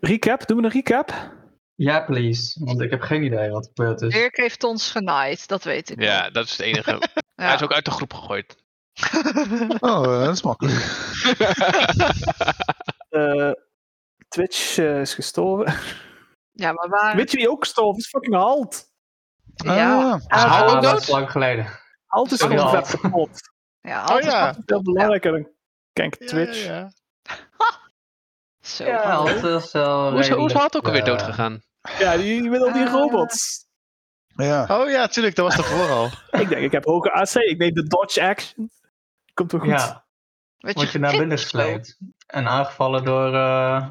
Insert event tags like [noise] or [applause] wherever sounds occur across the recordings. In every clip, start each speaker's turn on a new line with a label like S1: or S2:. S1: recap. Doen we een recap?
S2: Ja, please. Want ik heb geen idee wat er gebeurd is.
S3: Dirk heeft ons genaaid, dat weet ik.
S4: Ja, dat is het
S5: [laughs]
S4: enige.
S3: Ja.
S4: Hij is ook uit de groep gegooid.
S5: Oh, eh, dat is makkelijk.
S1: Eh, Twitch eh, is gestorven.
S3: [laughs] Ja, maar waar...
S1: Weet je wie ook gestorven is? Fucking Halt.
S3: Ja,
S5: Ah,
S3: Ah,
S2: Ah,
S4: Hal
S2: dat
S4: ook dood?
S2: is lang geleden.
S1: Halt is
S2: Sorry,
S1: gewoon
S2: Halt.
S1: vet kapot.
S3: ja,
S2: Oh,
S1: Halt
S6: Oh,
S3: altijd
S1: is
S5: ja.
S1: altijd veel belangrijker dan kank
S5: ja,
S1: Twitch.
S5: ja, ja.
S3: zo.
S2: Ja, dat is wel
S4: Hoe is, hoe is
S2: redelijk,
S4: Hout ook alweer
S2: eh,
S4: dood gegaan?
S1: Ja, die, met al die
S3: Ah.
S1: robots.
S5: Ja. Oh ja, tuurlijk, dat was daarvoor al.
S1: Ik denk, ik heb hoge AC. Ik neem de dodge action. Komt wel goed.
S2: Ja,
S3: Weet
S2: word je naar binnen gesleept. En aangevallen door eh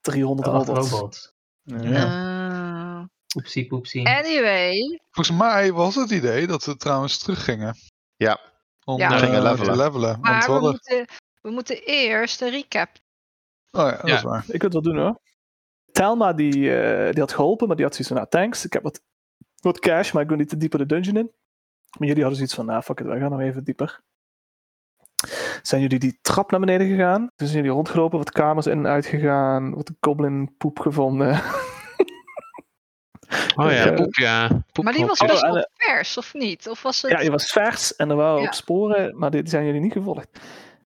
S1: 300
S2: robot.
S1: robots.
S2: robots.
S5: Ja.
S3: Ah.
S2: Oepsie poepsie.
S3: Eh, anyway,
S5: Volgens mij was het idee dat we trouwens teruggingen.
S6: Ja.
S5: Om
S3: Ja.
S5: eh,
S6: We gingen levelen.
S5: te levelen. Want
S3: maar
S5: we
S3: we
S5: hadden...
S3: moeten, we moeten eerst een recap.
S5: Oh ja, dat
S4: Ja.
S5: is waar.
S1: Ik wil het wel doen hoor. Telma die, eh, die had geholpen, maar die had zoiets van, nou thanks, ik heb wat, wat cash, maar ik wil niet te dieper de dungeon in. Maar jullie hadden zoiets van, nou fuck it, wij gaan nog even dieper. Zijn jullie die trap naar beneden gegaan? Toen zijn jullie rondgelopen, wat kamers in en uit gegaan, wat goblin poep gevonden.
S4: [laughs] Oh ja,
S1: ja.
S4: poep ja. Poep,
S3: Maar die
S4: poep,
S3: was
S4: poep.
S3: best
S1: Oh, en,
S3: wel vers, of niet? Of was het...
S1: Ja, je was vers en er waren
S3: Ja.
S1: ook sporen, maar die die zijn jullie niet gevolgd.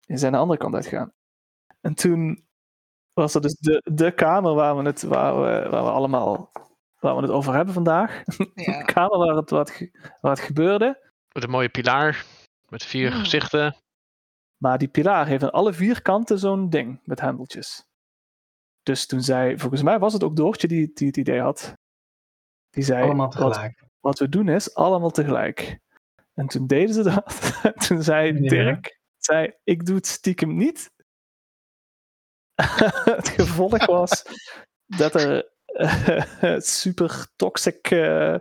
S1: Die zijn de andere kant uitgegaan. En toen was dat dus de, de kamer waar we, het, waar, we, waar we allemaal waar we het over hebben vandaag. [laughs]
S3: Ja.
S1: De kamer waar het, waar, het, ge- waar het gebeurde.
S4: Met een mooie pilaar. Met vier
S3: Hmm.
S4: gezichten.
S1: Maar die pilaar heeft aan alle vier kanten zo'n ding met hendeltjes. Dus toen zei, volgens mij was het ook Doortje die, die het idee had. Die zei,
S2: Allemaal
S1: wat,
S2: tegelijk.
S1: wat we doen is allemaal tegelijk. En toen deden ze dat. [laughs] En toen zei
S2: Ja.
S1: Dirk, zei, ik doe het stiekem niet. [laughs] het gevolg was dat er [laughs] eh, super toxic eh,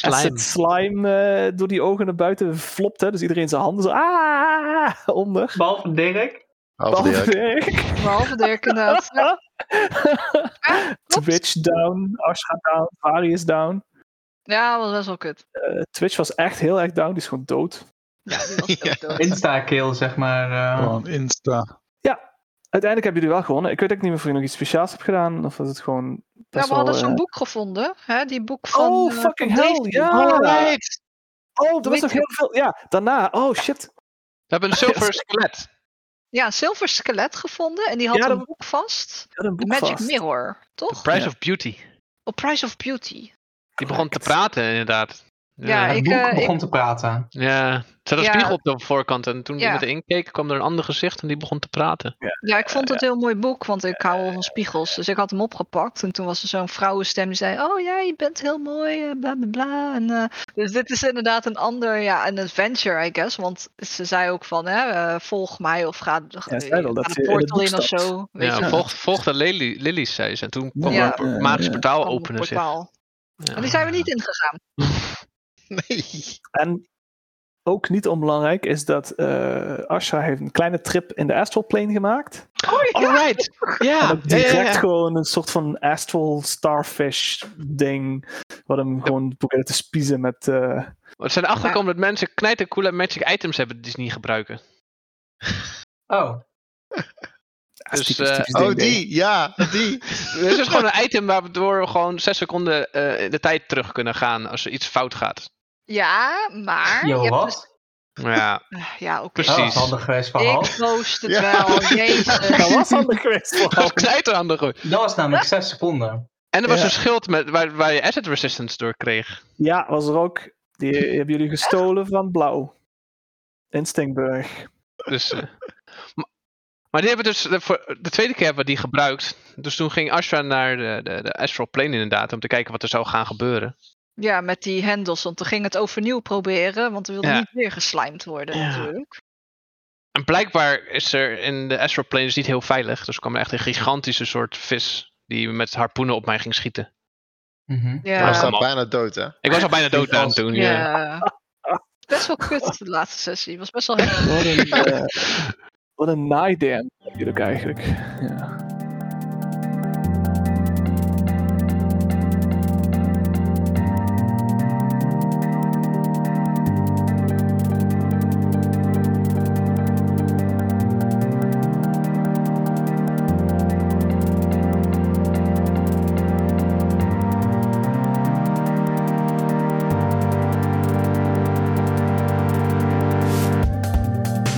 S1: acid
S4: Slime.
S1: slime eh, door die ogen naar buiten flopte. Dus iedereen zijn handen zo ah, onder.
S2: Behalve Dirk.
S6: Half
S1: Behalve [laughs]
S6: Dirk.
S1: Dirk.
S3: Behalve
S1: [laughs]
S3: Dirk inderdaad. Ja, Ah, klopt.
S1: Twitch down, Ashra down, Varius down.
S3: Ja, dat was best wel kut.
S1: Eh, Twitch was echt heel erg down, die is gewoon dood. [laughs]
S3: Ja, die was ook
S6: Ja.
S3: dood.
S2: Insta-kill, zeg maar. eh.
S5: [laughs] Gewoon Insta.
S1: Uiteindelijk hebben jullie wel gewonnen. Ik weet ook niet meer of je nog iets speciaals hebt gedaan. Of was het gewoon.
S3: Ja,
S1: Best
S3: we hadden
S1: wel,
S3: zo'n
S1: eh,
S3: boek gevonden. Hè? Die boek van...
S1: Oh,
S3: eh,
S1: fucking
S3: van
S1: hell,
S3: Daisy.
S1: ja.
S4: Oh, right.
S1: Oh, er was
S3: weet
S1: nog
S3: je-
S1: heel veel. Ja, daarna. Oh shit.
S4: We hebben een zilver skelet.
S3: Ja, een zilver skelet gevonden. En die had
S1: Ja, dat-
S3: een boek vast.
S1: Ik had een
S3: De
S1: boek
S3: Magic
S1: vast.
S3: Mirror, toch?
S4: Price
S1: Ja.
S4: of Beauty.
S3: Oh, Price of Beauty.
S4: Die begon te praten, inderdaad.
S3: Oh, Ja,
S2: het
S3: ik,
S2: boek
S3: eh,
S2: begon
S3: ik-
S2: te praten.
S4: Ja, er zat een
S3: Ja.
S4: spiegel op de voorkant en toen
S3: Ja.
S4: iemand erin keek, kwam er een ander gezicht en die begon te praten.
S3: Ja, ik vond het een heel mooi boek, want ik hou al van spiegels. Dus ik had hem opgepakt. En toen was er zo'n vrouwenstem die zei: Oh ja, je bent heel mooi, eh, bla bla bla. En, eh, dus dit is inderdaad een ander, ja, een adventure, I guess. Want ze zei ook van: hè, eh, Volg mij of ga, eh,
S1: Ja, ze zei wel
S3: ga
S1: dat
S3: de
S1: ze in het
S3: portal
S1: boek
S3: in of
S1: staat.
S3: zo. Weet je
S4: Ja,
S3: wel.
S4: volg, volgde Lely, Lily's, zei ze. En toen kwam
S3: Ja.
S4: er een
S1: Ja,
S4: magisch
S1: ja.
S4: portaal
S3: Van het
S4: openen zich.
S3: portaal. En die zijn we niet ingegaan.
S6: Nee.
S1: En ook niet onbelangrijk is dat eh Asha heeft een kleine trip in de astral plane gemaakt.
S3: Oh ja,
S4: [laughs] Alright!
S1: en
S4: Ja,
S1: ook
S4: ja, ja,
S1: direct
S4: ja.
S1: gewoon een soort van astral starfish ding. Wat hem gewoon probeerde te spiezen met... eh,
S4: We zijn achtergekomen dat mensen knijtercoole magic items hebben die ze niet gebruiken.
S2: Oh,
S4: Dus,
S1: typisch-
S4: eh,
S1: typisch
S6: Oh,
S1: ding, ding.
S6: die. Ja, die.
S4: Dit is [laughs] gewoon een item waardoor we gewoon zes seconden eh, in de tijd terug kunnen gaan als er iets fout gaat.
S3: ja maar.
S2: yo,
S3: je hebt
S2: wat?
S1: [laughs]
S3: dus-
S4: Ja,
S3: Ah, ja, oké.
S2: Oh, dat is
S4: precies.
S2: handig geweest van
S3: Ik
S2: Hans.
S3: post het
S6: Ja.
S1: [laughs]
S3: wel. Jezus.
S1: Dat was
S4: [laughs]
S1: handig geweest
S4: dat
S1: vooral.
S4: is knijterhandig hoor.
S2: Dat was namelijk 6 seconden.
S4: En er was
S1: Ja.
S4: een schild met, waar, waar je asset resistance door kreeg.
S1: Ja, was er ook. Die hebben jullie gestolen van Blauw. In Stinkburg.
S4: Dus, eh, [laughs] maar, maar die hebben dus, de, voor de tweede keer hebben we die gebruikt. Dus toen ging Ashra naar de, de, de Astral Plane inderdaad, om te kijken wat er zou gaan gebeuren.
S3: Ja, met die hendels, want toen ging het overnieuw proberen, want we wilden
S4: Ja.
S3: niet weer geslijmd worden
S4: Ja.
S3: natuurlijk.
S4: En blijkbaar is er in de Astral Plane is niet heel veilig. Dus er kwam echt een gigantische soort vis die met harpoenen op mij ging schieten.
S2: Mhm.
S6: Hij
S3: Ja,
S4: dat
S6: staat
S4: man.
S6: bijna dood, hè?
S4: Ik was al bijna dood aan toen. Ja.
S3: ja. Best wel kut de laatste sessie, was best wel heftig.
S1: Wat
S4: [laughs]
S1: een, eh, wat een naaidam natuurlijk eigenlijk. Ja.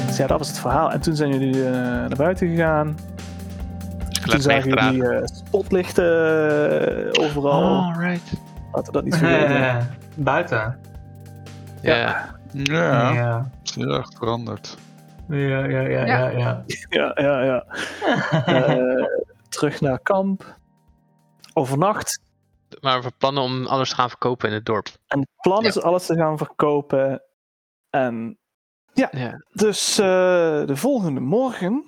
S1: Dus ja, dat was het verhaal. En toen zijn jullie eh, naar buiten gegaan. Toen
S4: Laat
S1: zagen
S4: meegedragen.
S1: jullie eh, spotlichten eh, overal.
S4: Alright.
S1: Laten we dat niet vergeten.
S4: Eh.
S2: [laughs] Buiten.
S4: Ja.
S5: Ja, het
S2: Ja.
S5: is heel erg veranderd.
S2: Ja, ja, ja,
S3: Ja.
S2: ja. ja.
S1: Ja, ja, ja. Eh, terug naar kamp. Overnacht.
S4: Maar we plannen om alles te gaan verkopen in het dorp.
S1: En het plan
S4: Ja.
S1: is alles te gaan verkopen. En
S4: Ja.
S1: dus eh, de volgende morgen.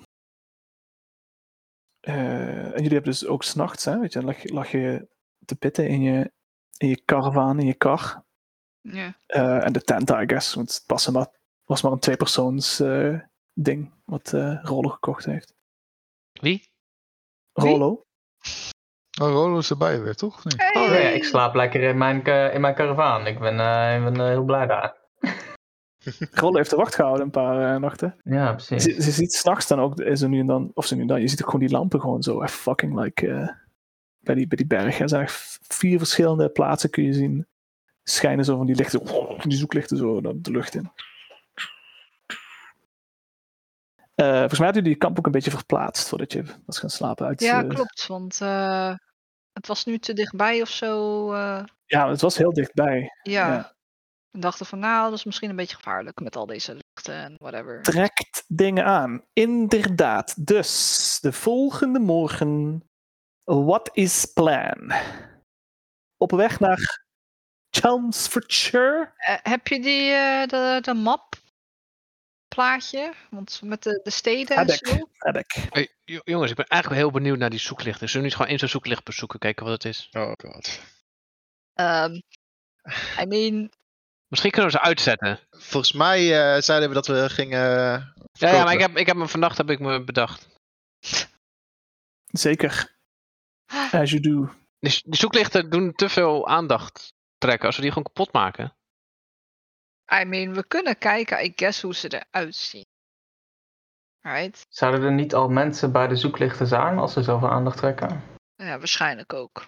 S1: eh, en jullie hebben dus ook s'nachts, hè? Weet je, dan lag, je- lag je te pitten in je, in je karavaan, in je kar.
S3: Ja.
S1: Eh, en de tent, I guess. Want het was maar, was maar een tweepersoons eh, ding wat eh, Rollo gekocht heeft.
S4: Wie?
S3: Wie?
S1: Rollo?
S5: Oh, Rolo is erbij weer, toch? Of niet?
S2: Oh, ja, ik slaap lekker in mijn, eh, in mijn karavaan. Ik ben, eh, ik ben eh, heel blij daar.
S1: Rollo heeft de wacht gehouden een paar eh, nachten.
S2: Ja, precies.
S1: Ze, ze ziet s'nachts dan ook, eh, zo nu en dan, of zo nu en dan, je ziet ook gewoon die lampen gewoon zo echt fucking like eh, bij, die, bij die berg. hè. Er zijn echt vier verschillende plaatsen kun je zien. Schijnen zo van die lichten, [laughs] die zoeklichten zo de de lucht in. Eh, volgens mij had u die kamp ook een beetje verplaatst voordat je was gaan slapen. Uit,
S3: Ja,
S1: eh,
S3: klopt. Want eh, het was nu te dichtbij of zo. eh,
S1: ja, het was heel dichtbij.
S3: ja.
S1: Ja.
S3: We dachten van, nou, dat is misschien een beetje gevaarlijk met al deze lichten en whatever.
S1: trekt dingen aan. Inderdaad. Dus de volgende morgen. What is plan? Op weg naar Chelmsfordshire?
S3: Eh, heb je die eh, de, de map plaatje? Want met de, de steden en
S1: Heb ik.
S3: zo.
S1: Heb ik.
S4: Hey, jo- jongens, ik ben eigenlijk heel benieuwd naar die zoeklichten. Zullen we niet gewoon eens een zoeklicht bezoeken, kijken wat het is?
S6: Oh god.
S3: Ehm, I mean,
S4: Misschien kunnen we ze uitzetten.
S6: Volgens mij eh, zeiden we dat we gingen. eh, [laughs]
S4: Ja, ja maar
S6: verkopen.
S4: ik heb, ik heb me vannacht heb ik me bedacht.
S1: Zeker. As you do.
S4: Die, s- die zoeklichten doen te veel aandacht trekken. Als we die gewoon kapot maken.
S3: I mean, we kunnen kijken, I guess, hoe ze eruit zien. Right?
S2: Zouden er niet al mensen bij de zoeklichten zijn als ze zoveel aandacht trekken?
S3: Nou Ja, waarschijnlijk ook.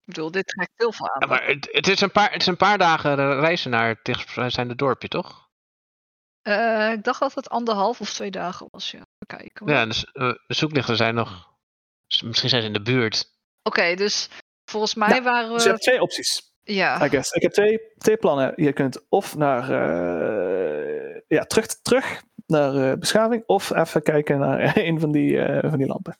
S3: Ik bedoel, dit trekt heel veel
S4: Ja,
S3: aan.
S4: maar het, het, is een paar, het is een paar dagen re- reizen naar het dichtstbijzijnde dorpje, toch?
S3: Eh, ik dacht dat het anderhalf of twee dagen was. Ja, Even kijken. hoor.
S4: Ja, dus eh, de zoeklichten zijn nog... s- Misschien zijn ze in de buurt.
S3: Oké, dus volgens mij waren
S1: Dus je hebt
S3: we.
S1: twee opties,
S3: Ja,
S1: I guess. Ik heb twee, twee plannen. Je kunt of naar... eh, ja, terug, terug naar eh, beschaving. Of even kijken naar [laughs] een van die, eh, van die lampen.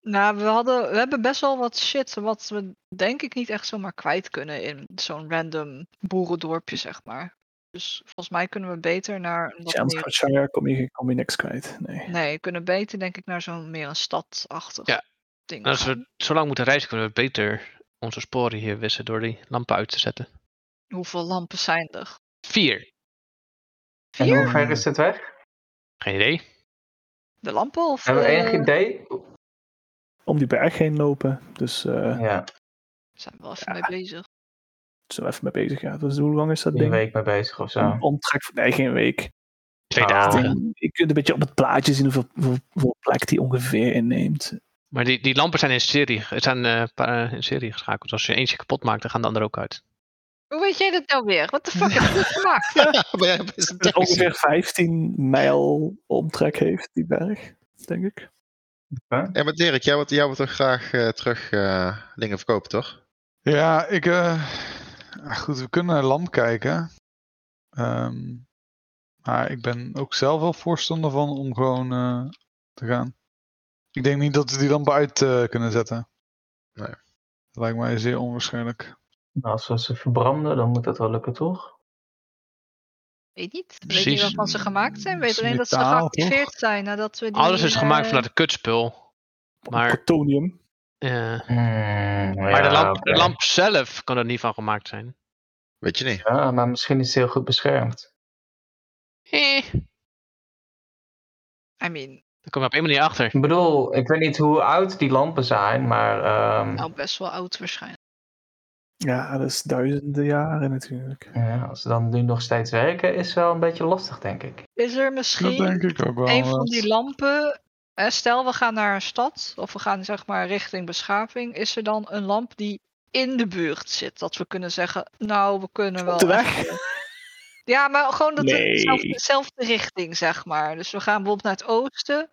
S3: nou, we, hadden, we hebben best wel wat shit. Wat we denk ik niet echt zomaar kwijt kunnen in zo'n random boerendorpje, zeg maar. Dus volgens mij kunnen we beter naar. een Wat meer,
S1: Chelmsfordshire kom je, kom je niks kwijt. Nee.
S3: nee, we kunnen beter, denk ik, naar zo'n meer een stadachtig
S4: Ja,
S3: ding.
S4: En Nou, als
S3: gaan.
S4: we zo lang moeten reizen, kunnen we beter onze sporen hier wissen door die lampen uit te zetten.
S3: Hoeveel lampen zijn er?
S4: Vier.
S2: En
S3: Vier?
S2: hoe ver is het weg?
S4: Geen idee.
S3: De lampen? Of,
S2: Hebben we
S3: eh,
S2: enig idee?
S1: om die berg heen lopen. Dus eh daar
S2: Ja,
S3: zijn we wel even mee bezig?
S1: zijn we even mee bezig. Ja. Dus hoe lang is dat
S2: een
S1: ding?
S2: week mee bezig of zo.
S1: Omtrek van nee, geen week.
S4: Twee
S2: Ah.
S4: dagen.
S2: Ja.
S1: Je kunt een beetje op het plaatje zien hoeveel, hoeveel, hoeveel plek die ongeveer inneemt.
S4: Maar die, die lampen zijn in serie, ge- zijn, eh, pa- eh, in serie geschakeld. Als je eentje kapot maakt, dan gaan de andere ook uit.
S3: Hoe weet jij dat nou weer? Wat de fuck heb je dit gemaakt?
S6: maar jij hebt best een
S1: Dat
S6: tekst.
S1: ongeveer 15 mijl omtrek heeft, die berg, denk ik.
S6: Ja, maar Dirk, jij wilt, jij wilt toch graag eh, terug eh, dingen verkopen, toch?
S5: Ja, ik. eh, ah, goed, we kunnen naar Lam kijken. Ehm, maar ik ben ook zelf wel voorstander van om gewoon eh, te gaan. Ik denk niet dat we die lampen uit eh, kunnen zetten.
S6: Nee.
S5: Dat lijkt mij zeer onwaarschijnlijk.
S2: Nou, als we ze verbranden, dan moet dat wel lukken, toch?
S3: Weet niet. Weet niet
S4: Precies.
S3: waarvan ze gemaakt zijn. Weet
S5: Is
S3: alleen dat ze
S5: metaal,
S3: geactiveerd zijn nadat we die...
S4: Alles is gemaakt
S3: eh,
S4: vanuit het kutspul. Maar-
S1: Plutonium.
S4: eh,
S2: Hmm,
S4: maar de
S2: ja,
S4: lamp,
S2: oké.
S4: de lamp zelf kan er niet van gemaakt zijn.
S6: Weet
S2: [laughs]
S6: je niet. [laughs]
S2: Ja, maar misschien is het heel goed beschermd.
S4: Eh, daar
S3: I mean,
S4: kom je op één manier achter.
S2: Ik bedoel, ik weet niet hoe oud die lampen zijn, maar ehm,
S3: nou best wel oud waarschijnlijk.
S1: Ja, dat is duizenden jaren natuurlijk.
S2: ja, als ze dan nu nog steeds werken, is wel een beetje lastig, denk ik.
S3: Is er
S5: Dat denk
S3: misschien
S5: ik ook wel.
S3: een van
S5: eh.
S3: die lampen... hè, stel, we gaan naar een stad. Of we gaan zeg maar richting beschaving. Is er dan een lamp die in de buurt zit? Dat we kunnen zeggen, nou, we kunnen wel...
S1: Op de weg.
S3: Ja, maar gewoon dat het
S1: Nee.
S3: dezelfde, dezelfde richting, zeg maar. Dus we gaan bijvoorbeeld naar het oosten.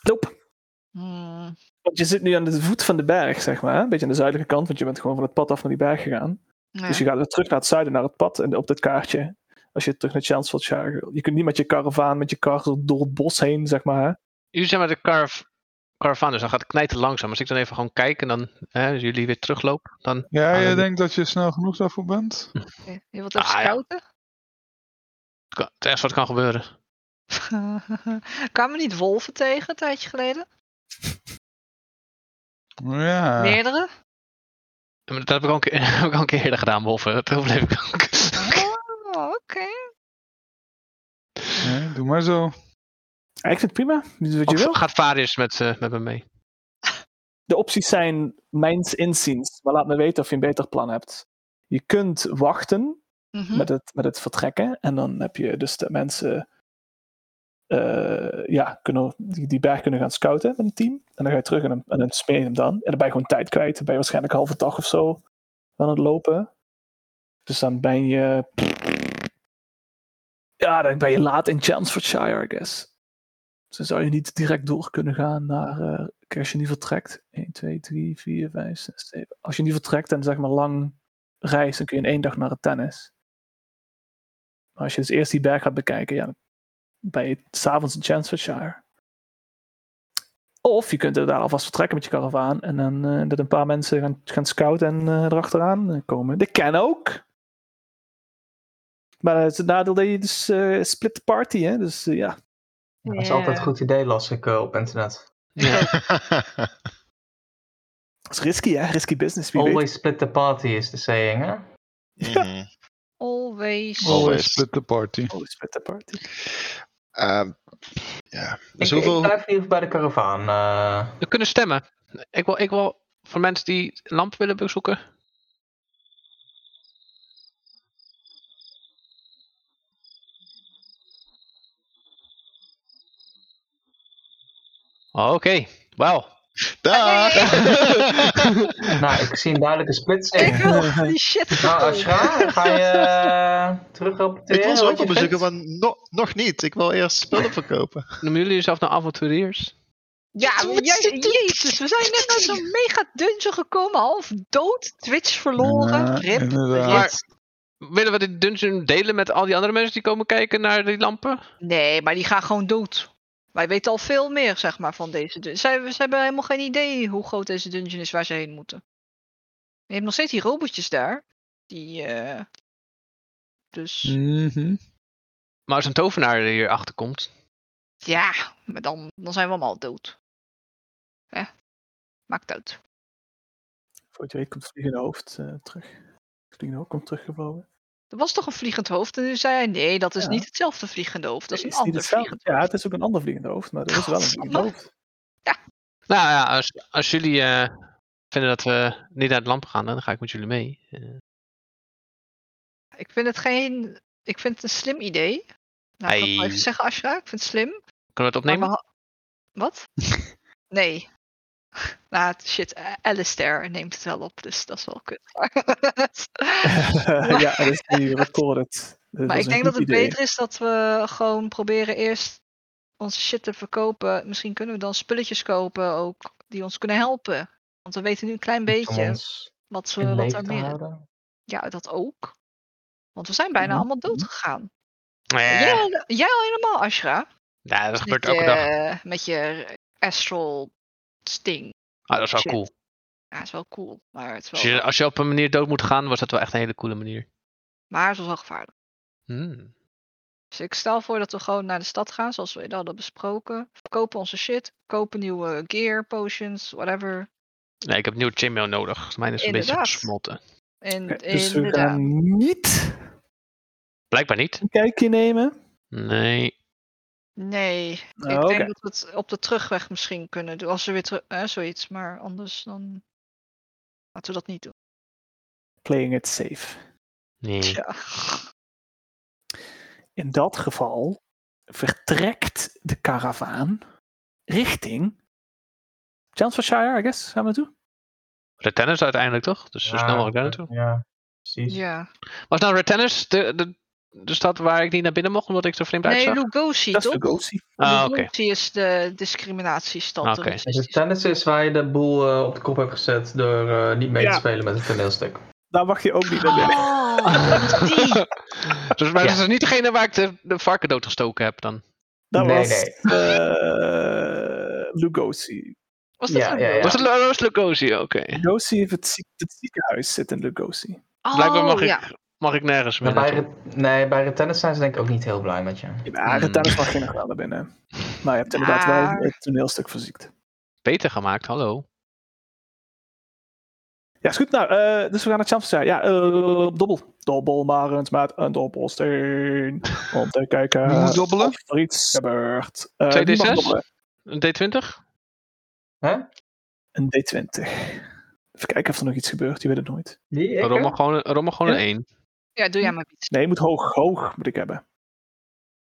S1: Nope.
S3: Hmm.
S1: Want je zit nu aan de voet van de berg, zeg maar. Een beetje aan de zuidelijke kant, want je bent gewoon van het pad af naar die berg gegaan.
S3: nou Ja.
S1: Dus je gaat weer terug naar het zuiden, naar het pad en op dat kaartje. Als je terug naar Chanceford Shire wil. Je kunt niet met je karavaan, met je kar zo door het bos heen, zeg maar. hè.
S4: Jullie zijn met de carav caravan, dus dan gaat het knijten langzaam. Als ik dan even gewoon kijk en dan hè, als jullie weer teruglopen, dan...
S5: Ja,
S4: Ah,
S5: jij
S4: dat-
S5: denkt dat je snel genoeg daarvoor bent?
S3: Oké, Je wilt even
S4: Ah, ja.
S3: scouten?
S4: kan- Het ergste wat kan gebeuren.
S3: [laughs] Kwamen niet wolven tegen een tijdje geleden?
S6: Ah.
S5: Ja.
S6: [laughs]
S3: Meerdere?
S4: Ja, maar Dat heb ik al een keer, [laughs] heb ik al een keer eerder gedaan, Wolfen. Dat overleef ik ook.
S3: Oh, oké.
S5: Nee, doe maar zo.
S1: Ja, ik vind het prima. Dit is wat je
S4: Ook
S1: wil.
S4: gaat Varius met, eh, met me mee.
S1: De opties zijn mijns inziens. Maar laat me weten of je een beter plan hebt. Je kunt wachten
S3: Mhm.
S1: met, het, met het vertrekken. En dan heb je dus de mensen eh, ja, kunnen, die, die berg kunnen gaan scouten met een team. En dan ga je terug en dan, en dan smeer je hem dan. En dan ben je gewoon tijd kwijt. Dan ben je waarschijnlijk een halve dag of zo aan het lopen. Dus dan ben je... Ja, dan ben je laat in Chelmsfordshire, I guess. Dus dan zou je niet direct door kunnen gaan naar... eh, kijk, als je niet vertrekt... 1, 2, 3, 4, 5, 6, 7... Als je niet vertrekt en zeg maar lang reist... dan kun je in één dag naar het tennis. Maar als je dus eerst die berg gaat bekijken, ja, dan ben je s'avonds in Chancellorshire. Of je kunt er daar alvast vertrekken met je karavaan en dan eh, dat een paar mensen gaan, gaan scouten en eh, erachteraan eh, komen. Dat kan ook. Maar het is het nadeel dat je dus eh, split the party, hè? Dus eh, ja.
S2: Dat is
S3: Ja.
S2: altijd een goed idee, las ik eh, op internet.
S1: Dat is risky, hè? Risky business,
S3: Oh
S1: wie [laughs] weet.
S2: Always split the party is de saying, hè?
S6: Mhm.
S3: Always.
S6: Always.
S5: Always split the party.
S1: Always Oh, split the party.
S6: Ehm, ja. Dus
S2: ik, ik
S6: hoeveel...
S2: blijf hier bij de karavaan. eh.
S4: We kunnen stemmen. Ik wil, ik wil voor mensen die lamp willen bezoeken. Oké, wauw.
S6: Dag!
S2: Ah, nou, ik zie een duidelijke
S3: [laughs] Ik
S2: splitsing.
S3: wil gewoon die shit.
S2: Nou,
S3: gewoon.
S2: Ashra, ga je eh, terug rapporteren?
S6: [laughs] Ik wil ze
S2: wat
S6: ook
S2: je
S6: wel bezoeken,
S2: vindt?
S6: maar no- nog niet. Ik wil eerst spullen verkopen.
S4: Noemen jullie jezelf nou avonturiers?
S3: Ja,
S6: Wat
S3: je-
S6: is dit?
S3: jezus, we zijn net uit zo'n mega dungeon gekomen, half dood, Twitch verloren,
S5: Ja,
S3: rip.
S5: inderdaad.
S3: rip.
S4: Willen we dit dungeon delen met al die andere mensen die komen kijken naar die lampen?
S3: Nee, maar die gaan gewoon dood. Wij weten al veel meer, zeg maar, van deze dungeon. Zij, ze hebben helemaal geen idee hoe groot deze dungeon is waar ze heen moeten. Je hebt nog steeds die robotjes daar. Die, eh, Dus,
S5: Mhm.
S4: Maar als een tovenaar er hier achter komt,
S3: ja, maar dan, dan zijn we allemaal dood. Hè? Maakt uit.
S1: Voor je weet komt het vliegende hoofd eh, terug. Het vliegende hoofd komt teruggevlogen.
S3: Er was toch een vliegend hoofd? En nu zei hij, nee, dat is
S1: Ja.
S3: niet hetzelfde vliegende hoofd. Dat is
S1: Nee,
S3: een
S1: niet
S3: ander
S1: hetzelfde.
S3: vliegend
S1: Ja,
S3: hoofd.
S1: het is ook een ander vliegende hoofd, maar er is wel een vliegend
S3: Godverdomme.
S1: hoofd.
S4: Nou ja, als, als jullie eh, vinden dat we niet naar het lamp gaan, dan ga ik met jullie mee. Eh,
S3: Ik vind het geen... Ik vind het een slim idee. Nou, ik kan het wel
S4: Ei.
S3: even zeggen, Ashra. Ik vind het slim.
S4: kunnen we het
S3: Maar
S4: opnemen?
S3: we ha- Wat? nee. [laughs] Nou, shit. eh, Alistair neemt het wel op, dus dat is wel kut. [laughs]
S1: [laughs] ja, dat is nu recorded. Dat was
S3: maar ik
S1: een
S3: denk
S1: goed
S3: dat het
S1: idee.
S3: beter is dat we gewoon proberen eerst onze shit te verkopen. Misschien kunnen we dan spulletjes kopen ook die ons kunnen helpen. Want we weten nu een klein
S2: Om
S3: beetje
S2: ons
S3: wat, we,
S2: in
S3: wat er
S2: leven te
S3: meer
S2: houden.
S3: Ja, dat ook. Want we zijn bijna
S1: Mhm.
S3: allemaal dood gegaan.
S4: Eh,
S3: Jij, al- jij al helemaal, Ashra.
S4: nou, dat gebeurt
S3: met
S4: elke dag.
S3: je, Met je astral sting.
S4: Ah, dat is wel
S3: shit. Oh.
S4: cool.
S3: Ja, is wel cool. Maar het is wel,
S4: Als je, als je op een manier dood moet gaan, was dat wel echt een hele coole manier.
S3: maar het was wel gevaarlijk.
S4: Hmm.
S3: Dus ik stel voor dat we gewoon naar de stad gaan, zoals we het hadden besproken. Kopen onze shit. Kopen nieuwe gear, potions, whatever.
S4: Nee, ik heb een nieuw chainmail nodig. Mijn is een
S3: Inderdaad.
S4: beetje gesmolten.
S3: En
S1: Oké, dus we
S3: inderdaad.
S1: gaan niet
S4: Blijkbaar niet.
S1: een kijkje nemen.
S4: Nee.
S3: Nee, ik
S1: Oh, Oké.
S3: denk dat we het op de terugweg misschien kunnen doen. Als we weer terug... Eh, zoiets, maar anders dan... Laten we dat niet doen.
S1: Playing it safe.
S4: Nee.
S3: Tja.
S1: In dat geval vertrekt de karavaan richting Chancellorshire, I guess. Gaan we naartoe?
S4: Red Tennis uiteindelijk toch? Dus zo
S2: Ja,
S4: snel mogelijk daar naartoe.
S2: Ja, precies.
S3: Ja.
S4: Was nou Red Tennis de, de de stad waar ik niet naar binnen mocht omdat ik zo vreemd
S3: Nee,
S4: uitzag?
S3: Lugosi,
S1: Dat is
S3: toch?
S1: de Goatsy.
S4: ah, oké.
S3: Lugosi is de discriminatiestand.
S4: Ah, Oké.
S2: Dus het tennis is waar je de boel eh, op de kop hebt gezet door eh, niet mee
S1: Ja.
S2: te spelen met het toneelstuk.
S1: Daar mag je ook niet naar binnen.
S3: Oh, die.
S4: Dus maar
S2: Ja.
S4: dat is niet degene waar ik de, de varken doodgestoken heb dan.
S1: Dat
S2: nee,
S1: was
S2: nee.
S1: eh, Lugosi.
S3: Was dat
S2: Ja,
S3: een
S2: ja, ja.
S3: dood?
S4: Was het Lu- was Lucosi? Oké.
S1: Lugosi heeft het, ziek- het ziekenhuis zit in Lugosi.
S4: Blijkbaar
S3: Oh,
S4: mag,
S3: ja.
S4: ik, mag ik nergens meer
S2: Maar Nou, bij,
S4: naartoe.
S2: re- nee, bij de tennis zijn ze denk ik ook niet heel blij met je.
S1: Ja, de
S4: Hmm.
S1: tennis mag je nog wel naar binnen. Maar je hebt inderdaad
S3: Maar-
S1: wel het toneelstuk verziekt.
S4: Beter gemaakt, hallo.
S1: Ja, is goed. Nou, eh, dus we gaan naar Champs. Ja, eh dobbel. Dobbel maar eens met een dobbelsteen. Om
S5: [laughs]
S1: te kijken
S5: Wie moet dobbelen?
S1: of er iets gebeurt. Eh,
S4: 2D6?
S1: wie mag dobbelen?
S4: Een D20?
S1: Een D20. Even kijken of er nog iets gebeurt. Je weet het nooit.
S2: Die ik,
S4: Rommel
S2: hè?
S4: gewoon, rommel gewoon
S1: Ja.
S4: een 1.
S3: ja, doe jij maar iets.
S1: Nee, je moet hoog. Hoog moet ik hebben.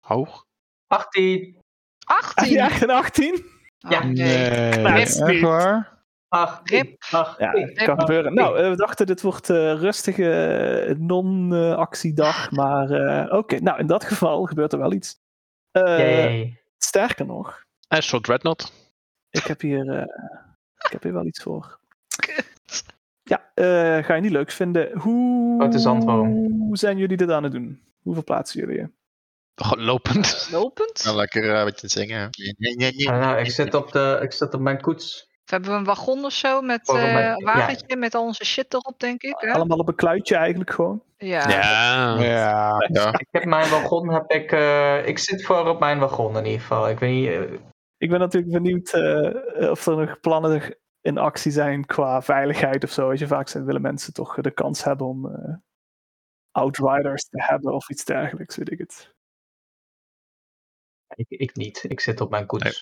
S4: Hoog.
S2: 18,
S3: 18.
S1: [laughs] Ah, Ja, een 18?
S2: Ja.
S3: Oh,
S1: Nee.
S5: Echt waar?
S2: 18,
S3: Rip.
S2: 18.
S1: Ja, kan gebeuren. Nou, eh, we dachten dit wordt eh, rustige eh, non-actiedag. Maar eh, oké, nou in dat geval gebeurt er wel iets. Eh,
S2: Yay.
S1: Sterker nog,
S4: Astral Dreadnought.
S1: Ik heb hier, eh, ik heb hier wel iets voor. Ja, eh, ga je niet leuk vinden. Hoe,
S2: Grote zandworm.
S1: hoe zijn jullie dit aan het doen? Hoe verplaatsen jullie je?
S4: Gewoon lopend.
S3: Lopend?
S6: Nou, lekker eh, een beetje zingen. Nee, nee, nee, nee.
S2: Ah, nou, ik zit, op de, ik zit op mijn koets.
S3: Of hebben we een wagon of zo met
S2: Oh,
S3: eh,
S2: maar-
S3: een wagentje met al onze shit erop, denk ik. Hè?
S1: Allemaal op een kluitje eigenlijk gewoon.
S3: Ja.
S4: Ja.
S5: Ja.
S6: Ja,
S2: Ik heb mijn wagon, heb ik, eh, ik zit voor op mijn wagon in ieder geval. Ik weet niet, eh,
S1: Ik ben natuurlijk benieuwd eh, of er nog plannen in actie zijn qua veiligheid of zo. Als je vaak zegt, willen mensen toch de kans hebben om eh, outriders te hebben of iets dergelijks, weet ik het.
S2: ik, ik niet. Ik zit op mijn koets.
S4: Nee.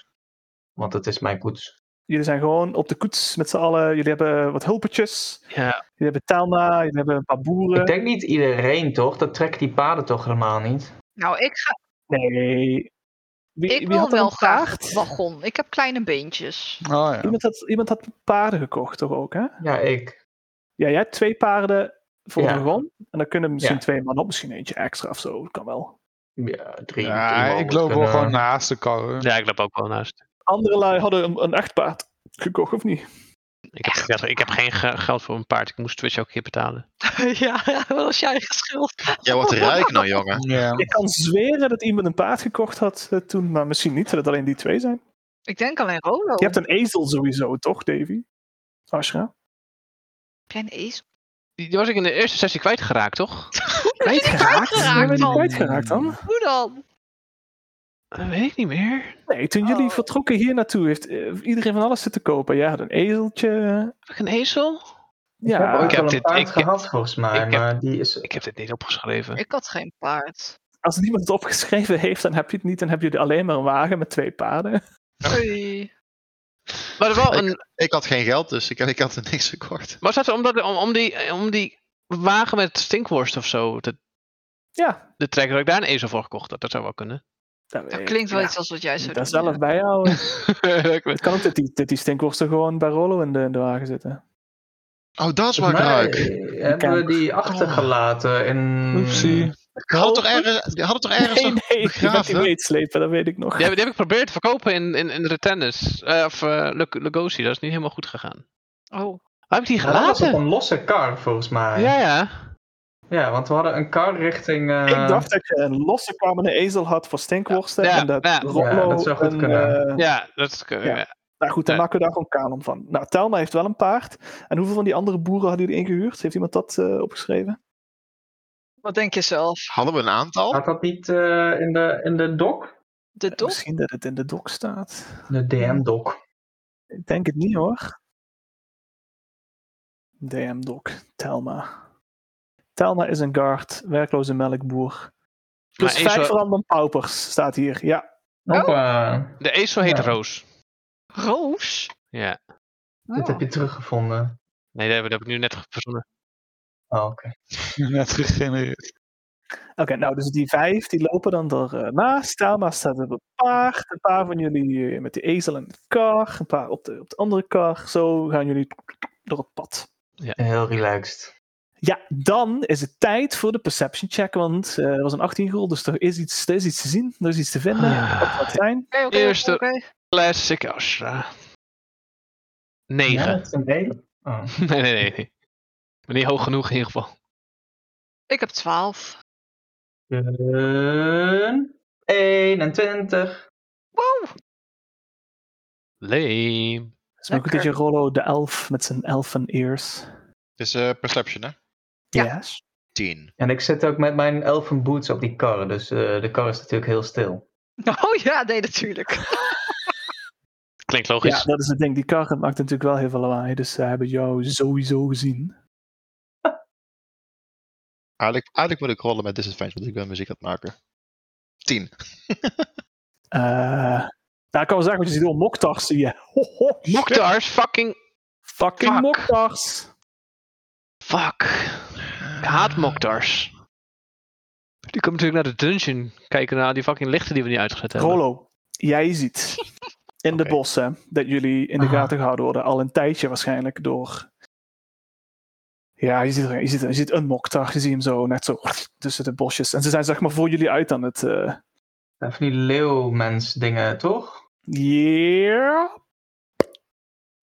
S2: Want het is mijn koets.
S1: Jullie zijn gewoon op de koets met z'n allen. Jullie hebben wat hulpetjes.
S4: Ja.
S1: Jullie hebben Telma, jullie hebben een paar boeren.
S2: Ik denk niet iedereen toch? Dat trekt die paden toch helemaal niet?
S3: Nou, ik, ga,
S1: Nee. Wie,
S3: ik
S1: wie
S3: wil
S1: had er
S3: wel
S1: een
S3: graag
S1: paard?
S3: een wagon. Ik heb kleine
S1: [laughs]
S3: beentjes.
S5: Oh ja.
S1: Iemand had, iemand had paarden gekocht, toch ook? Hè?
S2: Ja, ik.
S1: Ja, jij hebt twee paarden voor
S2: Ja.
S1: de wagon. En dan kunnen misschien
S2: Ja.
S1: twee man op, misschien eentje extra of zo. Dat kan wel.
S2: Ja, drie.
S5: Ja,
S2: drie man
S5: ik
S2: moet
S5: loop wel
S2: kunnen.
S5: gewoon naast de karren.
S4: Ja, ik loop ook wel naast.
S1: Andere lui hadden een, een echt paard gekocht, of niet?
S4: Ik heb,
S3: Echt?
S4: ja, ik heb geen ge- geld voor een paard. Ik moest Twitch ook hier betalen.
S3: ja, [laughs] wat was jij geschild?
S6: jij wordt rijk nou, jongen.
S5: Ja.
S1: Ik kan zweren dat iemand een paard gekocht had eh, toen, maar misschien niet, dat het alleen die twee zijn.
S3: Ik denk alleen Rolo.
S1: Je hebt een ezel sowieso, toch, Davy? Ashra?
S3: Heb jij een ezel?
S4: Die, die was ik in de eerste sessie kwijtgeraakt,
S3: [laughs]
S4: toch?
S3: Kwijtgeraakt?
S1: Zijn we die
S3: dan?
S1: kwijtgeraakt dan?
S3: Hoe dan?
S4: Dat weet ik niet meer.
S1: Nee, toen jullie
S3: Oh.
S1: vertrokken hier naartoe heeft eh, iedereen van alles zitten kopen. Jij had een ezeltje.
S4: Heb ik een ezel?
S2: Ik heb
S1: Ja,
S2: ooit
S4: heb
S2: wel een
S4: dit-
S2: paard
S4: ik- ik-
S2: gehad volgens mij,
S4: ik heb-
S2: maar die is...
S4: Ik heb dit niet opgeschreven.
S3: Ik had geen paard.
S1: Als niemand het opgeschreven heeft, dan heb je het niet. Dan heb je alleen maar een wagen met twee paarden.
S3: Oei.
S4: Maar er wel
S6: Ik-
S4: een,
S6: Ik had geen geld, dus ik, ik had er niks gekocht.
S4: was dat omdat, om, om, die, om die wagen met stinkworst of zo te,
S1: Ja,
S4: te trekken, dat ik daar een ezel voor gekocht had? Dat zou wel
S2: [laughs]
S4: kunnen.
S1: dat,
S3: Dat
S1: weet ik.
S3: klinkt wel
S1: Eh, Ja,
S3: iets als wat jij zou
S1: Dat is
S3: doen,
S1: zelf
S3: [laughs]
S1: bijhouden.
S4: Ik weet-
S1: Het kan ook dat die, dat die stinkworsten gewoon bij Rollo in de, in de wagen zitten.
S6: Oh, dat is waar
S2: Volgens mij,
S6: ik
S2: eh, hebben we die achtergelaten in...
S5: Oepsie.
S6: Ik had toch ergens, je had toch
S3: Eh,
S6: ergens
S1: nee,
S6: nog-
S1: nee, je gaat die
S6: begraven?
S1: meeslepen, dat weet ik nog.
S4: Die heb, die heb ik geprobeerd te verkopen in, in, in Retennis. Eh, of eh, Lug- Lugosi, dat is niet helemaal goed gegaan.
S3: Oh,
S4: Waar heb ik die
S2: Maar dat was op
S4: gelaten?
S2: een losse kar volgens mij.
S4: Ja, ja.
S2: Ja, want we hadden een kar richting... eh,
S1: Ik dacht dat je een losse kwam en een ezel had voor stinkworsten.
S4: Ja,
S1: en dat
S4: ja.
S1: Rollo
S2: Ja, dat zou goed
S1: een,
S2: kunnen.
S1: eh,
S4: Ja, dat is... eh,
S1: Ja. nou goed, dan
S4: Ja.
S1: maken we daar gewoon kanon van. Nou, Telma heeft wel een paard. En hoeveel van die andere boeren hadden jullie ingehuurd? Heeft iemand dat eh, opgeschreven?
S3: wat denk je zelf?
S6: Hadden we een aantal?
S2: Had dat niet eh, in, de, in de dok?
S3: De dog?
S1: Eh, Misschien dat het in de dok staat.
S2: De DM-dok.
S1: Ik denk het niet hoor. DM Doc, Telma. Telma is een guard, werkloze melkboer. Plus
S4: Maar
S1: vijf
S4: ezel-
S1: random paupers staat hier. Ja,
S2: Hoppa.
S4: de ezel heet
S2: Ja.
S4: Roos.
S3: Roos?
S4: Ja.
S2: Dit
S3: Oh.
S2: heb je teruggevonden.
S4: Nee, dat heb, dat heb ik nu net verzonnen.
S2: Oh, oké.
S5: [laughs] Net gegenereerd.
S1: oké, nou dus die vijf die lopen dan er eh, naast. Telma staat op een paard, een paar van jullie eh, met de ezel en de kar, een paar op de, op de andere kar. Zo gaan jullie door het pad.
S2: Heel relaxed.
S1: Ja, dan is het tijd voor de perception check, want eh er was een 18 gerold, dus er is, iets, er is iets te zien, er is iets te vinden.
S4: Ah.
S1: Wat zou het zijn?
S3: Oké, oké,
S4: Eerste.
S3: oké.
S4: Classic Ashra.
S2: Ja,
S4: 9.
S2: dat is een hele. Oh.
S4: [laughs] Nee, nee, nee. nee. Maar niet hoog genoeg in ieder geval.
S3: Ik heb 12.
S2: Een 21.
S3: Wow! [laughs]
S4: Lame.
S1: Het is maar goed dat je
S3: Lekker.
S1: Rollo de elf met zijn elfen ears.
S6: Het is eh, perception, hè?
S3: Ja.
S1: Yes.
S6: 10.
S2: En ik zit ook met mijn elfen boots op die kar, dus eh, de kar is natuurlijk heel stil.
S3: Oh ja, nee, natuurlijk.
S4: Klinkt
S1: Ja,
S4: logisch.
S1: dat is het ding. Die kar maakt natuurlijk wel heel veel lawaai, dus ze hebben jou sowieso gezien.
S6: Eigenlijk, eigenlijk moet ik rollen met disadvantage, want ik ben muziek aan het maken. 10.
S1: Eh nou, ik kan wel zeggen, want je ziet al Moktars, zie je. [laughs] Ho, ho, shit.
S4: Moktars, fucking
S1: Fucking
S4: Fuck.
S1: Moktars!
S4: Fuck. Ik haat
S3: Ah.
S4: Moktars. Die komt natuurlijk naar de dungeon kijken naar die fucking lichten die we niet uitgezet hebben.
S1: Rollo, jij ziet in de
S6: Oké.
S1: bossen dat jullie in de
S2: Ah.
S1: gaten gehouden worden. Al een tijdje waarschijnlijk door... Ja, je ziet, er- je ziet, je ziet een Moktar. Je ziet hem zo net zo tussen de bosjes. En ze zijn zeg maar voor jullie uit aan het... eh,
S2: Zijn Van die leeuwmens dingen, toch?
S1: Yeah.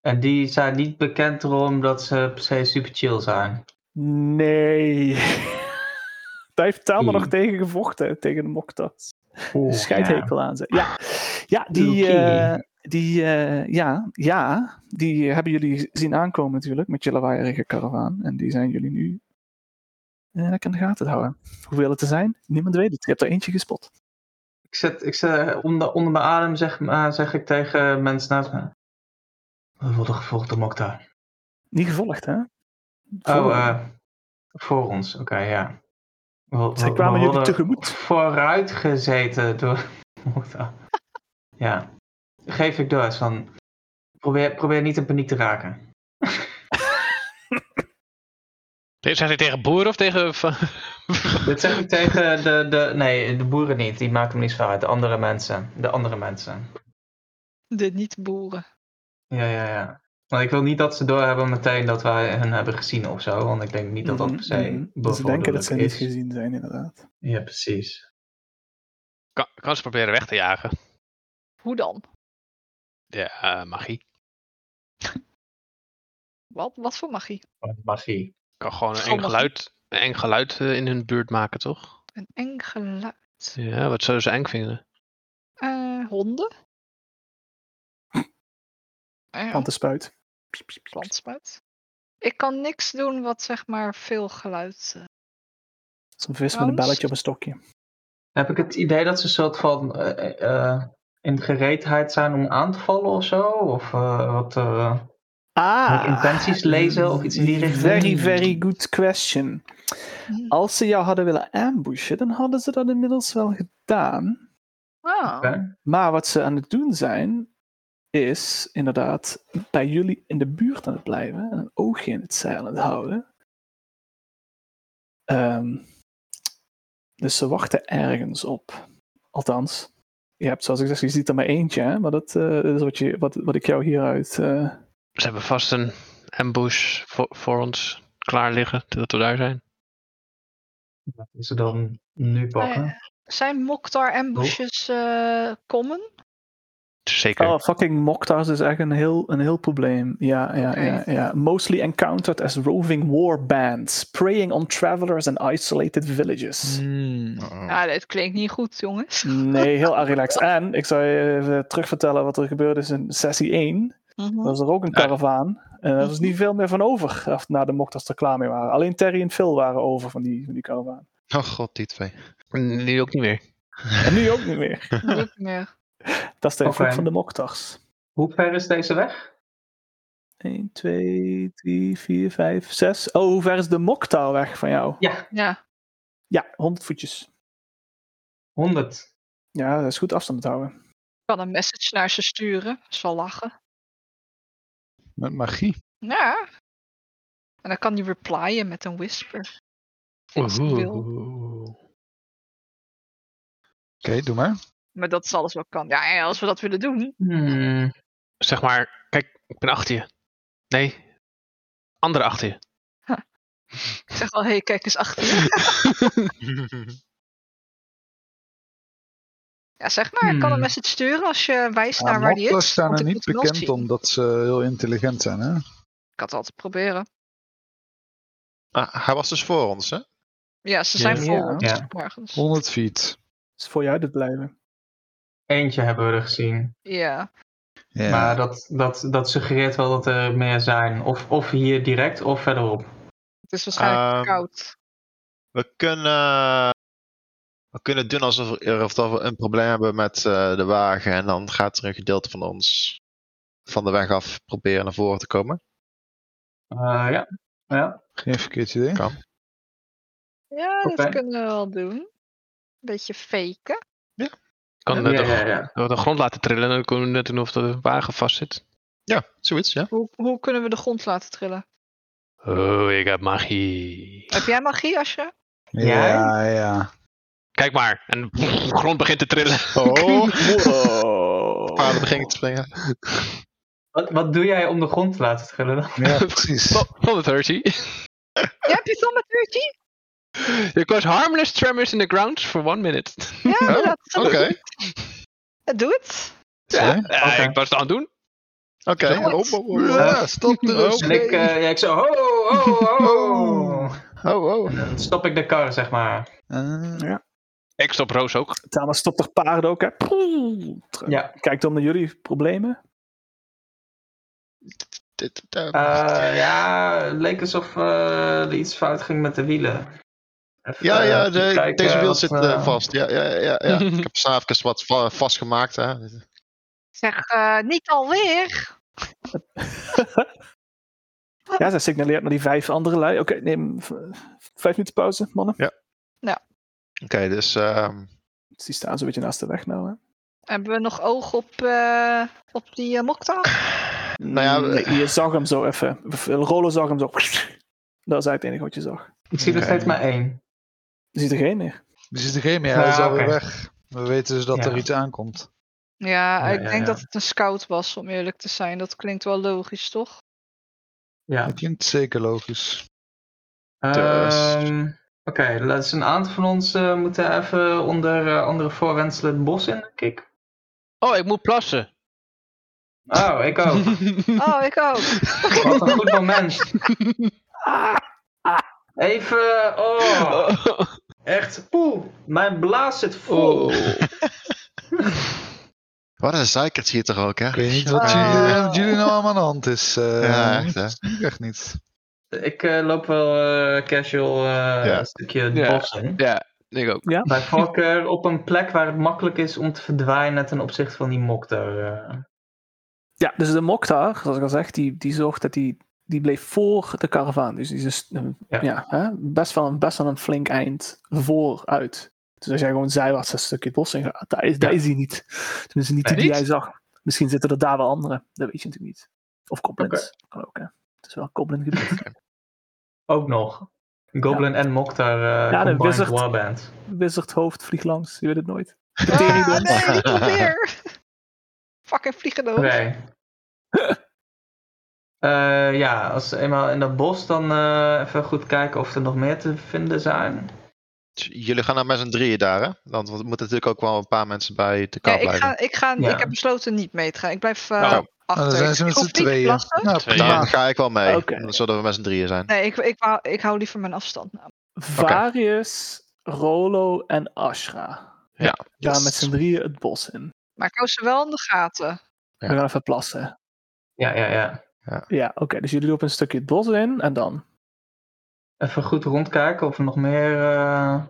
S2: En die zijn niet bekend erom dat ze per se super chill zijn.
S1: Nee. [laughs] Daar heeft Thelma
S2: Oeh.
S1: nog tegen gevochten, tegen de Moktars.
S2: Oeh,
S1: scheidhekel aan ze. Ja, ja die,
S2: Oké.
S1: eh, die, eh, ja, ja, die hebben jullie zien aankomen natuurlijk met je lawaaierige karavaan. En die zijn jullie nu eh, lekker in de gaten houden. Hoeveel het er zijn, niemand weet het. Je hebt er eentje gespot.
S2: Ik zit, ik zit onder, onder mijn adem, zeg, maar, zeg ik tegen mensen naast me. We worden gevolgd door Mokta.
S1: Niet gevolgd, hè?
S2: Oh,
S1: Voor-
S2: eh, voor ons, oké, ja. We,
S1: Zij kwamen jullie
S2: worden
S1: tegemoet.
S2: Vooruit gezeten door [laughs] Mokta. Ja. Geef ik door, van. Probeer, probeer niet in paniek te raken.
S4: Zijn ze tegen boeren of tegen... van-
S2: Dit zeg ik tegen de, de. Nee, de boeren niet. Die maken me niet zoveel uit. De andere mensen. De andere mensen.
S3: De niet-boeren.
S2: Ja, ja, ja. Want ik wil niet dat ze doorhebben meteen dat wij hen hebben gezien of zo. Want ik denk niet dat dat per se.
S1: Mhm, mhm. Dus ze denken dat ze
S2: bevorderlijk
S1: niet
S2: is.
S1: gezien zijn, inderdaad.
S2: Ja, precies.
S4: [laughs] kan, kan ze proberen weg te jagen.
S3: Hoe dan?
S4: Ja, eh, magie.
S3: Wat, wat voor magie?
S2: Magie.
S4: Kan gewoon een
S3: Oh,
S4: eng
S3: magie.
S4: geluid, een eng geluid eh, in hun buurt maken, toch?
S3: Een eng geluid.
S4: Ja, wat zouden ze eng vinden?
S3: Eh, honden? Ah ja,
S1: Want de spuit.
S3: plantspuit. Ik kan niks doen wat zeg maar veel geluid. eh,
S1: Zo'n vis met een
S3: Hans?
S1: belletje op een stokje.
S2: Heb ik het idee dat ze een soort van eh, eh, in gereedheid zijn om aan te vallen of zo? Of eh, wat. eh, Moet ik intenties lezen of iets in die richting?
S1: Very, very good question.
S3: hm.
S1: Als ze jou hadden willen ambushen, dan hadden ze dat inmiddels wel gedaan.
S3: Ah,
S2: oké.
S1: Maar wat ze aan het doen zijn, is inderdaad bij jullie in de buurt aan het blijven en een oogje in het zeil aan het houden. Ehm, dus ze wachten ergens op. Althans, je hebt zoals ik zeg, je ziet er maar eentje, hè? maar dat eh, is wat, je, wat, wat ik jou hieruit. eh,
S4: Ze hebben vast een ambush voor, voor ons klaar liggen, totdat we daar zijn.
S2: Dat is ze dan nu pakken.
S3: Ah, Zijn Moktar ambushes eh common?
S4: Zeker.
S1: oh, fucking Moktars is echt een heel, een heel probleem. Ja, ja,
S3: Oké.
S1: ja, ja. Mostly encountered as roving war bands, preying on travelers and isolated villages.
S4: Mm,
S6: Oh.
S3: Ja, Ah, dit klinkt niet goed, jongens.
S1: Nee, heel relaxed. En ik zou je even terugvertellen wat er gebeurde is in sessie 1.
S3: Mhm.
S1: [laughs] was er ook een
S4: Ja.
S1: karavaan. En er was niet veel meer van over af- na de mokters er klaar mee waren. Alleen Terry en Phil waren over van die, van die karavaan.
S6: Oh god, die twee.
S4: Nu ook niet meer.
S1: En nu ook niet meer.
S3: Dat lukt niet meer.
S1: Dat is de invloed
S2: Oké.
S1: van de mokters.
S2: Hoe ver is deze weg?
S1: 1, 2, 3, 4, 5, 6. Oh, hoe ver is de moktar weg van jou?
S2: Ja,
S3: Ja,
S1: Ja, 100 voetjes.
S2: 100.
S1: Ja, dat is goed afstand te houden.
S3: ik kan een message naar ze sturen. Zal lachen.
S5: Met magie.
S3: Ja. En dan kan die replyen met een whisper. Als hij wil.
S4: Oeh.
S5: Oké, doe maar.
S3: Maar dat is alles wat kan. Ja, en als we dat willen doen.
S2: Hmm.
S4: Zeg maar, kijk, ik ben achter je. Nee, andere achter je.
S3: Ik zeg wel, hé, hey, kijk eens achter [laughs] je. Ja, zeg maar, ik kan een
S2: Hmm.
S3: message sturen als je wijst naar waar die
S5: Motten
S3: is.
S5: staan
S3: want
S5: er
S3: ik
S5: nou
S3: moet hem
S5: niet
S3: wel
S5: bekend
S3: zien.
S5: omdat ze heel intelligent zijn, hè?
S3: Ik had het altijd proberen.
S6: Ah, hij was dus voor ons, hè?
S3: Ja, ze
S2: Ja,
S3: zijn
S2: ja.
S3: vol ons
S2: Ja.
S3: morgens.
S5: 100 feet.
S1: is voor jou dit blijven.
S2: Eentje hebben we er gezien.
S3: Ja.
S5: Ja.
S2: Maar dat, dat, dat suggereert wel dat er meer zijn. Of, of hier direct of verderop.
S3: Het is waarschijnlijk
S6: Ehm,
S3: koud.
S6: We kunnen, we kunnen doen alsof er, of dat we een probleem hebben met eh, de wagen. En dan gaat er een gedeelte van ons van de weg af proberen naar voren te komen.
S2: Eh, ja. ja.
S5: Geen verkeerd idee.
S6: Kan.
S3: Ja, dat
S2: oké.
S3: kunnen we wel doen. Een beetje faken.
S4: Kan
S6: Ja,
S4: eh,
S2: Ja,
S4: de,
S2: ja, ja.
S4: de grond laten trillen en dan kunnen we net doen of de wagen vast zit.
S6: Ja, zoiets, ja.
S3: Hoe, hoe kunnen we de grond laten trillen?
S4: Oh, ik heb magie.
S3: Heb jij magie, Asje?
S2: Jij?
S5: Ja, ja.
S4: Kijk maar. En [laughs] de grond begint te [laughs] trillen.
S6: [laughs] Oh,
S1: Wow.
S6: paarden begint te springen.
S2: Wat, wat doe jij om de grond te laten trillen dan?
S5: Ja, [laughs] precies.
S4: Van het Hershey.
S3: Jij hebt je zon met Virgie?
S4: You cause harmless tremors in the ground for one minute.
S3: Ja, inderdaad.
S6: Oké,
S3: Doe het.
S4: Ja,
S5: Sorry?
S4: ja,
S2: Oké.
S4: ik was het aan het doen.
S6: oké.
S3: Doe het.
S6: Oh, oh, oh, [laughs] oh.
S5: Ja, stop de rust.
S2: En ik, eh, ja, ik zo, ho, ho, ho.
S6: Oh, oh.
S2: En dan stop ik de kar, zeg maar.
S5: Ah.
S4: Ik stop Roos ook.
S1: Tama stopt toch paarden ook, hè? Poeh. Terug.
S2: Ja.
S1: Kijkt dan naar jullie problemen.
S6: Dit, eh,
S2: Eh, ja, het leek alsof eh, er iets fout ging met de wielen. Even,
S6: ja, ja,
S2: eh,
S6: de-
S2: kijken
S6: deze wiel
S2: wat,
S6: zit
S2: eh,
S6: eh, vast. Ja, ja, ja,
S2: [laughs]
S6: ja. ik heb s'avonds wat va- vastgemaakt. Hè.
S3: Zeg, eh, niet alweer.
S1: Ja, zij signaleert naar die vijf andere lui. Oké, neem v- vijf minuten pauze, mannen.
S6: Oké, dus ehm,
S1: Dus die staan zo'n beetje naast de weg nou, hè?
S3: Hebben we nog oog op, eh, op die eh, Mokta?
S6: Nou ja, we-
S1: Nee, je zag hem zo even. Rollo zag hem zo. Dat is eigenlijk het enige wat je zag.
S2: Ik zie er
S6: Oké.
S2: steeds maar één.
S1: Je ziet er geen meer.
S5: Er zit er geen meer, hij is
S2: Ja,
S5: alweer
S2: oké.
S5: weg. We weten dus dat
S2: Ja.
S5: er iets aankomt.
S3: Ja,
S2: Ja,
S3: ik
S2: ja,
S3: denk
S2: ja.
S3: dat het een scout was, om eerlijk te zijn. Dat klinkt wel logisch, toch?
S2: Ja.
S5: Dat klinkt zeker logisch.
S6: Dus.
S2: Ehm, Oké, dus een aantal van ons eh, moeten even onder eh, andere voorwendselen het bos in, denk ik.
S4: Oh, ik moet plassen.
S2: Oh, ik
S6: [laughs]
S2: ook.
S3: [laughs]
S4: [laughs]
S3: Oh, ik
S2: [laughs]
S3: ook.
S2: Wat een goed moment. Ah, Even, oh, echt, poeh, mijn blaas zit vol.
S6: wat een zeikert hier toch ook, hè?
S5: Ik weet niet wat jullie, wat jullie nou allemaal aan de hand is. eh,
S6: Ja, echt, hè?
S5: dat zie ik echt niet.
S2: Ik eh, loop wel eh, casual eh,
S6: Ja.
S2: een stukje het
S4: Ja.
S2: bos in.
S4: ja, ik ook.
S2: Bij voorkeur op een plek waar het makkelijk is om te verdwijnen ten opzichte van die mokter. eh.
S1: Ja, dus de Mokhtar, zoals ik al zeg, die, die zorgt dat die, die bleef voor de karavaan. Dus die is een-
S2: Ja.
S1: ja. hè, best, wel een, best wel een flink eind vooruit. Dus als jij gewoon zijwaarts een stukje het bos in gaat, daar is, daar is hij niet. Tenminste, niet die,
S4: Nee,
S1: die
S4: niet?
S1: jij zag. Misschien zitten er daar wel anderen. Dat weet je natuurlijk niet. Of goblins. Kan ook, hè. Het is wel een goblin gebied.
S2: Ook nog. Goblin en Moktar eh
S1: Ja, de
S2: combined
S1: wizard.
S2: warband.
S1: Wizard hoofd vliegt langs, je weet het nooit.
S3: Ah,
S1: Pterodon.
S3: nee, [laughs] niet
S2: [laughs]
S3: alweer. Fucking vliegende
S2: Oké.
S3: hond.
S1: [laughs]
S2: Eh, ja, als ze eenmaal in dat bos dan eh, even goed kijken of er nog meer te vinden zijn.
S6: Jullie gaan dan met z'n drieën daar, hè? Want er moeten natuurlijk ook wel een paar mensen bij de
S3: Ja,
S6: kar
S3: ik,
S6: blijven.
S3: ga, ik, ga,
S2: Ja.
S3: ik heb besloten niet mee te gaan. Ik blijf eh,
S6: Nou,
S5: Nou,
S3: achter.
S5: dan zijn ze
S3: Ik
S5: met
S3: hoef
S5: z'n
S3: niet te
S5: tweeën.
S3: plassen.
S5: Nou,
S4: Tweeën.
S6: Nou,
S5: prima.
S6: dan ga ik wel mee.
S1: Oké.
S6: Dan zullen we met z'n drieën zijn.
S3: Nee, ik, ik, wou- ik hou liever mijn afstand. Nou,
S1: Varius, Rolo en Ashra.
S6: Ja.
S1: Gaan
S6: Yes.
S1: met z'n drieën het bos in.
S3: Maar ik hou ze wel in de gaten.
S6: Ja.
S1: We gaan even plassen.
S2: Ja, ja, ja.
S1: Ja, oké. dus jullie lopen een stukje het bos in en dan.
S2: Even goed rondkijken of we nog meer eh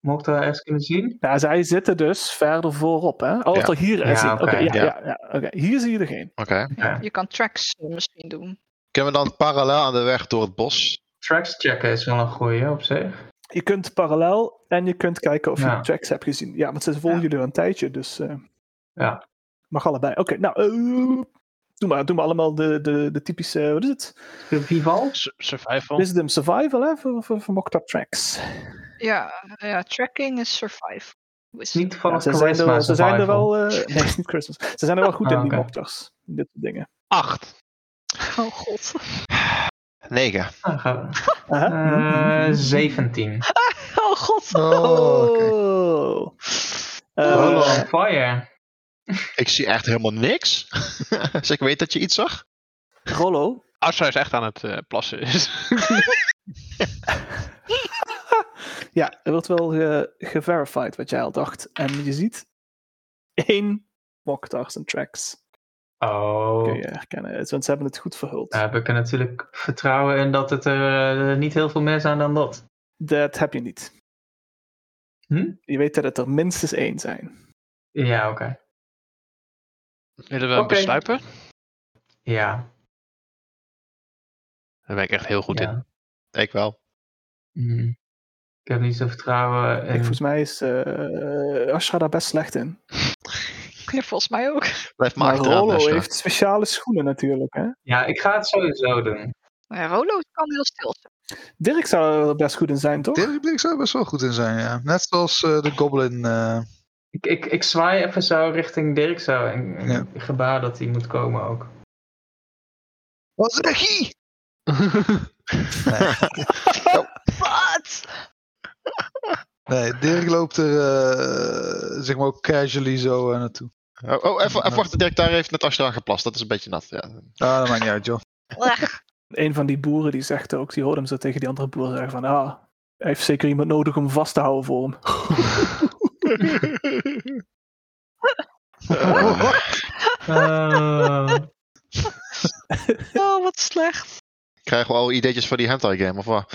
S2: Moktar ergens kunnen zien.
S1: Ja, zij zitten dus verder voorop, hè? Oh,
S6: Ja.
S1: wat er hier is.
S2: Ja,
S1: Oké,
S2: oké,
S1: ja,
S6: ja.
S1: ja. Ja, oké. hier zie je er geen.
S6: Oké.
S2: Ja.
S3: Je kan tracks eh, misschien doen.
S6: Kunnen we dan parallel aan de weg door het bos?
S2: Tracks checken is wel een goeie op zich.
S1: Je kunt parallel en je kunt kijken of
S2: Ja.
S1: je tracks hebt gezien. Ja, want ze volgen jullie al een tijdje, dus. eh,
S2: Ja.
S1: Mag allebei. Oké, nou. eh, doe, maar, doe maar allemaal de, de, de typische. Wat is het?
S2: De Vival?
S4: Su- Survival.
S1: Wisdom Survival, hè? Voor, voor, voor mocked up tracks.
S3: Ja, ja tracking is survival.
S2: Is
S3: Wisdom.
S2: niet van
S1: Ja,
S2: het
S1: ze, zijn
S2: charisma
S1: er, ze zijn er
S2: survival.
S1: wel. eh, nee, is niet Christmas. Ze zijn er wel goed
S2: Ah,
S1: in, die
S2: oké.
S3: [laughs]
S1: mokters. Dit soort dingen.
S4: Acht.
S3: Oh god.
S6: 9.
S2: Dan gaan we.
S1: Aha.
S2: Ah,
S1: Hmm.
S2: Eh, 17.
S3: Oh god.
S5: Oh, oké.
S1: Oh.
S3: Nou,
S1: Eh,
S2: Roll on fire.
S6: Ik zie echt helemaal niks. [laughs] dus ik weet dat je iets zag.
S1: Rollo.
S4: Astra is echt aan het eh, plassen. [laughs]
S1: Ja, er wordt wel ge- geverified wat jij al dacht. En je ziet één Mokhtars en Tracks.
S2: Oh.
S1: Kun je herkennen. Want ze hebben het goed verhuld.
S2: Nou, we kunnen natuurlijk vertrouwen in dat het er eh, niet heel veel meer zijn dan dat.
S1: Dat heb je niet.
S2: Hm?
S1: Je weet dat het er minstens één zijn.
S2: Ja, oké.
S4: Willen we hem
S2: Oké.
S4: besluipen?
S2: Ja.
S4: Daar ben ik echt heel goed
S2: ja.
S4: in.
S6: Ik wel.
S2: Mhm. Ik heb niet zo vertrouwen
S1: Ik,
S2: in...
S1: volgens mij is eh Ashra daar best slecht in.
S3: Ja, volgens mij ook.
S6: Blijf maar
S1: Maar
S6: achteraan.
S1: Rollo
S6: Astra.
S1: heeft speciale schoenen natuurlijk. Hè?
S2: Ja, ik ga het sowieso doen.
S3: Maar Rolo kan heel stil zijn.
S1: Dirk zou er best goed in zijn, toch?
S5: Dirk Blik zou er best wel goed in zijn, ja. Net zoals eh, de Goblin. eh,
S2: Ik, ik, ik zwaai even zo richting Dirk zo. En, en
S5: Ja.
S2: gebaar dat hij moet komen ook.
S3: [laughs]
S5: Wat is regie?
S3: Wat?
S5: Nee, Dirk loopt er eh, zeg maar ook casually zo eh, naartoe.
S6: Oh, oh, even, even wachten. Dirk daar heeft net Ashra geplast. Dat is een beetje nat.
S3: [laughs]
S6: Ja.
S5: Ah, dat maakt niet uit, joh.
S3: Leg.
S1: Een van die boeren die zegt ook, die hoort hem zo tegen die andere boer zeggen van, ah, hij heeft zeker iemand nodig om vast te houden voor hem.
S3: Ah.
S2: Eh,
S3: Oh, wat slecht.
S6: Krijgen we al ideetjes voor die hentai game of wat?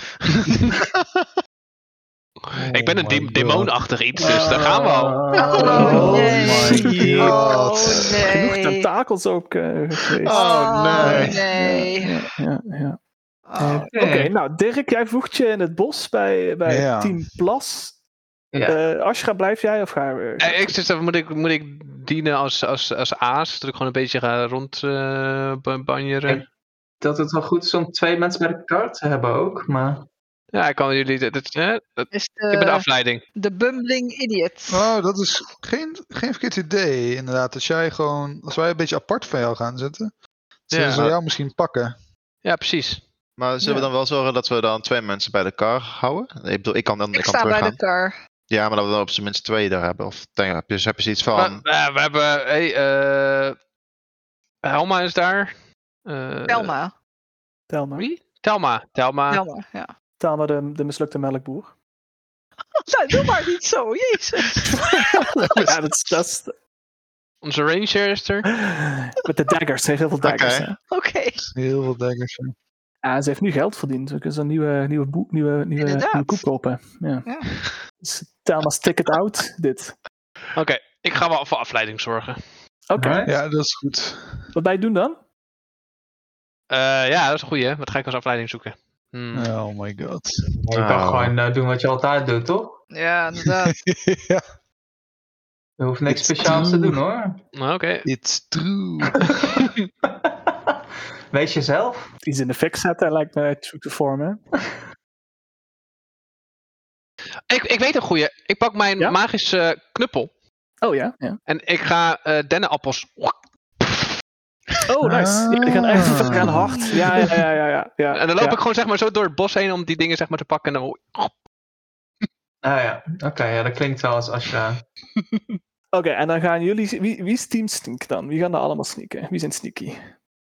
S4: ik ben een
S2: my
S4: dem-
S2: God.
S4: demonachtig iets, dus daar gaan we al.
S3: Oh,
S1: nee.
S5: my
S3: Oh
S5: god.
S1: Genoeg
S3: nee.
S1: tentakels ook eh, geweest.
S6: Oh, nee.
S3: nee.
S1: Ja, ja, ja.
S3: Oh,
S2: Oké.
S1: Oké, nou Dirk, jij voegt je in het bos bij, bij
S5: Ja.
S1: Team Plas.
S2: Ja.
S1: Eh, Ashra, blijf jij of ga je...
S4: Eh, ik zit, moet, ik, moet ik dienen als, als, als aas? Dat ik gewoon een beetje ga eh, rondbanjeren?
S2: Ik- dat het wel goed is om twee mensen bij de kar te hebben ook, maar...
S4: ja, ik kan jullie... dit- dit- hè? Dat-
S3: is
S4: ik ben de
S3: Dus de,
S4: afleiding.
S3: de bumbling idiot.
S5: Oh, dat is geen, geen verkeerd idee, inderdaad. Als jij gewoon, als wij een beetje apart van jou gaan zitten, zullen
S4: Ja.
S5: ze jou misschien pakken.
S4: Ja, precies.
S6: Maar zullen we
S1: Ja.
S6: dan wel zorgen dat we dan twee mensen bij de kar houden? Ik bedoel, ik kan, dan, ik
S3: ik Eh,
S6: kan
S3: sta bij
S6: teruggaan.
S3: de kar.
S6: Ja, maar dat we dan op zijn minst twee daar hebben. Of denk, heb, je, heb je zoiets
S4: Maar,
S6: van...
S4: eh, we hebben... Hey, eh, Helma is daar. Eh,
S3: Telma.
S1: Telma.
S4: Wie? Telma. Telma.
S3: Telma, ja. [laughs]
S1: Telma, nou. de, de mislukte melkboer.
S3: Nou, doe maar niet zo, jezus. [laughs]
S1: ja, dat is... Dat is
S4: Onze ranger is er.
S1: met de daggers, heel veel daggers.
S6: Oké.
S1: hè.
S3: Oké,
S5: Heel veel dekkers.
S1: Ja, ze heeft nu geld verdiend. Ze kunnen ze een nieuwe, nieuwe, boek, nieuwe, nieuwe,
S3: Inderdaad.
S1: nieuwe koek kopen. Ja.
S3: Ja.
S1: Dus Telma's ticket out, dit.
S4: Oké, ik ga wel voor afleiding zorgen.
S1: Oké,
S2: Alright.
S5: Ja, dat is goed.
S1: wat wij doen dan?
S4: Eh, ja, dat is een goeie. hè? Wat ga ik als afleiding zoeken? Hmm.
S5: Oh my god.
S2: Je
S5: [laughs]
S2: kan
S6: Nou.
S2: gewoon eh, doen wat je altijd doet, toch?
S3: ja, inderdaad. [laughs]
S5: ja,
S2: Je hoeft niks
S5: It's
S2: speciaals te
S5: true.
S2: doen, hoor. [laughs]
S4: nou, Oké.
S5: it's true.
S2: Wees jezelf.
S1: Iets in de fik zetten lijkt me true to form, hè?
S4: Ik, ik weet een goeie. Ik pak mijn
S1: Ja?
S4: magische knuppel.
S1: Oh ja. ja.
S4: En ik ga eh dennenappels.
S1: Oh, nice. Die gaan echt die gaan hard. Ja, ja, ja, ja. ja, ja.
S4: En dan loop
S1: ja.
S4: ik gewoon zeg maar zo door het bos heen om die dingen zeg maar te pakken. En dan...
S2: Ah ja, oké, ja, dat klinkt wel als Ashra.
S1: Oké, en dan gaan jullie. Wie, wie is Team Stink dan? Wie gaan er allemaal sneaken? Wie zijn sneaky?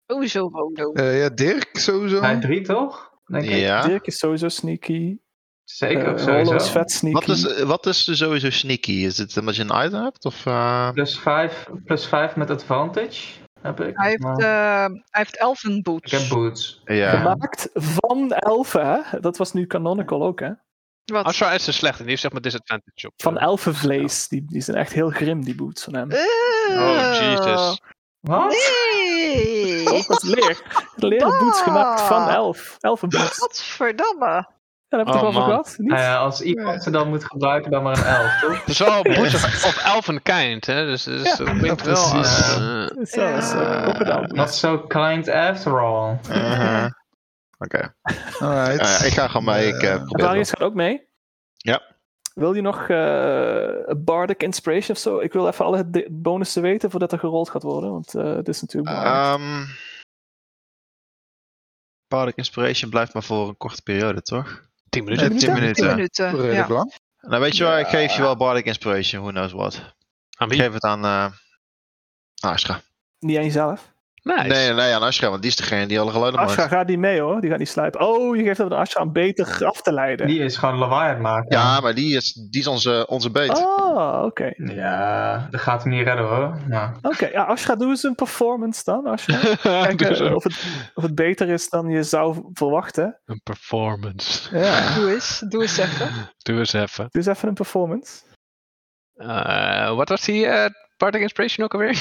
S3: Sowieso Rolo.
S5: Eh, ja, Dirk sowieso.
S2: Bij drie, toch? Denk ik.
S6: ja.
S1: Dirk is sowieso sneaky.
S2: Zeker ook
S1: Eh, Rollo is
S2: sowieso.
S1: vet sneaky.
S6: Wat is, wat is er sowieso sneaky? Is het omdat je een item hebt? Of, eh,
S2: Plus vijf, plus vijf met advantage heb ik.
S3: Hij heeft,
S2: maar
S3: eh hij heeft elfenboots.
S2: Ik heb boots.
S6: ja.
S1: Gemaakt van elfen, hè? Dat was nu canonical ook, hè?
S3: Wat?
S4: Ashra is er slecht en die heeft zeg maar disadvantage op.
S1: Van
S4: eh,
S1: elfenvlees. Die, die zijn echt heel grim, die boots van
S3: Eh,
S1: hem.
S4: Oh,
S3: Eeuw.
S4: Jesus.
S2: Wat?
S3: Nee.
S1: Oh, dat is leer. Leren boots gemaakt van elf. Elfenboots.
S3: Godverdamme.
S1: Ja, dat heb ik
S4: Oh,
S1: toch wel
S4: man.
S1: over gehad? Niet?
S2: Nou ja, als iemand ze dan moet gebruiken, dan maar een elf, toch? [laughs]
S4: Het is wel boots of, of elfenkind, hè? Dus, dus
S1: Ja,
S4: dat klinkt
S5: ja,
S4: wel
S5: precies.
S4: als... eh,
S1: Zo, dat is, eh, crocodile boots.
S2: Not so kind after all.
S6: Uh-huh. Oké.
S5: Alright.
S6: Nou ja, ik ga gewoon mee. Ik eh,
S5: Eh,
S6: probeer het
S1: Darius gaat ook mee.
S6: Ja.
S1: Wil je nog eh, een Bardic Inspiration of zo? Ik wil even alle de- bonussen weten
S6: Ah. ehm,
S1: voordat er gerold gaat worden. Want eh dit is natuurlijk
S6: wel.
S1: belangrijk.
S6: Ehm, Bardic Inspiration blijft maar voor een korte periode, toch?
S4: 10 minuten.
S5: eh,
S6: Nee, 10
S3: Tien
S6: minuten.
S3: minuten.
S5: Redelijk
S3: eh, Ja.
S5: lang.
S6: Nou, weet je wel, ik geef je wel Bardic Inspiration, who knows what.
S4: Aan
S6: Ik
S4: wie?
S6: geef het aan eh Ashra.
S1: Niet aan jezelf.
S4: Nice.
S6: Nee, nee, aan Ashra, want die is degene die alle geluiden
S1: Ashra
S6: maakt.
S1: gaat niet mee hoor, die gaat niet sluipen. Oh, je geeft dat aan Ashra om beter af te leiden.
S2: Die is gewoon lawaai aan het maken.
S6: Ja, maar die is, die is onze, onze beet.
S1: Oh, oké.
S2: Ja, dat gaat hem niet redden hoor. Ja.
S1: Oké, ja, Ashra, doe eens een performance dan.
S6: [laughs]
S1: Ashra.
S4: [laughs]
S1: Kijken
S4: Dus ook
S1: of, het, of het beter is dan je zou verwachten.
S4: een performance.
S1: Ja.
S3: Doe eens, doe eens even.
S4: Doe eens even.
S1: Doe eens even een performance.
S4: Eh, wat was die eh Bardic Inspiration ook alweer?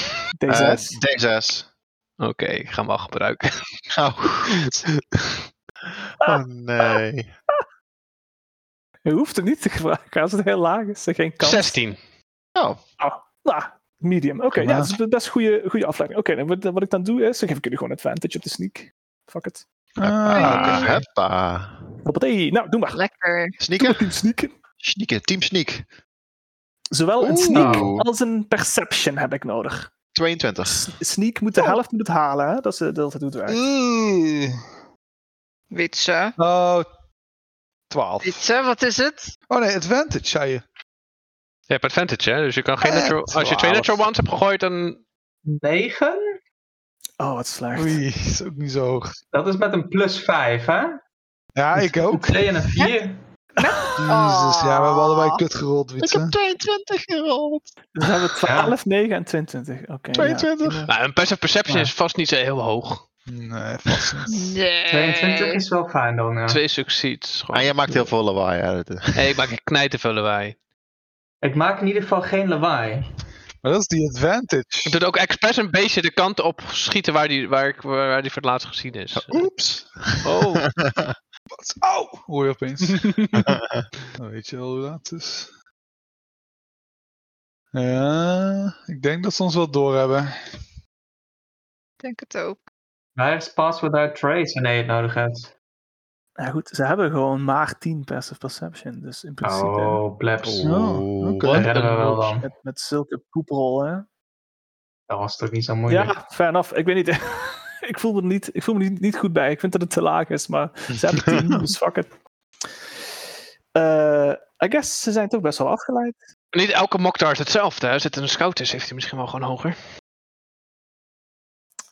S1: D6.
S6: Eh, D6.
S4: Oké, ik ga hem al gebruiken.
S6: Oh, goed. Oh nee.
S1: je hoeft het niet te gebruiken als het heel laag is. Er geen kans.
S4: 16.
S6: Oh,
S1: Ah, medium. Oké, ja,
S5: Ja.
S1: dat is een best goede, goede afleiding. Oké, dan wat, wat ik dan doe is, dan geef ik jullie gewoon advantage op de sneak. Fuck it.
S5: Ah,
S4: oké.
S6: heppa.
S1: Hoppatee. Nou, doe maar.
S3: Lekker.
S6: Sneaken?
S1: Team sneaken.
S6: Sneaken, team sneak.
S1: Zowel een
S4: Oeh.
S1: sneak
S2: Nou.
S6: Oh.
S1: als een perception heb ik nodig.
S6: 22.
S1: S- Sneak moet de
S2: Oh.
S1: helft moet het halen, hè? Dat is eh, dat het doet
S2: Mm.
S1: werk.
S5: Oeh.
S3: Witse.
S5: Oh, 12.
S3: Witse, wat is het?
S5: Oh nee, advantage zei je.
S4: Je hebt advantage, hè? Dus je kan geen
S5: Eh,
S4: natural... Als je twee
S5: twaalf.
S4: natural ones hebt gegooid, dan...
S2: 9?
S1: Oh, wat slecht.
S5: Oei, is ook niet zo hoog.
S2: Dat is met een plus 5, hè?
S5: Ja, [laughs] ik
S2: Een
S5: ook.
S2: 2 en een 4.
S5: Jezus, ja, we hebben allebei
S3: Ah.
S5: kut gerold, Wietse.
S6: 22 gerold.
S1: Dus hebben we 12, 9 en 22. Oké. ja.
S6: 22.
S4: Nou, een passive perception
S1: Ja.
S4: is vast niet zo heel hoog.
S5: Nee, vast niet.
S3: Nee.
S2: 22 is wel fijn dan, ja.
S4: Twee succeeds. gewoon.
S6: En Ah, jij maakt heel veel lawaai. Ja. dat [laughs] is-
S4: Hé, hey, maar ik knijt te veel lawaai.
S2: Ik maak in ieder geval geen lawaai.
S5: Maar dat is die advantage.
S4: Ik doe ook expres een beetje de kant op schieten waar die, waar ik, waar, waar die voor het laatst gezien is.
S5: Oeps.
S4: Oh,
S5: Wat? Au! Hoor je opeens. Dan weet je wel hoe laat het is. Ja, ik denk dat ze ons wel doorhebben.
S3: Ik denk het ook.
S2: Waar is Pass Without Trace wanneer je het nodig hebt?
S1: Ja, goed, ze hebben gewoon maar 10 passive perception. Dus in principe.
S2: Oh, plebs.
S5: Oh, oké.
S2: Dat
S4: wat
S2: redden we
S4: een
S2: wel dan.
S1: Met, met zulke poeprollen.
S2: Dat was toch niet zo moeilijk.
S1: Ja, fair enough. Ik weet niet. [laughs] ik voel me niet, ik voel me niet, niet goed bij. Ik vind dat het te laag is, maar ze hebben 10, dus fuck it. Eh, I guess ze zijn toch best wel afgeleid.
S4: [laughs] Niet elke Moktar is hetzelfde. Hè? Zit er een scout is, heeft hij misschien wel gewoon hoger.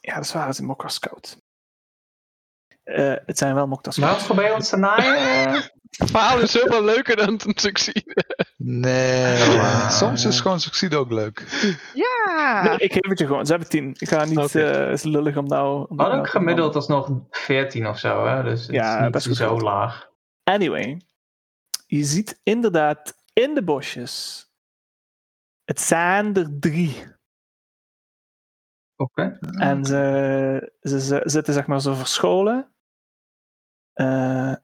S1: Ja, dat is waar, het is een Mokka Scout. Eh, het zijn wel Mokka Scouts.
S2: Waarom probeer je ons te naaien? eh?
S4: Het verhaal is zoveel leuker dan een succes.
S5: Nee. Soms is gewoon succeed ook leuk.
S3: Ja.
S1: Nee, ik geef het je gewoon. Ze hebben 10. Ik ga niet. eh
S4: Oké.
S1: het is lullig om nou. om
S2: We hadden
S1: nou
S2: ook
S1: te-
S2: gemiddeld alsnog 14 of zo, hè? Dus het
S1: Ja,
S2: is niet
S1: best goed
S2: zo
S1: geld.
S2: laag.
S1: Anyway, je ziet inderdaad in de bosjes. Het zijn er drie.
S2: Oké.
S1: En ze, ze, ze zitten zeg maar zo verscholen. Eh,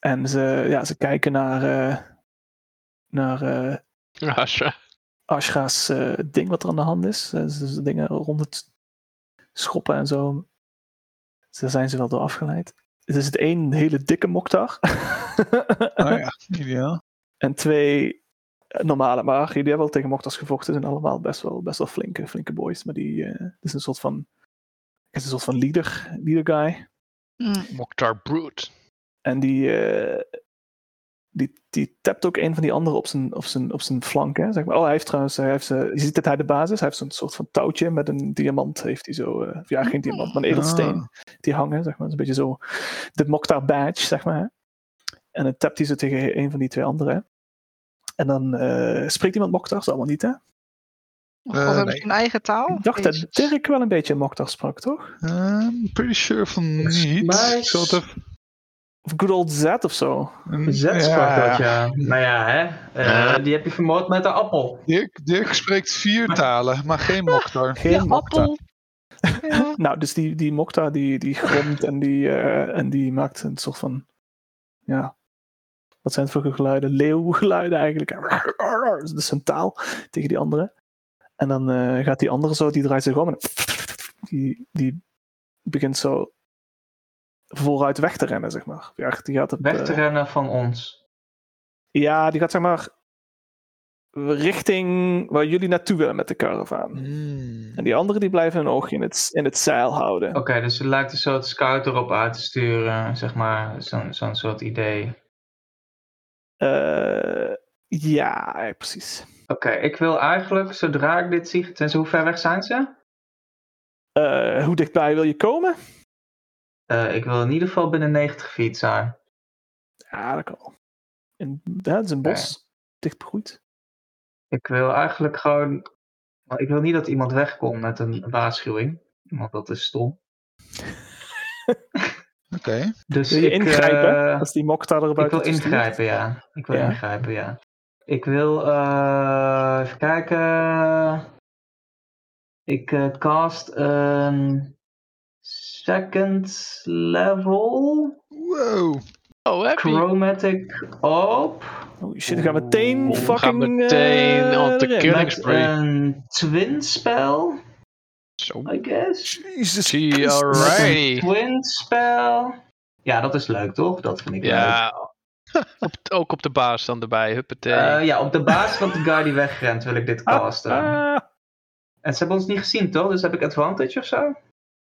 S1: en ze, ja, ze kijken naar, eh, naar eh, Ashra's eh, ding wat er aan de hand is. Eh, ze, ze dingen rond het schoppen en zo. Dus daar zijn ze wel door afgeleid. Er zit één hele dikke moktar. [laughs]
S5: Oh ja, [laughs] ideaal.
S1: En twee eh, normale, maar die hebben wel tegen Moktas gevochten. zijn allemaal best wel, best wel flinke, flinke boys. Maar die eh, het is een soort van. het is een soort van leader, leader guy.
S3: Mm.
S4: Moktar Brute.
S1: En die, eh, die, die tapt ook een van die anderen op zijn, op zijn, op zijn flank. Hè, zeg maar. Oh, hij heeft trouwens. Hij heeft, eh, je ziet dat hij de basis. Hij heeft zo'n soort van touwtje met een diamant. Heeft hij zo. eh, of ja, geen diamant, maar een edelsteen. die hangen, zeg maar. Dat is een beetje zo de Mokhtar badge, zeg maar. hè. En dan tapt hij ze tegen een van die twee anderen. En dan eh, spreekt iemand Mokhtar, dat allemaal niet, hè?
S3: God,
S5: Eh,
S3: hebben
S5: nee.
S3: ze een eigen taal?
S1: ik dacht
S3: Jezus.
S1: dat Dirk wel een beetje Mokhtar sprak, toch?
S5: Ehm, I'm pretty sure van
S2: Volgens
S5: niet.
S2: mij
S5: Ik zal het even... Mm,
S1: Of good old Z of zo.
S2: Zet sprak dat, ja. Nou ja, hè? eh, Die heb je vermoord met een appel.
S5: Dirk, Dirk spreekt vier talen, maar geen Moktar.
S1: Geen
S3: De
S1: Mokhtar.
S3: appel. Ja.
S1: Nou, dus die, die Mokhtar die, die gromt en die, eh, en die maakt een soort van. Ja. Wat zijn het voor geluiden? Leeuwgeluiden eigenlijk. Dus Dat is zijn taal tegen die andere. En dan eh, gaat die andere zo, die draait zich om en die, die begint zo vooruit weg te rennen, zeg maar. Ja, die gaat op,
S2: Weg te
S1: eh,
S2: rennen van ons.
S1: ja, die gaat zeg maar richting waar jullie naartoe willen met de
S4: Mm.
S1: karavaan.
S5: Hmm.
S1: En die anderen die blijven hun oogje in het, in het zeil houden.
S2: Oké, dus het lijkt een soort scout erop uit te sturen, zeg maar. Zo'n zo'n soort idee.
S1: Eh, ja, ja, precies.
S2: Oké, ik wil eigenlijk, zodra ik dit zie, tenzij hoe ver weg zijn ze?
S1: Eh, hoe dichtbij wil je komen?
S2: Eh, ik wil in ieder geval binnen 90 feet zijn.
S1: Ja, dat kan wel. En, ja, het is een bos, dicht begroeid.
S2: Ik wil eigenlijk gewoon. maar Ik wil niet dat iemand wegkomt met een waarschuwing, want dat is stom.
S5: Oké.
S2: Dus
S1: Wil je
S2: ik,
S1: ingrijpen?
S2: eh,
S1: Als die Mokta er
S2: ik
S1: buiten
S2: wil ingrijpen, ja. Ik wil
S1: Ja.
S2: ingrijpen, ja. Ik wil, eh, even kijken. Ik eh, cast een second level
S5: Wow.
S4: Oh, heb je?
S2: chromatic op.
S1: Oh shit, ik ga meteen
S2: Oeh,
S1: fucking...
S4: we gaan meteen
S1: eh,
S4: on the
S1: erin.
S4: killing
S2: Met
S4: spree.
S2: een twin spel,
S4: Zo.
S2: I guess.
S5: Jezus.
S4: Zie, alrighty.
S2: Twin spel. Ja, dat is leuk toch? Dat vind ik leuk.
S4: Ja. [laughs] Op- ook op de baas dan erbij, huppatee.
S2: Eh, ja, op de basis van de guy die wegrent wil ik dit casten.
S1: Ah,
S2: En ze hebben ons niet gezien, toch? Dus heb ik advantage of zo?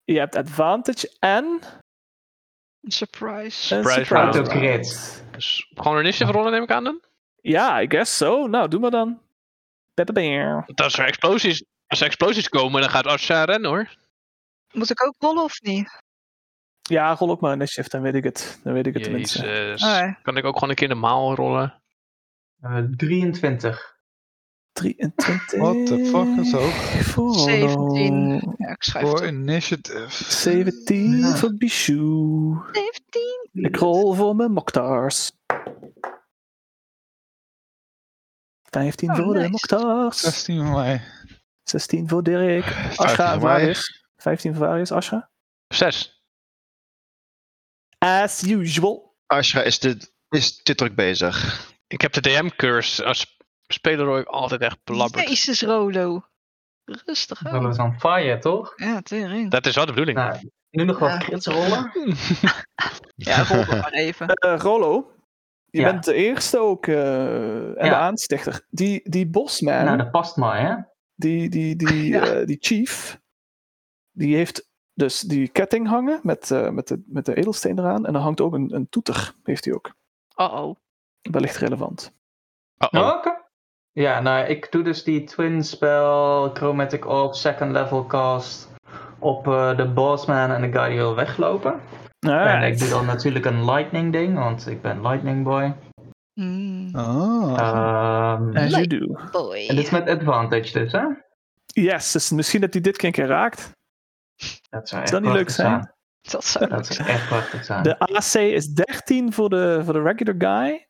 S1: je hebt advantage en... een
S3: Surprise.
S4: Surprise
S1: surprise
S4: round.
S1: round.
S2: Autocrit.
S4: Dus gewoon een initiative rollen neem ik aan dan?
S1: Ja, I guess so. Nou, doe maar dan. Bebbebeer.
S4: Want als er explosies, als er explosies komen, dan gaat Asha rennen hoor.
S3: Moet ik ook rollen of niet?
S1: Ja, rol ook maar een shift, dan weet ik het. Dan weet ik het tenminste.
S4: Jezus.
S3: Alright.
S4: Kan ik ook gewoon een keer normaal rollen?
S2: Eh, 23.
S1: 23.
S5: What the fuck, dat is hoog.
S1: Voor-
S3: 17. Ja, ik schrijf het
S5: Voor
S3: op.
S5: initiative.
S1: 17
S2: Ja.
S1: voor Bichou.
S3: 17.
S1: Ik rol voor mijn Moktars. 15
S3: Oh,
S1: voor de
S3: nice.
S1: Moktars.
S5: 16 van mij.
S1: 16 voor Dirk.
S6: 15
S1: Ashra
S6: van
S1: en
S6: mij.
S1: Varius. 15 voor Varius, Ashra.
S4: Zes.
S1: As usual.
S6: Ashra is dit, is dit druk bezig.
S4: Ik heb de DM-curse. Als speler word ik altijd echt belabberd.
S3: Jezus, Rolo. Rustig
S2: Dat
S3: aan.
S2: is on fire, toch?
S3: Ja, tering.
S4: Dat is wel de bedoeling.
S2: Nou, nu nog wat
S3: Ja.
S2: crits rollen.
S3: Ja, rol
S6: [laughs]
S3: het maar even.
S1: Eh, Rolo, je
S2: Ja.
S1: bent de eerste ook eh, en de
S2: Ja.
S1: aanstichter. Die, die bosman,
S2: Nou, dat past maar, hè?
S1: die, die, die,
S3: Ja.
S1: eh, die chief, die heeft dus die ketting hangen met, eh, met, de, met de edelsteen eraan. En er hangt ook een, een toeter, heeft hij ook.
S3: Oh, oh.
S1: Wellicht relevant.
S4: Uh-oh.
S2: Oh, oké. Ja, nou, ik doe dus die twin spel, chromatic orb, second level cast op eh, de bossman en de guy die wil weglopen. En ik doe
S1: Alright.
S2: dan natuurlijk een lightning ding, want ik ben lightning boy.
S3: Mm,
S5: Ah.
S2: Ehm,
S1: As you
S3: Leuk.
S1: do.
S2: en dit
S3: boy.
S2: is met advantage dus, hè?
S1: Yes, dus misschien dat hij dit keer een keer raakt.
S2: Dat zou
S1: Zou
S2: echt
S1: dat niet leuk
S2: prachtig
S1: zijn?
S3: Dat zou
S2: Dat
S3: leuk
S2: zou
S3: zijn.
S2: echt prachtig zijn.
S1: De AC is 13 voor de, voor de regular guy.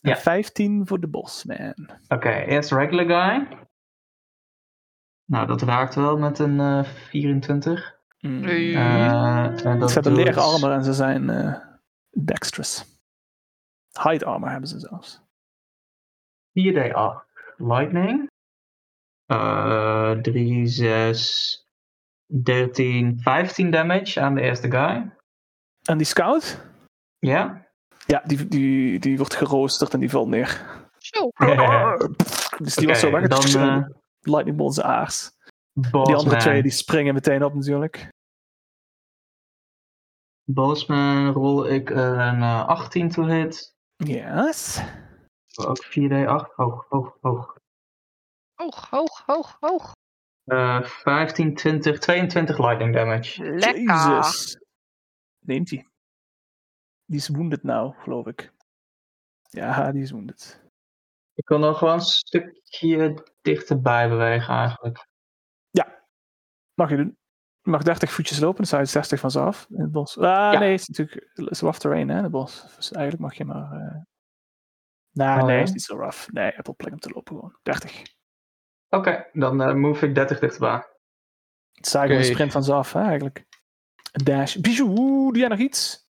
S1: En
S2: Ja.
S1: 15 voor de bossman.
S2: Oké, eerst regular guy. Nou, dat raakt wel met een eh, 24.
S1: Mm.
S3: Nee.
S2: Eh, en dat
S1: ze hebben leren
S2: doet-
S1: armor en ze zijn eh dexterous. Hide armor hebben ze zelfs.
S2: 4d8 lightning. Eh 3, 6, 13, 15 damage aan de eerste guy.
S1: En die scout?
S2: Ja.
S1: Ja, die, die, die wordt geroosterd en die valt neer.
S3: Zo.
S1: Dus die
S2: Oké,
S1: was zo weg.
S2: Dan eh
S1: Lightning bolts zijn aars. Die andere
S2: Bossman.
S1: twee die springen meteen op natuurlijk.
S2: Bossman rol ik een eh, 18 to hit.
S1: Yes.
S2: Ook 4d8, hoog, hoog, hoog.
S3: Hoog, hoog, hoog, hoog.
S2: Eh 15, 20, 22 lightning damage.
S3: Lekker.
S1: Jezus. Neemt hij. Die is wounded nou, geloof ik. Ja, die is wounded.
S2: Ik kan dan gewoon een stukje dichterbij bewegen eigenlijk.
S1: Mag je doen. Je mag 30 voetjes lopen, dan sta je 60 van ze af in het bos. Ah, nee, het is natuurlijk het is rough terrain hè, in het bos. Dus eigenlijk mag je maar... eh, Nah,
S2: Oh,
S1: nee,
S2: ja?
S1: het is niet zo rough. Nee, je hebt wel plek om te lopen gewoon. 30.
S2: Oké, dan eh, move ik 30 dichterbij.
S1: Het is eigenlijk
S5: Oké.
S1: een sprint van ze af, hè, eigenlijk. Een dash. Bijou, doe jij nog iets?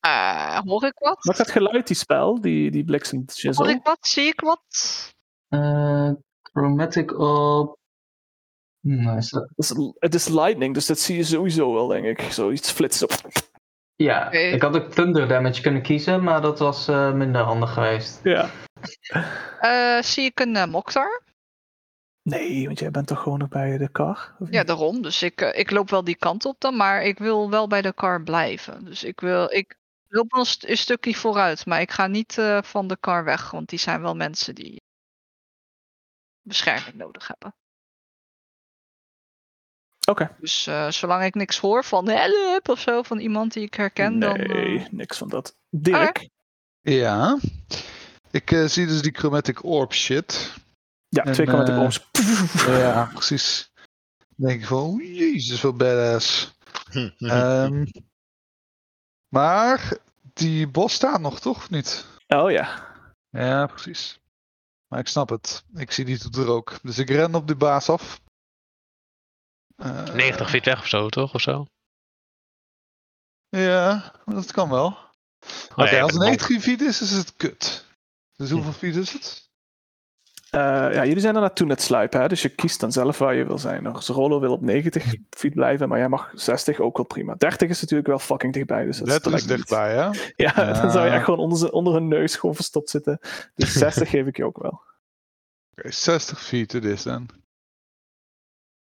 S3: Eh, hoor ik wat?
S1: Maakt dat geluid, die spel, die, die bliksem
S3: Hoor
S1: shizzle?
S3: ik wat? Zie ik wat?
S2: Eh, chromatic op. Hmm, is dat-
S1: Het is- Het is lightning, dus dat zie je sowieso wel, denk ik. Zoiets flitsen.
S2: Ja,
S3: Oké.
S2: ik had ook thunder damage kunnen kiezen, maar dat was eh, minder handig geweest.
S1: Ja.
S3: Eh, zie ik een eh, Moktar?
S1: Nee, want jij bent toch gewoon nog bij de kar? of
S3: Ja,
S1: niet?
S3: daarom. Dus ik, eh, ik loop wel die kant op dan, maar ik wil wel bij de kar blijven. Dus ik wil, ik loop wel een, st- een stukje vooruit, maar ik ga niet eh, van de kar weg, want die zijn wel mensen die bescherming nodig hebben.
S1: Oké.
S3: Dus eh, zolang ik niks hoor van help of zo, van iemand die ik herken, dan... eh, Ah,
S1: Nee, niks van dat. Dirk?
S5: Ja. Ik eh, zie dus die chromatic orb shit.
S1: Ja,
S5: En,
S1: twee kan met de
S5: eh,
S1: ooms.
S5: Ja, precies. Dan denk ik van, jezus, wat badass. Ehm, maar die bos staat nog, toch? Of
S1: [laughs]
S5: niet?
S1: Oh ja.
S5: Ja, precies. Maar ik snap het. Ik zie die doet er ook. Dus ik ren op de baas af. Eh,
S4: 90 feet weg of zo, toch? Of zo?
S5: Ja, dat kan wel. Oké,
S4: Oh, ja, met
S5: als het
S4: een
S5: 90 feet is, is het kut. Dus hoeveel feet is het?
S1: Eh, ja, jullie zijn er naartoe net sluipen, hè? dus je kiest dan zelf waar je wil zijn. Dus Rollo wil op
S5: [laughs]
S1: 90 feet blijven, maar jij mag 60 ook wel prima. 30 is natuurlijk wel fucking dichtbij. Dus dat
S5: 30 is
S1: lijkt me niet.
S5: dichtbij, hè?
S1: [laughs] Ja, dan zou je
S5: Ja.
S1: echt gewoon onder, z'n- onder hun neus gewoon verstopt zitten.
S5: [laughs]
S1: Dus 60 geef ik je ook wel.
S5: Oké, 60 feet it is dan. Eh,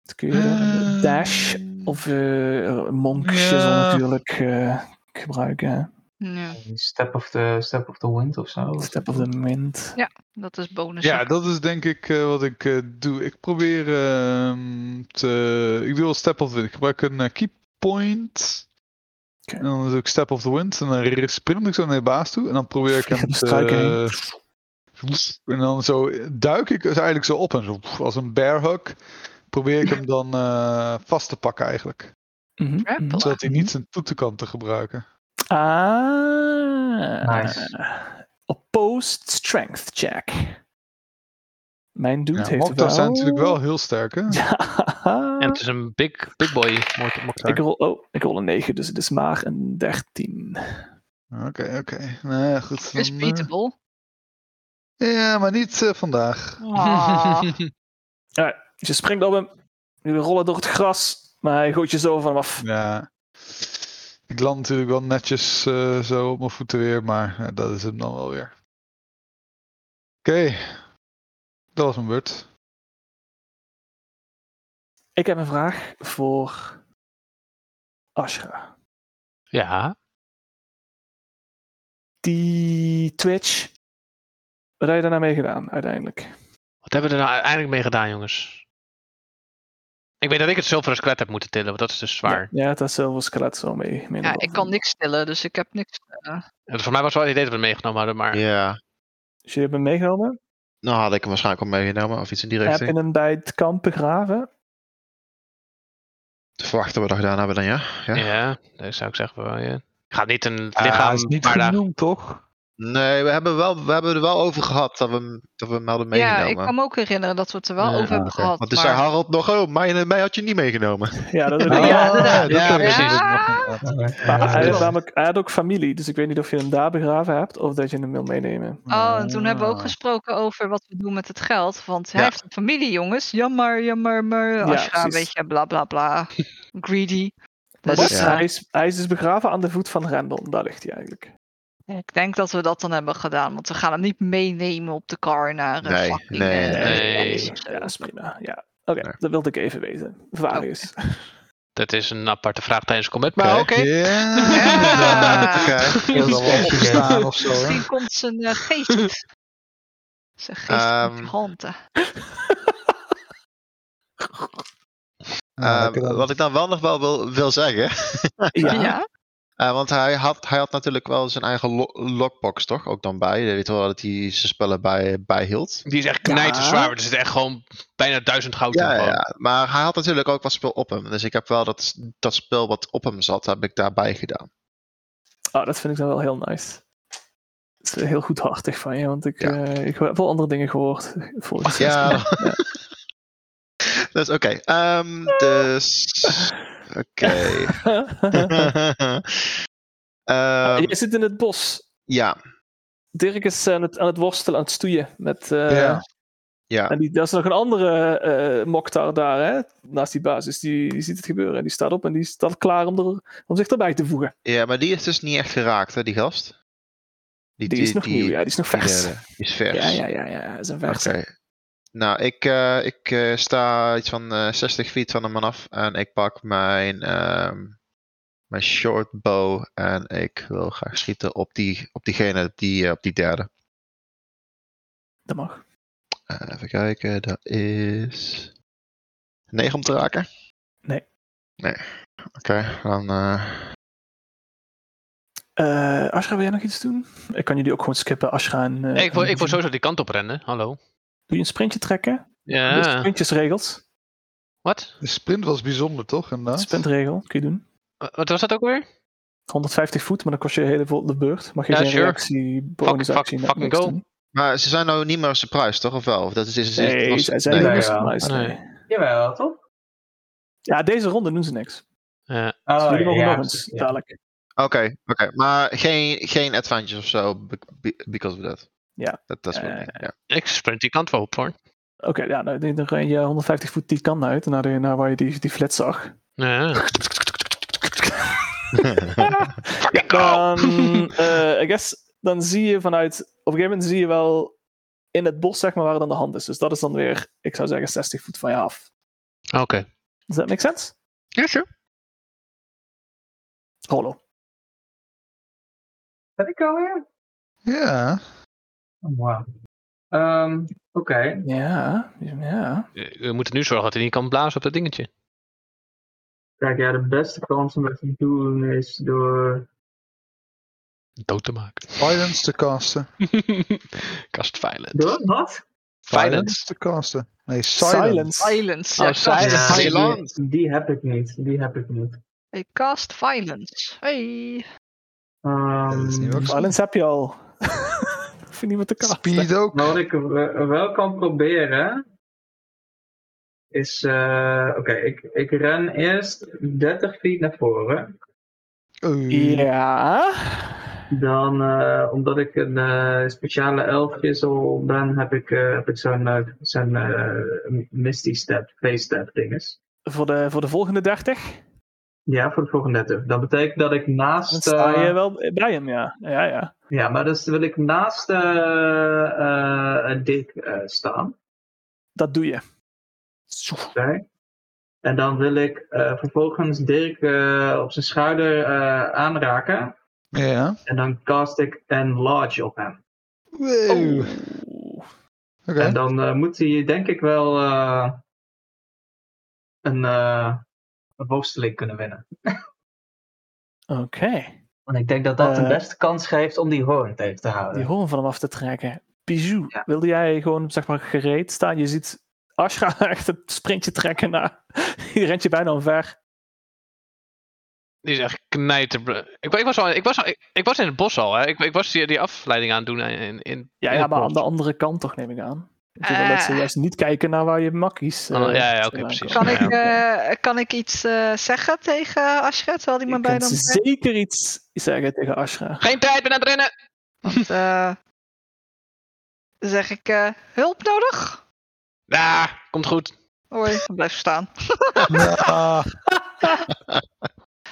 S1: Dan kun je
S3: Ah.
S1: een dash of eh monk shizzle
S5: Ja.
S1: natuurlijk eh, gebruiken. hè.
S3: ja,
S2: Step of the, step of the wind of zo.
S1: Step of the wind.
S3: dat is bonus.
S5: Ja, dat is denk ik eh, wat ik eh, doe. Ik probeer ehm, te... Ik doe wel Step of the Wind. Ik gebruik een eh, key point.
S1: Oké.
S5: En dan doe ik Step of the Wind. En dan sprint ik zo naar de baas toe. En dan probeer ik hem
S1: de
S5: te...
S1: struiken heen.
S5: En dan zo duik ik dus eigenlijk zo op en zo als een bear hug. Probeer ik hem dan eh, vast te pakken eigenlijk.
S1: Mhm,
S3: Grapple.
S1: mhm.
S5: Zodat hij niet zijn toeten kan te gebruiken.
S1: Ah.
S2: Nice.
S1: Opposed strength check. Mijn dude
S5: Ja,
S1: heeft wel...
S5: Mokta's zijn natuurlijk wel heel sterk hè.
S1: Ja.
S4: En het is een big, big boy. Mocht, mocht
S1: [laughs] ik, rol, oh, ik rol een 9, dus het is maar een 13.
S5: Oké, oké. Nou ja, goed.
S3: is
S5: dan, eh,
S3: beatable.
S5: ja, maar niet eh, vandaag. eh, [laughs]
S3: Ah.
S1: Dus je springt op hem. Jullie rollen door het gras. Maar hij gooit je zo van hem af.
S5: Ja. Ik land natuurlijk wel netjes eh, zo op mijn voeten weer, maar eh, dat is hem dan wel weer. Oké. Dat was mijn beurt.
S1: Ik heb een vraag voor Ashra.
S4: ja.
S1: Die Twitch. Wat heb je daarna mee gedaan uiteindelijk?
S4: Wat hebben we er nou uiteindelijk mee gedaan, jongens? Ik weet dat ik het zilveren skelet heb moeten tillen, want dat is dus zwaar.
S1: Ja, Ja, dat is zelfs skelet zo mee. mee naar
S3: Ja, ik
S1: boven.
S3: kan niks stellen, dus ik heb niks. eh,
S4: En voor mij was het wel het idee dat we het meegenomen hadden, maar...
S6: Ja.
S1: Dus jullie hebben hem meegenomen.
S6: Nou had ik hem waarschijnlijk al meegenomen of iets in die
S1: Heb
S6: richting.
S1: je hem bij het kamp begraven?
S6: Te verwachten we dat gedaan hebben dan, ja?
S4: Ja,
S6: Ja.
S4: dat zou ik zeggen wel, ja. Ik ga niet een
S5: Ah,
S4: lichaam...
S5: is niet
S4: maar daar-
S5: genoemd, toch?
S6: Nee, we hebben, wel, we hebben er wel over gehad dat we, hem- dat we hem hadden
S3: ja,
S6: meegenomen.
S3: ik kan me ook herinneren dat we het er wel
S5: Ja,
S3: over hebben
S5: oké.
S3: gehad.
S6: Want toen
S3: maar...
S6: zei Harold nog, oh, mij, mij had je niet meegenomen.
S1: Ja, dat is
S3: Ja,
S5: Ah,
S3: inderdaad.
S5: dat
S4: Ja,
S5: heb ik
S4: precies.
S5: dus nog
S3: Ja.
S5: inderdaad.
S1: Maar
S2: Ja,
S1: hij, had
S2: dat-
S1: namelijk, hij had ook familie, dus ik weet niet of je hem daar begraven hebt of dat je hem wil meenemen.
S3: Oh, en toen hebben we ook
S5: Ah.
S3: gesproken over wat we doen met het geld. Want hij
S6: Ja.
S3: heeft een familie, jongens. Jammer, jammer, maar. Ashra,
S1: precies.
S3: weet je, bla bla bla. Greedy.
S1: Maar
S3: Dus
S1: dat,
S6: is-
S3: eh,
S6: Ja.
S1: hij, is, hij is dus begraven aan de voet van Rendel, daar ligt hij eigenlijk.
S3: ik denk dat we dat dan hebben gedaan. Want we gaan hem niet meenemen op de car naar. eh,
S6: Nee,
S3: fucking,
S6: nee,
S3: eh,
S4: nee.
S3: Alice of zo.
S1: Ja, dat is prima. Ja. Oké,
S6: Ja.
S1: dat wilde ik even weten. Varius.
S4: Dat is een aparte vraag tijdens combat, maar oké.
S6: Oké.
S5: Ja.
S3: Ja.
S6: [laughs] Oké.
S5: Ik wil dan wel opstaan of zo. hè.
S3: Misschien komt zijn eh, geest. Zijn geest
S6: Ehm,
S3: komt verhanten.
S5: Ja,
S6: Eh,
S5: lekker dan.
S6: wat ik dan wel nog wel wil, wil zeggen.
S1: Ja.
S3: Ja.
S6: eh, want hij had, hij had natuurlijk wel zijn eigen lo- lockbox, toch? Ook dan bij. Je weet wel dat hij zijn spellen bij, bijhield.
S4: Die is echt
S1: Ja.
S4: knijterzwaar. want Er zit echt gewoon bijna duizend goud in.
S6: Ja,
S4: gewoon.
S6: ja, maar hij had natuurlijk ook wat spel op hem. Dus ik heb wel dat, dat spel wat op hem zat, heb ik daarbij gedaan.
S1: Oh, dat vind ik dan wel heel nice. Het is heel goedhartig van je, want ik,
S6: Ja.
S1: eh, ik heb wel andere dingen gehoord. Volgens
S6: Ja. [laughs]
S1: mij.
S6: Dus oké. ehm, dus. Oké.
S1: [laughs]
S6: Ehm,
S1: [laughs] je zit in het bos.
S6: ja,
S1: Dirk is aan het, aan het worstelen, aan het stoeien. Met, eh,
S5: Ja.
S6: ja.
S1: En die, daar is nog een andere eh Mokhtar daar, hè, naast die basis. Die, die ziet het gebeuren. En die staat op en die staat klaar om, er, om zich erbij te voegen.
S6: Ja, maar die is dus niet echt geraakt, hè, die gast?
S1: Die, is nog nieuw, ja. Die is nog
S6: die
S1: vers.
S6: derde. Die is vers.
S1: ja, ja, ja, ja. Dat is een vers.
S6: Oké. Nou, ik, eh, ik eh, sta iets van eh, 60 feet van hem af en ik pak mijn, ehm mijn short bow en ik wil graag schieten op, die, op diegene, die, eh, op die derde.
S1: Dat mag.
S6: Eh, even kijken, dat is... 9 om te raken?
S1: Nee.
S6: Nee, oké, dan... eh,
S1: Eh Ashra, wil jij nog iets doen? Ik kan jullie ook gewoon skippen. Ashra en... eh,
S4: Nee, ik, wil,
S1: en
S4: ik wil
S1: Jin.
S4: sowieso die kant op rennen. Hallo.
S1: Doe je een sprintje trekken? Dus
S4: Ja.
S1: sprintjesregels.
S4: Wat?
S5: De sprint was bijzonder, toch? Inderdaad?
S1: Sprintregel, kun je doen.
S4: Wa- Wat was dat ook weer?
S1: 150 voet, maar dan kost je een hele vol de beurt. Mag je
S4: Ja,
S1: geen
S4: sure.
S1: reactie, bonusactie, net
S4: fuck, fucking
S1: niks
S4: go.
S1: doen.
S6: Maar ze zijn nou niet meer surprised, toch? Of wel? Of Dat is, is, is,
S1: Nee,
S6: was-
S1: zij zijn
S6: nee.
S1: niet meer
S2: Nee,
S1: surprised,
S4: ja.
S1: nee.
S2: Jawel, toch?
S1: Ja, deze ronde doen ze niks.
S4: Ja.
S2: Oh,
S1: Dus jullie mogen
S2: ja,
S1: nog eens,
S2: ja.
S1: dadelijk.
S6: Oké, oké. Maar geen, geen advantage of zo, be- be- because of that.
S1: Ja.
S6: Dat, dat is wat
S1: Eh,
S6: ik denk, ja.
S4: Ik sprint die kant wel op hoor.
S1: Oké, ja, nou, die- dan ren je 150 voet die kant uit, naar, de, naar waar je die, die flat zag.
S4: Ja.
S1: Ja,
S4: Fucking go!
S1: dan, eh, I guess, dan zie je vanuit, op een gegeven moment zie je wel in het bos, zeg maar, waar het aan de hand is. Dus dat is dan weer, ik zou zeggen, 60 voet van je af.
S4: Oké.
S1: Does that make sense?
S4: Ja, sure.
S1: Hollow.
S2: Ben ik alweer?
S5: Ja.
S2: Oh, wauw. Ehm, Oké.
S1: Ja, ja.
S4: Eh, We moeten nu zorgen dat hij niet kan blazen op dat dingetje.
S2: Kijk, ja, de beste kans om dat te doen is door...
S4: Dood te [laughs] maken.
S5: Violence te casten.
S4: Cast violence.
S2: Door wat?
S4: Violence.
S5: te casten. Nee, silence.
S1: Silence.
S3: Silence.
S4: Oh,
S3: ja,
S4: silence.
S3: cast-
S2: Ja,
S6: Zeeland.
S2: die, die heb ik niet. Die heb ik niet.
S3: Hey, cast violence. Hey.
S2: Ehm,
S5: Dat is niet waar.
S1: Silence heb je al. [laughs] Hoef je niet meer te kasten.
S5: Speed ook.
S2: maar wat ik eh, wel kan proberen... Is... eh, Oké, ik, ik ren eerst 30 feet naar voren.
S5: Oh.
S1: Ja.
S2: Dan, eh, omdat ik een eh, speciale elfjesel ben, heb ik, eh, heb ik zo'n eh, zo'n, eh, Misty Step, Face Step dinges.
S1: Voor de, voor de volgende 30.
S2: Ja, voor de volgende 30. Dat betekent dat ik
S1: Dan
S2: naast.
S1: sta
S2: eh,
S1: je wel bij hem, ja. Ja, ja.
S2: ja, maar dus wil ik naast eh eh, eh, Dick eh, staan.
S1: Dat doe je.
S2: Oké. En dan wil ik eh, vervolgens Dirk eh, op zijn schouder eh, aanraken.
S5: Ja.
S2: En dan cast ik Enlarge op hem.
S5: Wow. Oké.
S3: Oh.
S1: Oeh.
S2: En dan eh, moet hij denk ik wel eh, een, eh, een worsteling kunnen winnen.
S1: Oké.
S2: Want ik denk dat dat de
S1: Eh.
S2: beste kans geeft om die hoorn tegen te houden.
S1: die hoorn van hem af te trekken. Bijou,
S2: Ja.
S1: wilde jij gewoon zeg maar gereed staan? Je ziet Ashra [laughs] echt een sprintje trekken naar. [laughs] Die rent je bijna omver.
S4: Die is echt knijter. Ik, wa- ik, was al, ik, was al, ik, ik was in het bos al. Hè. Ik, ik was die, die afleiding aan het doen. In, in,
S1: Ja,
S4: in
S1: ja,
S4: het
S1: maar
S4: bos.
S1: aan de andere kant toch, neem ik aan. Ik denk wel dat ze
S3: Eh.
S1: juist niet kijken naar waar je makkies. eh,
S4: Ah, ja, ja, oké,
S1: vandaan
S4: precies.
S1: komen.
S3: Kan,
S4: Ja,
S3: ik, eh, kan ik iets eh, zeggen tegen Ashret? Terwijl die
S1: Je
S3: me bij
S1: kunt
S3: dan.
S1: zeker iets zeggen tegen Ashra.
S4: Geen tijd, ben aan het rennen!
S3: Eh, zeg ik eh, hulp nodig?
S4: Ja, komt goed.
S3: Hoi, blijf staan.
S5: Ja.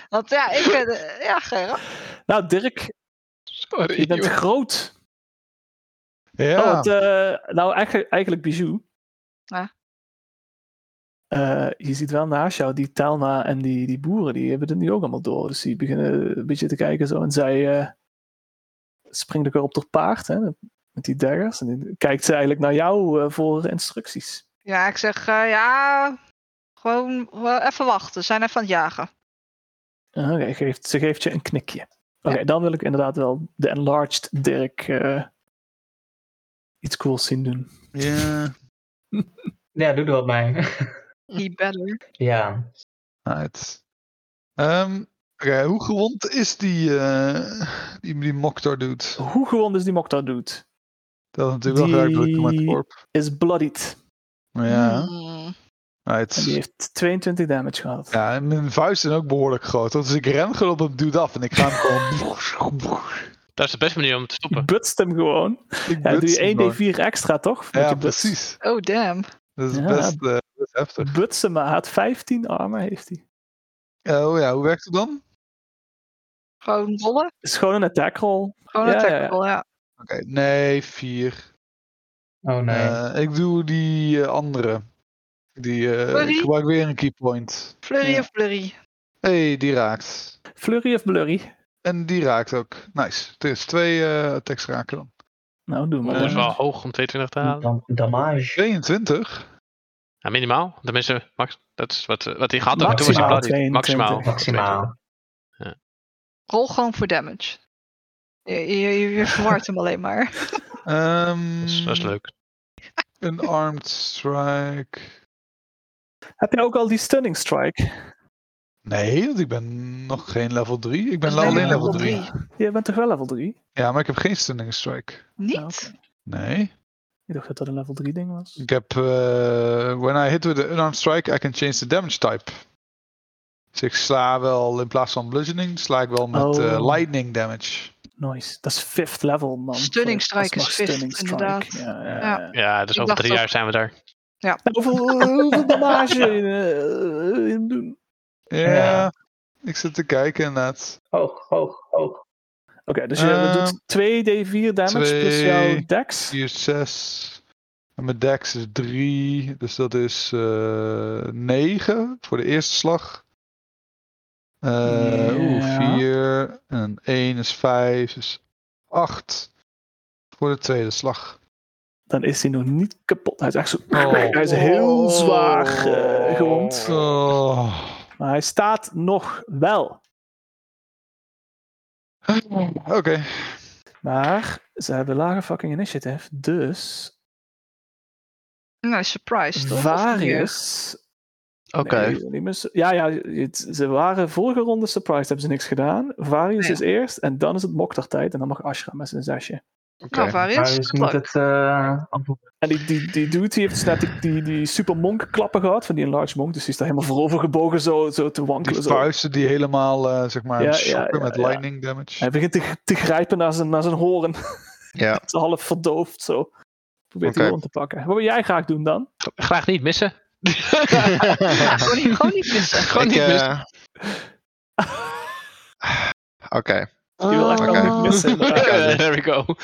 S3: Want ja, ik. eh, ja, Gerard.
S1: Nou, Dirk,
S4: Sorry.
S1: je bent
S4: joh.
S1: groot.
S5: Ja.
S1: Oh, het, eh, nou, eigenlijk, eigenlijk Bijou.
S3: Ah.
S1: Eh, je ziet wel naast jou die Talma en die, die boeren, die hebben het nu ook allemaal door. Dus die beginnen een beetje te kijken zo. En zij eh springt ook weer op haar paard, hè, met die daggers. En dan kijkt ze eigenlijk naar jou eh, voor instructies.
S3: Ja, ik zeg eh, ja. Gewoon eh, even wachten. Ze zijn even aan het jagen.
S1: Ah, Oké, geeft, ze geeft je een knikje. Oké, dan wil ik inderdaad wel de enlarged Dirk eh, iets cools zien doen.
S5: Ja.
S2: Ja, doe er wat mee.
S3: He better.
S2: [laughs] ja.
S5: Right. Ah, Ehm, oké, hoe gewond is die, eh, die, die Moktar dude?
S1: Hoe gewond is die Mokta doet?
S5: Dat is natuurlijk wel
S1: Die-
S5: duidelijk met korp.
S1: Is bloodied.
S5: Maar ja,
S3: Hmm.
S1: En die
S5: right.
S1: heeft 22 damage gehad.
S5: ja, en mijn vuisten zijn ook behoorlijk groot. Dus ik ren gewoon op hem dude af en ik ga hem
S1: [laughs]
S5: gewoon...
S4: Dat is de beste manier om te
S1: Je
S4: stoppen.
S1: butst hem gewoon.
S5: ik
S1: Ja, doe
S5: buts hem gewoon.
S1: je 1d4 extra, toch? Met
S5: Ja,
S1: je buts.
S5: precies.
S3: Oh, damn.
S5: Dat is
S1: Ja.
S5: best, eh, best heftig.
S1: Butsen maar. Hij had 15 armen, heeft hij.
S5: Oh ja, hoe werkt het dan?
S3: Gewoon rollen.
S1: Is gewoon een attack roll.
S3: Gewoon
S1: Ja,
S3: een
S1: ja, ja.
S3: tackle, ja.
S5: Oké, nee, vier.
S2: Oh nee.
S5: Eh, ik doe die eh, andere. Die, eh, ik
S3: Sorry?
S5: gebruik weer een keypoint.
S3: Flurry
S5: Ja.
S3: of blurry?
S5: Hé, hey, die raakt.
S1: Flurry of blurry?
S5: En die raakt ook. Nice. Het is twee eh attacks raken dan.
S1: Nou, doe maar.
S4: Dat is
S1: dan.
S4: wel hoog om 22 te halen.
S2: Dan damage.
S5: 22.
S4: Ja, minimaal. Tenminste, max, dat is wat, eh, wat hij gehad had.
S2: Maximaal
S4: Toen was hij bloody.
S1: 22.
S4: Maximaal.
S2: Maximaal.
S3: Rol gewoon voor damage. Je, je, je- je verwart hem alleen maar.
S5: Ehm,
S4: Dat is, dat is leuk.
S5: Een armed strike.
S1: Heb jij ook al die stunning strike?
S5: Nee, want ik ben nog geen level 3. Ik ben
S3: Dat is
S5: alleen
S2: alleen
S5: level
S2: level
S5: 3.
S1: Je bent toch wel level 3?
S5: Ja, maar ik heb geen stunning strike.
S1: Ah,
S3: Niet?
S1: oké.
S5: Nee.
S1: Ik dacht dat dat een level 3 ding was.
S5: Ik heb. eh, when I hit with an unarmed strike, I can change the damage type. Dus ik sla wel in plaats van bludgeoning, sla ik wel met
S1: Oh.
S5: eh, lightning damage.
S1: Nice. Dat is fifth level, man.
S3: Stunning strike
S1: Dat mag
S3: is fifth, inderdaad.
S1: Ja, ja,
S3: Ja.
S1: ja.
S4: Ja, dus
S3: Ik
S4: over
S3: dacht
S4: drie jaar
S3: ook-
S4: zijn we daar.
S1: Nou, hoeveel, hoeveel damage eh, eh, doen?
S5: Ja.
S2: Ja.
S5: Ik zit te kijken inderdaad.
S2: Hoog, hoog, hoog.
S1: Oké, dus je
S5: Ehm,
S1: doet 2d4 damage plus jouw
S5: twee.
S1: dex.
S5: 4, 6. En mijn dex is 3. Dus dat is eh 9 voor de eerste slag. Eh
S1: Ja.
S5: Oeh, 4. En 1 is 5. Dus 8 voor de tweede slag.
S1: Dan is hij nog niet kapot. Hij is echt zo... [laughs]
S5: Oh.
S1: Hij is heel zwaar eh, gewond.
S5: Oh.
S1: Maar hij staat nog wel.
S5: Oké.
S1: Maar ze hebben lage fucking initiative. Dus
S3: Nou, surprise toch? Of niet?
S1: Varius.
S6: Oké.
S1: Nee, niet meer su- ja, ja het- ze waren vorige ronde surprised, hebben ze niks gedaan. Varius
S3: Ja.
S1: is eerst en dan is het Mokter tijd en dan mag Ashra met zijn zesje.
S6: Oké.
S3: Nou,
S2: Maar
S3: Varius,
S2: dus
S3: goed
S2: moet
S3: luck.
S2: het... eh,
S1: En die, die, die dude die heeft dus net die, die, die super monk klappen gehad van die enlarge monk, dus die is daar helemaal voorover gebogen zo, zo te
S5: Die
S1: wankelen. Zo.
S5: vuisten die helemaal, eh, zeg maar,
S1: Ja, ja,
S5: schokken
S1: ja,
S5: met
S1: ja.
S5: lightning damage.
S1: Hij begint te, te grijpen naar zijn, naar zijn horen.
S6: Ja.
S1: Hij is half verdoofd zo. Probeert
S6: Oké.
S1: die hoorn te pakken. Wat wil jij graag doen dan? [laughs]
S4: Graag niet
S2: [laughs]
S4: missen. eh,
S3: Ja,
S6: [laughs]
S1: [laughs]
S3: gewoon, niet- gewoon niet missen.
S4: Gewoon
S6: Ik,
S4: niet missen.
S6: eh, Oké.
S1: [laughs] Je wil echt wel
S6: Ah, Oké.
S1: niet missen.
S6: [laughs]
S1: inderdaad.
S4: Eh, There we go.
S1: [laughs]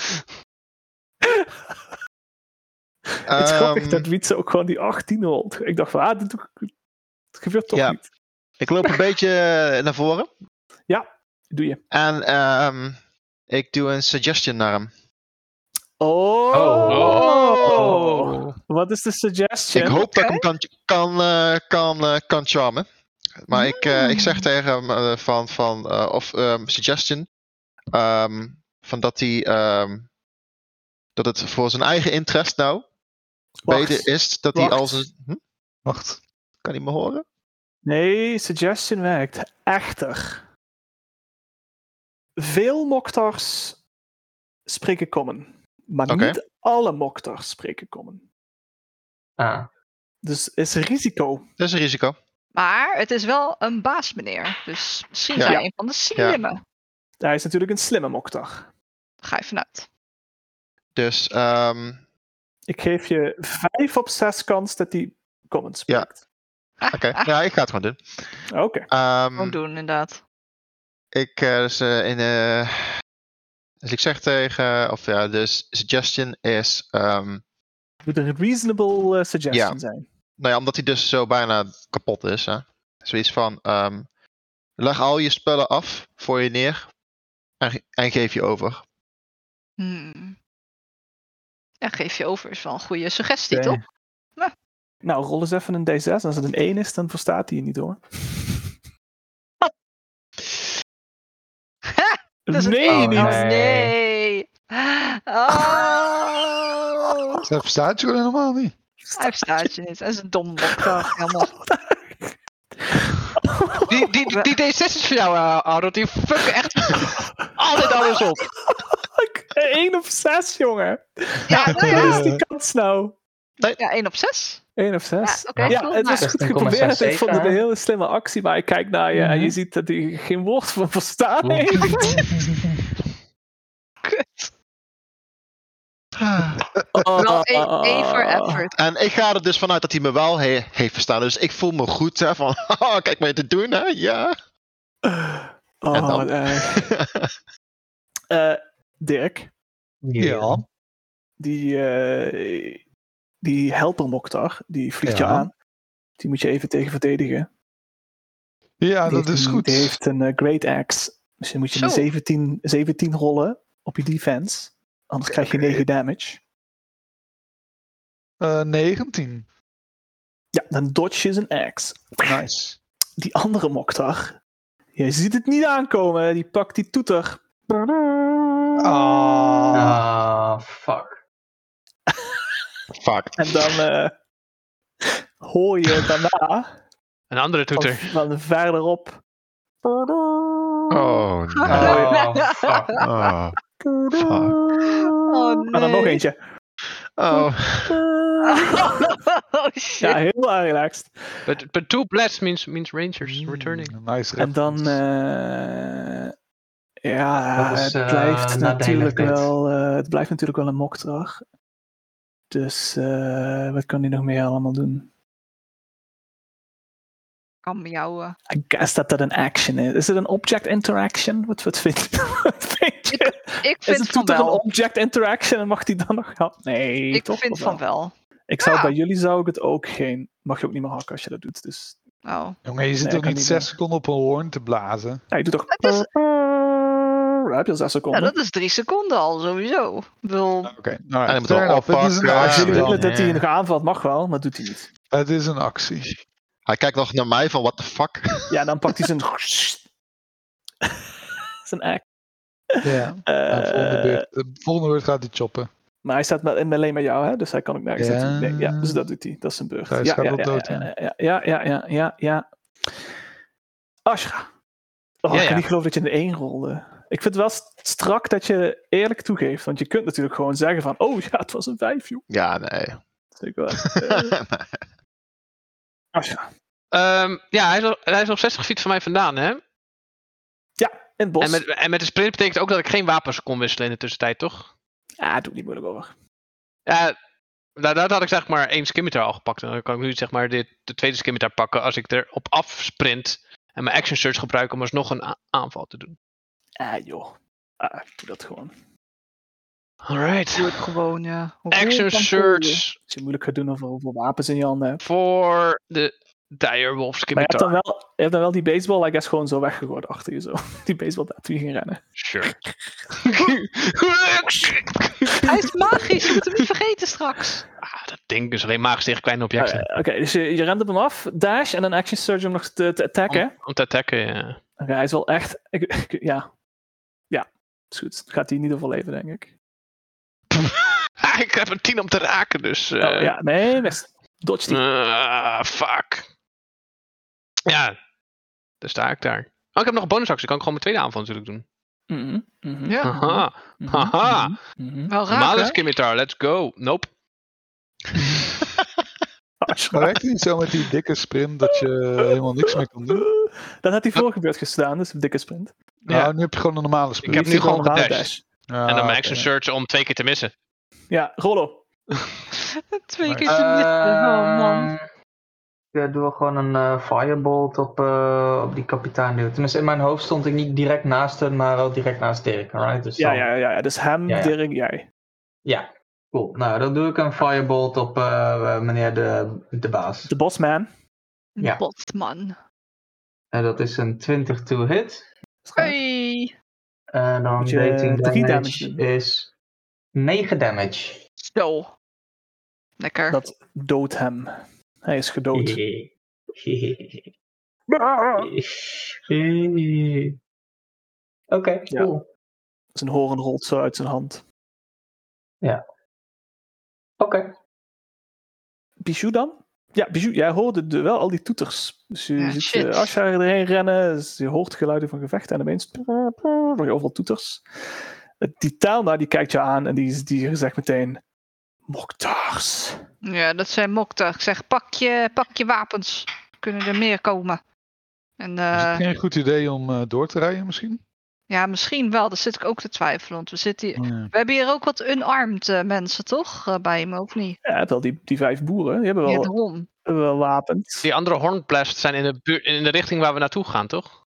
S1: Het is grappig
S6: Ehm,
S1: dat Wietse ook gewoon die 18 rolt. Ik dacht van, ah, dit, het gebeurt toch
S6: Ja.
S1: niet.
S6: Ik loop een beetje eh, naar voren.
S1: Doe je.
S6: En ehm, ik doe een suggestion naar hem.
S1: Oh!
S4: Oh.
S1: Wat is de suggestion?
S6: Ik hoop dat ik hem kan, kan, eh, kan, eh, kan charmen. Maar ik, eh, ik zeg tegen hem eh, van, van eh, of ehm, suggestion, ehm, van dat hij, ehm, dat het voor zijn eigen interest nou
S1: Wacht.
S6: beter is dat hij
S1: Wacht.
S6: als een, hm?
S5: Wacht.
S6: kan hij me horen?
S1: Nee, suggestion werkt. Echter. Veel moktars spreken common. Maar
S6: Oké.
S1: niet alle moktars spreken common.
S2: ah,
S1: Dus is er risico.
S6: Dat is een risico.
S3: Maar het is wel een baas, meneer. Dus misschien
S6: Ja.
S3: zijn een van de slimme.
S1: Hij is natuurlijk een slimme moktar.
S3: Ga even uit.
S6: Dus ehm,
S1: Ik geef je 5 op 6 kans dat hij common spreekt.
S6: oké, ja, ik ga het gewoon doen.
S1: Oké.
S6: Ehm,
S1: Hmm.
S3: Gewoon doen, inderdaad.
S6: Ik, eh, dus, eh, in, eh, dus ik zeg tegen, of ja, dus suggestion is, ehm,
S1: Moet een reasonable eh, suggestion zijn.
S6: Nou ja, omdat hij dus zo bijna kapot is. Hè? Zoiets van: ehm, leg al je spullen af voor je neer en, ge- en geef je over.
S3: Hmm. Ja, geef je over is wel een goede suggestie, toch?
S1: Nou, rol eens even een D6. Als het een 1 is, dan verstaat hij je niet hoor.
S3: Dat is een
S1: nee,
S3: één.
S1: niet.
S2: Oh,
S3: Oh, nee.
S1: [laughs]
S3: Oh,
S5: Dat bestaat Eh, je gewoon helemaal niet.
S3: hij verstaat je niet. Dat is een domme bokdag. Helemaal.
S1: [laughs]
S4: Die, die, die D6 is voor jou, eh, Arnold. Die fuck echt altijd alles
S1: [laughs]
S4: op.
S1: Eén op zes, jongen.
S3: Ja, nou
S1: Wat
S3: ja.
S1: is die kans nou?
S3: ja, 1 op 6
S1: Eén of zes.
S3: Ja, oké, cool, Nou,
S1: het was
S3: maar-
S1: goed geprobeerd. Ik
S2: 16,67,
S1: vond het een
S2: hè?
S1: hele slimme actie, maar ik kijk naar je en je
S2: Mhm.
S1: ziet dat hij geen woord van
S6: Mhm.
S1: verstaan
S2: [laughs]
S1: heeft.
S3: Kut. Wel
S6: Oh.
S1: Wel
S3: één één voor e- effort. [laughs]
S6: En ik ga er dus vanuit dat hij me wel he- heeft verstaan. Dus ik voel me goed. Hè, van, [laughs] haha, kijk maar je te doen, hè? Ja. [laughs] En
S1: Oh, eh,
S6: dan?
S1: wat erg. Eh, Dirk,
S5: Ja.
S1: die, eh, die helper Mokhtar, die vliegt je
S6: Ja.
S1: aan. Die moet je even tegen verdedigen.
S5: Ja,
S1: Die
S5: dat
S1: heeft
S5: is
S1: een-
S5: goed.
S1: Die heeft een eh, Great Axe. Dus dan moet je een
S3: Zo.
S1: 17, 17 rollen op je defense. Anders krijg je 9 damage.
S5: Eh, 19.
S1: Ja, dan dodge je zijn axe.
S5: Nice.
S1: Die andere Mokhtar, jij ziet het niet aankomen. Die pakt die toeter.
S5: Ah.
S2: Ah, fuck.
S6: Fuck.
S1: En dan eh, hoor je daarna
S4: Een andere
S1: van,
S4: toeter.
S1: van verderop.
S6: Oh, nee.
S2: Oh, fuck.
S6: [laughs] Oh, fuck.
S3: Oh,
S1: En dan nog
S3: nee.
S1: eentje.
S6: Oh,
S3: Oh shit.
S1: Ja, heel erg relaxed.
S4: But, but two blasts means, means rangers returning.
S5: Mm, Nice.
S1: En dan,
S5: reference.
S1: eh, ja,
S2: Dat is,
S1: het
S2: eh,
S1: blijft
S2: nadelig
S1: natuurlijk
S2: dit.
S1: wel, eh, het blijft natuurlijk wel een mokdrag. Dus eh, wat kan hij nog meer allemaal doen?
S3: Kan miauwen.
S1: I guess dat dat een action is. Is het een object interaction? Wat, wat vind [laughs] wat vind je?
S3: Ik
S1: Is
S3: vind
S1: het
S3: van
S1: toeter een
S3: wel.
S1: object interaction en mag die dan nog gaan? Nee,
S3: Ik
S1: toch?
S3: vind
S1: Of wel?
S3: van wel.
S1: Ik zou
S3: Ja.
S1: bij jullie zou ik het ook geen. Mag je ook niet meer hakken als je dat doet. Dus
S3: Oh.
S5: Jongen, je zit
S1: Nee,
S5: toch
S1: kan
S5: niet
S1: niet
S5: 6
S1: doen.
S5: seconden op een hoorn te blazen?
S1: ja, je doet toch. Eh,
S3: Het is-
S1: Daar heb je al zes
S3: Ja,
S1: seconden.
S3: dat is drie seconden al, sowieso. Ik bedoel,
S5: Oké, nou
S6: En
S5: ja,
S6: je moet wel
S5: fair enough. Het is een
S6: oppakken.
S1: Als
S5: actie.
S1: jullie
S6: Ja,
S1: willen dat hij
S2: ja.
S1: nog aanvalt, mag wel, maar doet hij niet.
S5: Het is een actie.
S6: hij kijkt nog naar mij van what the fuck. [laughs]
S1: Ja, dan pakt hij
S5: [laughs]
S1: zijn. [laughs] zijn act.
S5: [laughs]
S1: Eh,
S5: Ja. volgende, beurt, de volgende beurt gaat hij choppen.
S1: maar hij staat met, alleen met jou, hè? dus hij kan ook nergens
S5: Ja.
S1: naartoe. Nee, ja, dus dat doet hij. Dat is zijn beurt.
S5: Hij
S1: ja,
S5: gaat
S1: ja,
S5: wel
S1: ja,
S5: dood,
S1: ja, ja, ja, ja, ja, ja, ja. Ashra. Oh,
S4: Ja,
S1: ik
S4: ja.
S1: kan niet geloven dat je in één rolde. Ik vind het wel st- strak dat je eerlijk toegeeft. Want je kunt natuurlijk gewoon zeggen van... Oh ja, het was een vijf, joh.
S6: Ja, nee. [laughs]
S1: Zeker wel. Eh, Ashra.
S4: Ehm, ja, hij is, op, hij is op 60 feet van mij vandaan, hè?
S1: In het bos.
S4: En met, en met de sprint betekent ook dat ik geen wapens kon wisselen in de tussentijd, toch?
S1: Ah, doe niet moeilijk over.
S4: Ja, nou, dat had ik zeg maar één skimitar al gepakt. En dan kan ik nu zeg maar dit, de tweede skimitar pakken als ik erop afsprint. En mijn action search gebruiken om alsnog een a- aanval te doen.
S1: Ah, joh. Ah, doe dat gewoon.
S4: Alright.
S3: doe het gewoon, eh, ja. Hoe
S4: Action
S3: kan het ook?
S4: search
S1: Als je moeilijk gaat doen over hoeveel wapens in je handen hebt.
S4: voor de dire wolf
S1: Maar je hebt, dan
S4: skimitar.
S1: wel, je hebt dan wel die baseball, I guess, gewoon zo weggegooid achter je zo. [laughs] Die baseball dat toen je ging rennen.
S4: Sure.
S3: Hij is magisch, je moet hem niet vergeten straks.
S4: ah, dat ding is alleen magisch tegen kleine
S3: Oh,
S4: objecten.
S1: Eh, Oké, dus je, je rent op hem af, dash en een action surge om nog te, te attacken.
S4: om, om te attacken, ja.
S1: Oké, hij is wel echt. [laughs] Ik, ik- ja. Ja, is goed. Gaat hij niet overleven, denk ik.
S4: Ah, ik heb een 10 om te raken, dus... eh,
S1: oh, ja, nee, best. Dodge die.
S4: Ah, fuck. Ja, daar sta ik daar. Oh, ik heb nog een bonusactie. Kan ik gewoon mijn tweede aanval natuurlijk doen.
S1: Mhm, mhm,
S3: Ja.
S4: Haha.
S1: mhm,
S4: haha.
S1: mhm, mhm.
S3: Wel raar,
S4: Malus
S3: hè?
S4: Kimitar, let's go. Nope.
S1: Ah,
S5: Maar werkt het niet zo met die dikke sprint dat je helemaal niks meer kan doen?
S1: [laughs] Dat had hij voor gebeurd gestaan, dus een dikke sprint.
S4: Ja.
S5: Nou, nu heb je gewoon een normale sprint.
S4: heb
S1: Heeft hij
S4: nu gewoon
S1: normale
S4: gedashed. en
S3: Ah,
S4: dan mijn action search om twee keer te missen.
S1: Ja, Rollo.
S3: Twee
S2: Eh,
S3: keer te missen, oh man.
S2: Ehm, Ja, doen we gewoon een eh, firebolt op, eh, op die kapitein dude. Tenminste, in mijn hoofd stond ik niet direct naast hem, maar wel direct naast Dirk. Alright? Dus
S1: Ja,
S2: dan-
S1: ja, ja, ja. Dus hem,
S2: Ja, ja.
S1: Dirk, jij.
S2: Ja, cool. Nou, dan doe ik een firebolt op eh, eh, meneer de, de baas.
S1: De bossman.
S2: Ja.
S3: Botman.
S2: En dat is een 20 to hit.
S3: Hey.
S2: En dan
S1: Moet je, eh,
S2: 13
S1: drie
S2: damage,
S1: damage doen.
S2: is 9 damage.
S3: Zo. Lekker.
S1: Dat doodt hem. Hij is gedood. Ah!
S2: Oké,
S1: Ja.
S2: cool.
S1: Zijn horen rolt zo uit zijn hand.
S2: Oké.
S1: Bijou dan? Ja, Bijou, jij hoorde de, wel al die toeters. Dus je
S3: Ja,
S1: ziet
S3: shit.
S1: eh, Asha erheen rennen, dus je hoort geluiden van gevechten en ineens hoor je overal toeters. Eh, Die Telma die kijkt je aan en die, die zegt meteen, Moktars.
S3: Ja, dat zijn mokta. Ik zeg, pak je, pak je wapens. Kunnen er meer komen. En
S5: Is
S3: eh,
S5: het geen goed idee om eh, door te rijden misschien?
S3: ja, misschien wel. Daar zit ik ook te twijfelen. Want we, zitten hier...
S5: Ja.
S3: we hebben hier ook wat unarmed eh, mensen, toch? Eh, bij hem, of niet?
S1: Ja, je hebt wel die, die vijf boeren, die hebben
S3: Ja,
S1: wel,
S3: daarom.
S1: hebben wel wapens.
S4: Die andere hornblasts zijn in de, buurt, in de richting waar we naartoe gaan, toch?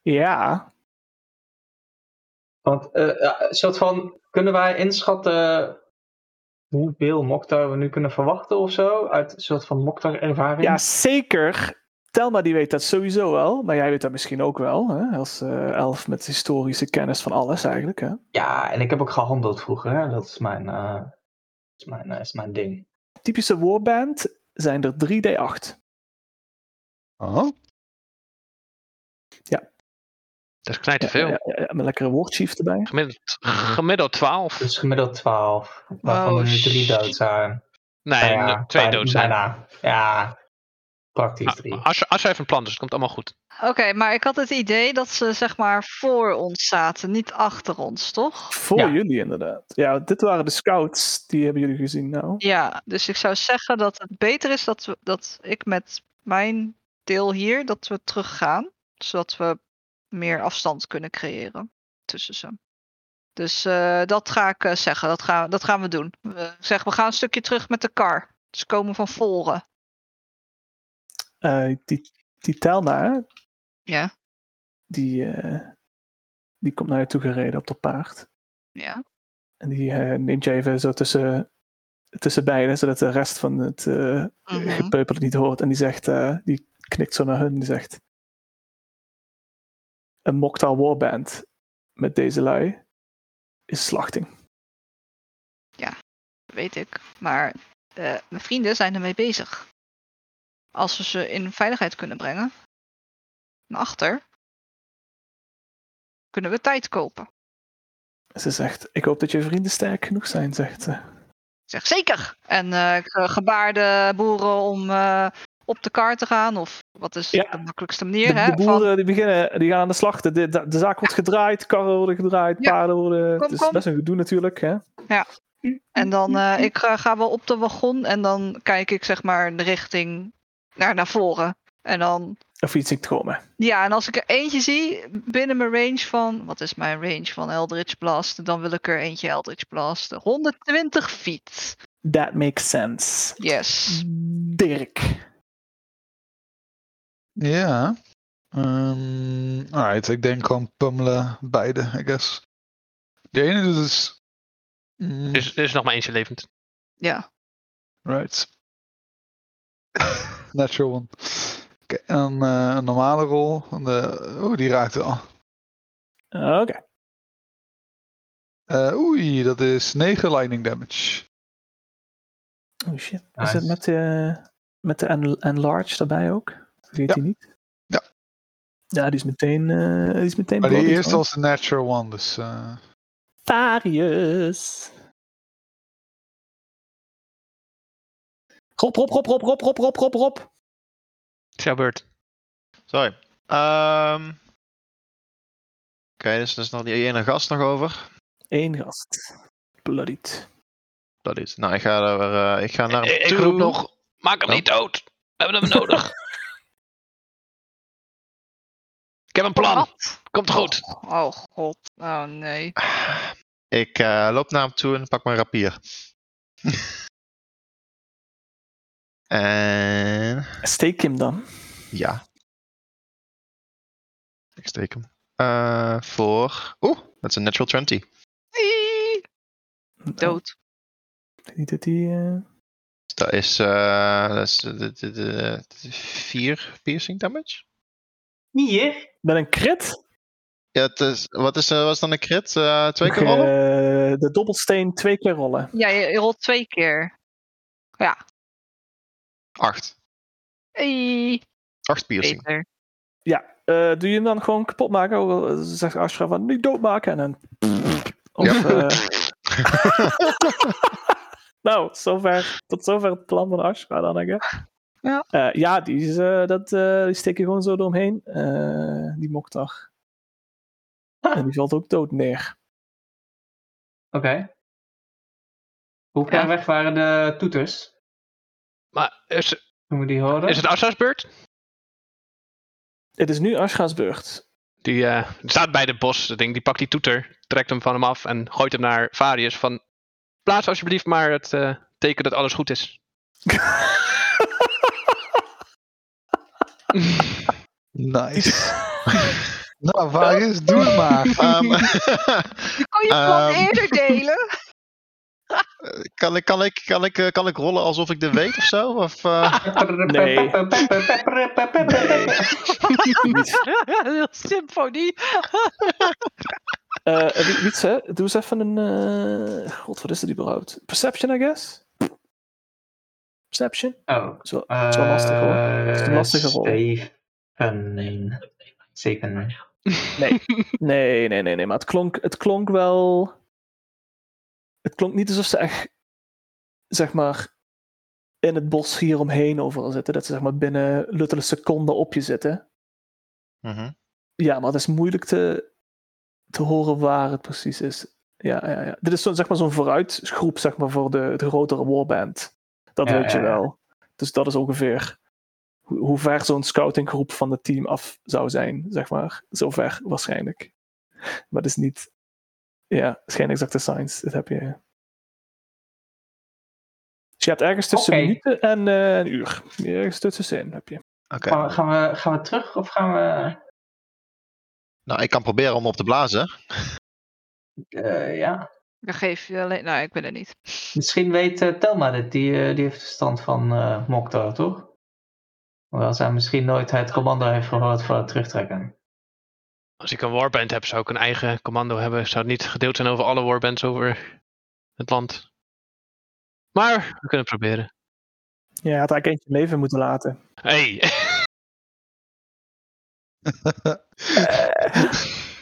S1: Ja,
S2: Want, eh, eh, soort van, kunnen wij inschatten hoeveel Moktar we nu kunnen verwachten of zo? Uit een soort van Moktar-ervaring?
S1: Ja, zeker. Telma die weet dat sowieso wel, maar jij weet dat misschien ook wel. Hè? Als eh, elf met historische kennis van alles eigenlijk. Hè?
S2: Ja, en ik heb ook gehandeld vroeger. Hè? Dat is mijn, eh, is mijn, eh, is mijn ding.
S1: Typische warband zijn er 3d8.
S5: Oh,
S4: Dat is knijt te veel.
S1: Ja, ja, ja, met een lekkere woordchief erbij.
S4: Gemiddeld, gemiddeld 12.
S2: Dus gemiddeld 12. Waarvan
S4: Oh,
S2: er nu drie
S4: shit.
S2: dood zijn.
S4: Nee,
S2: Nou ja,
S4: nou, twee
S2: bijna-
S4: dood zijn.
S2: Bijna. Ja, praktisch drie.
S4: Ah, Als, als hij even een plan, dus het komt allemaal goed.
S3: Oké, maar ik had het idee dat ze zeg maar voor ons zaten, niet achter ons, toch?
S1: Voor
S2: Ja.
S1: jullie inderdaad. Ja, dit waren de scouts. Die hebben jullie gezien nou.
S3: Ja, dus ik zou zeggen dat het beter is dat, we, dat ik met mijn deel hier, dat we teruggaan. Zodat we meer afstand kunnen creëren tussen ze. Dus eh, dat ga ik eh, zeggen, dat, ga, dat gaan we doen. We, zeg, we gaan een stukje terug met de kar. Ze komen van voren.
S1: Eh, die, die Telma, hè,
S3: Ja,
S1: die, eh, die komt naar je toe gereden op dat paard.
S3: ja.
S1: En die eh, neemt je even zo tussen, tussen beiden, zodat de rest van het eh
S3: Mhm.
S1: gepeupel het niet hoort. En die zegt, eh, die knikt zo naar hun en die zegt... Een Moktaal Warband met deze lui is slachting.
S3: weet ik. Maar eh, mijn vrienden zijn ermee bezig. Als we ze in veiligheid kunnen brengen, naar achter, kunnen we tijd kopen.
S1: Ze zegt, ik hoop dat je vrienden sterk genoeg zijn, zegt ze.
S3: Ik zeg zeker. En eh ik eh, gebaar de boeren om eh, op de kar te gaan. Of wat is
S1: Ja.
S3: de makkelijkste
S1: De,
S3: manier? hè?
S1: de
S3: Van,
S1: boeren die beginnen, die gaan aan de slag. De, de, de zaak wordt gedraaid, karren worden gedraaid,
S3: Ja.
S1: paarden worden...
S3: Kom,
S1: het is
S3: kom.
S1: best een gedoe natuurlijk, hè.
S3: En dan, eh, ik eh, ga wel op de wagon en dan kijk ik zeg maar de richting naar, naar voren. En dan
S1: Of iets in het komen.
S3: Ja, en als ik er eentje zie binnen mijn range van. Wat is mijn range van Eldritch Blast? Dan wil ik er eentje Eldritch Blast. 120 feet.
S1: That makes sense.
S3: Yes.
S1: Dirk.
S5: ja. Ehm alright, ik denk gewoon pummelen beide, I guess. De ene doet dus... Mm,
S4: Dus er is nog maar eentje levend.
S3: Ja.
S5: [laughs] Right. Natural one. Oké, en dan, eh, een normale rol. En De, oh, die raakt wel.
S1: Oké.
S5: Eh, oei, dat is 9 lightning damage.
S1: Oh shit. Is
S2: Nice.
S1: het met de, met de en- enlarge daarbij ook? Vergeet
S5: Ja.
S1: die niet?
S5: Ja.
S1: Ja, die is meteen. eh, die is meteen
S5: Maar die
S1: bloody,
S5: eerste
S1: hoor.
S5: was een natural one, dus... eh,
S1: Varius. Rob, Rob, Rob, Rob, Rob, Rob, Rob, Rob, Rob.
S4: Het is jouw beurt.
S6: Sorry. Ehm, Oké, dus er is nog die ene gast nog over.
S1: Eén gast. Bloodied.
S6: Dat is. Nou, ik ga, er, eh, ik ga naar hem
S4: Ik, ik
S6: toe.
S4: roep nog, Nou, maak hem
S6: Oh.
S4: niet dood. We hebben hem [laughs] nodig. ik heb een plan.
S3: Wat?
S4: Komt goed.
S3: Oh god. Oh nee.
S6: Ik eh, loop naar hem toe en pak mijn
S4: [laughs]
S6: rapier. en
S1: Steek hem dan.
S6: ja. Ik steek hem. Eh, voor. Oeh, dat is een natural Dus 20.
S3: Eeeeh. Dood.
S1: Ik denk Niet dat die. eh,
S6: Dat is, eh, dat is eh, de- de- de- de- vier piercing damage.
S2: Hier?
S1: Met een crit?
S6: Ja, het is, wat is, eh, was dan een crit? Eh, twee keer
S1: Mag,
S6: rollen?
S1: eh, de dobbelsteen twee keer rollen.
S3: Ja, je, je rolt twee keer.
S6: Acht.
S3: Eeeeh. [laughs]
S6: Acht piercing.
S3: Beter.
S1: Ja, eh, doe je hem dan gewoon kapot maken? Ook al zegt Ashra van nu doodmaken en dan. Of,
S6: Ja.
S1: eh, [laughs] nou, zover, tot zover het plan van Ashra dan, denk ik.
S3: Ja.
S1: Eh, ja, die, is, eh, dat, eh, die steek je gewoon zo eromheen. Eh, die Moktar. En die valt ook dood neer.
S2: Oké. Hoe ver
S3: Ja.
S2: weg waren de toeters?
S4: Maar is,
S2: Kunnen we die horen?
S4: is het Assa's beurt?
S1: Het is nu Ashra's beurt.
S4: Die eh, staat bij de bos. Dat ding, die pakt die toeter, trekt hem van hem af en gooit hem naar Varius. Van, plaats alsjeblieft maar het eh, teken dat alles goed is.
S5: nice. [laughs] nou, waar is? Doe het maar.
S6: Ehm, [laughs]
S3: Je kon je plan
S6: Ehm.
S3: [laughs] eerder delen.
S6: Kan ik, kan, ik, kan, ik, eh, kan ik rollen alsof ik dit weet of zo? Of, eh,
S2: [laughs]
S1: Nee.
S3: Heel symfonie.
S1: Eh, eh, wie- Wietse, doe eens even een. eh, God, wat is het überhaupt? Perception, I guess? Perception?
S2: Oh. eh,
S1: Is wel-
S2: Het
S1: is wel lastig, hoor. is een lastige rol.
S2: Zeven. Zeven.
S1: Nee, nee, nee, nee. Maar het klonk, het klonk wel. Het klonk niet alsof ze echt, zeg maar, in het bos hieromheen overal zitten. Dat ze, zeg maar, binnen luttele seconden op je zitten.
S6: mhm.
S1: Ja, maar het is moeilijk te, te horen waar het precies is. Ja, ja, ja. Dit is zo'n zeg maar, zo'n vooruitgroep zeg maar, voor de, de grotere warband. Dat
S2: Ja,
S1: weet je
S2: ja, ja.
S1: wel. Dus dat is ongeveer hoe, hoe ver zo'n scoutinggroep van het team af zou zijn, zeg maar. Zover waarschijnlijk. Maar het is niet... Ja, het is geen exacte science. Dat heb je... Dus je hebt ergens tussen
S2: Oké.
S1: minuten en eh, een uur. Ergens tussenin heb je.
S6: Oké.
S2: Gaan we- Gaan we, gaan we terug of gaan we...
S6: Nou, ik kan proberen om op te blazen.
S2: eh, ja.
S3: Dan geef je alleen... Nou, ik ben er niet.
S2: Misschien weet eh, Telma dit. Die, eh, die heeft verstand van eh Moktar, toch? Hoewel zij misschien nooit het commando heeft gehoord voor het terugtrekken.
S4: Als ik een warband heb, zou ik een eigen commando hebben. Zou het niet gedeeld zijn over alle warbands over het land. Maar we kunnen het proberen.
S1: Ja, je had eigenlijk eentje leven moeten laten.
S4: Hey, [laughs]
S1: En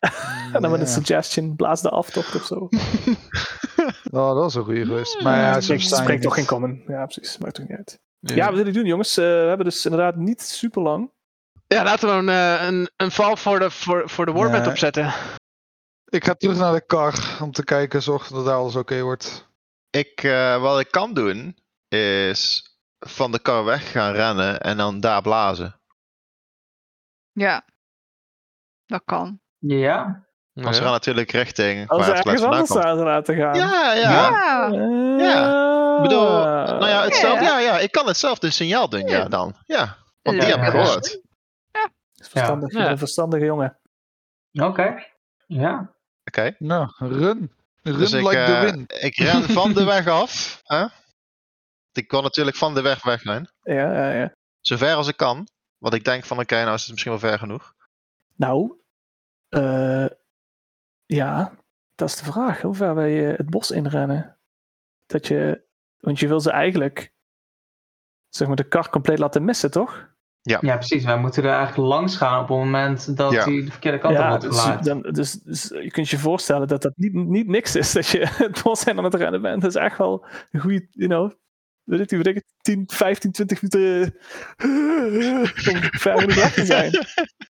S1: Eh. [laughs] dan met een
S5: Ja.
S1: suggestion, blaas de aftocht of zo.
S5: [laughs] Oh, dat is een goede geweest. Maar ja,
S1: Het
S5: ze staan
S1: spreekt
S5: niet.
S1: toch geen common. Ja, precies. Maakt toch niet uit.
S5: Ja.
S6: Dus
S1: Ja, wat willen we doen, jongens? Eh, we hebben dus inderdaad niet super lang.
S4: ja, laten we een, eh, een, een val voor de, voor, voor de warband
S5: Nee.
S4: opzetten.
S5: Ik ga terug naar de kar om te kijken, zorg dat daar alles oké wordt.
S6: Ik, eh, wat ik kan doen, is van de kar weg gaan rennen en dan daar blazen.
S3: Ja. Dat kan.
S2: Ja?
S6: Want ze gaan natuurlijk richting
S1: Als
S6: waar
S1: we
S6: het geluid
S1: ergens
S6: vandaan
S1: anders
S6: komt.
S1: aan laten gaan.
S6: Ja, ja.
S3: Ja.
S1: Eh,
S6: Ik bedoel, nou ja, hetzelfde,
S3: Ja.
S6: ja, ja, ik kan hetzelfde signaal doen, ja,
S3: Ja.
S6: dan. Ja, want die
S2: Ja.
S6: heb ik gehoord.
S1: is verstandig, je
S4: Ja.
S1: bent een verstandige jongen.
S2: Oké. Ja.
S6: Oké,
S5: Nou, run. Run
S6: dus ik,
S5: like
S6: eh,
S5: the wind.
S6: ik ren van de weg af. Hè? Want Ik wil natuurlijk van de weg weg zijn.
S1: Ja, ja, ja.
S6: Zover als ik kan. Want ik denk van, oké, nou is het misschien wel ver genoeg.
S1: Nou, eh, ja, dat is de vraag. Hoe ver wij eh, het bos inrennen. Dat je, want je wil ze eigenlijk, zeg maar, de kar compleet laten missen, toch?
S2: Ja, precies. Wij moeten er eigenlijk langs gaan op het moment dat
S6: Ja.
S2: hij de verkeerde kant op wordt
S1: dus,
S2: gelaten.
S1: dan, dus, dus je kunt je voorstellen dat dat niet, niet niks is [laughs] dat je het bos in aan het rennen bent. Dat is echt wel een goede, you know, weet ik, niet, weet ik, het, 10, 15, 20 minuten eh, om ver in de weg te zijn.
S6: [laughs]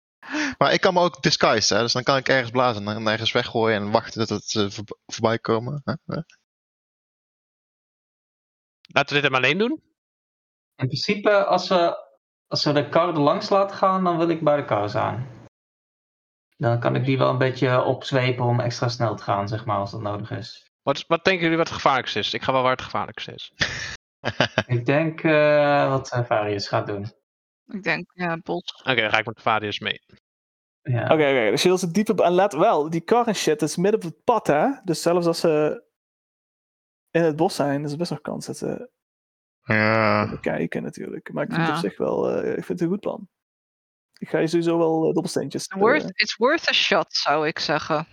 S6: Maar ik kan me ook disguise, hè? dus dan kan ik ergens blazen en ergens weggooien en wachten tot ze voor- voorbij komen. Hè? Hè?
S4: Laten we dit hem alleen doen.
S2: In principe, als we, als we de kar er langs laten gaan, dan wil ik bij de kar zijn. Dan kan ik die wel een beetje opzwepen om extra snel te gaan, zeg maar, als dat nodig is.
S4: Wat, wat denken jullie wat het gevaarlijkste is? Ik ga wel waar het gevaarlijkste is.
S2: Ik denk eh, wat eh, Varius gaat doen.
S3: Ik denk, ja, bot.
S4: Oké, dan ga ik met Varius mee.
S2: Ja.
S1: [laughs] Oké, oké, dus je wil ze diep op. En let wel, die kar en shit is midden op het pad, hè? Dus zelfs als ze in het bos zijn, is er best nog kans dat ze
S6: Ja.
S1: kijken, natuurlijk. Maar ik vind het
S3: Ja.
S1: op zich wel, eh, ik vind het een goed plan. Ik ga je sowieso wel eh, dobbelsteentjes. eh,
S3: Worth, it's worth a shot, zou ik zeggen.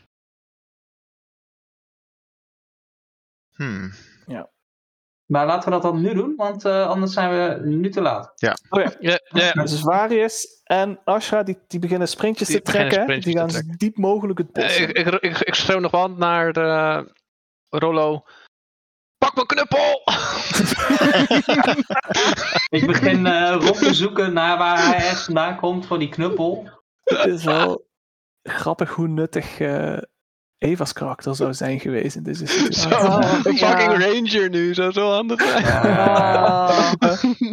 S6: Hmm. [laughs]
S2: Maar laten we dat dan nu doen, want eh, anders zijn we nu te laat.
S4: Ja, ja.
S1: Dus Varius en Ashra die, die beginnen sprintjes
S4: Die
S1: te trekken.
S4: beginnen sprintjes
S1: die gaan
S4: te
S1: zo diep mogelijk het bos.
S4: Eh,
S1: in.
S4: Ik, ik, ik, ik schreeuw nog wel naar eh, Rollo. Pak mijn knuppel!
S2: [laughs]
S4: [laughs]
S2: Ik begin eh Rob te zoeken naar waar hij echt vandaan komt voor die knuppel.
S1: Het is wel grappig hoe nuttig eh, Eva's karakter zou zijn geweest in deze
S4: Zo,
S1: situatie.
S3: Oh,
S4: een
S3: ja.
S4: fucking ranger nu. Zou zo handig zijn.
S2: Ja.
S1: Ah.
S3: Oh.
S2: Eh,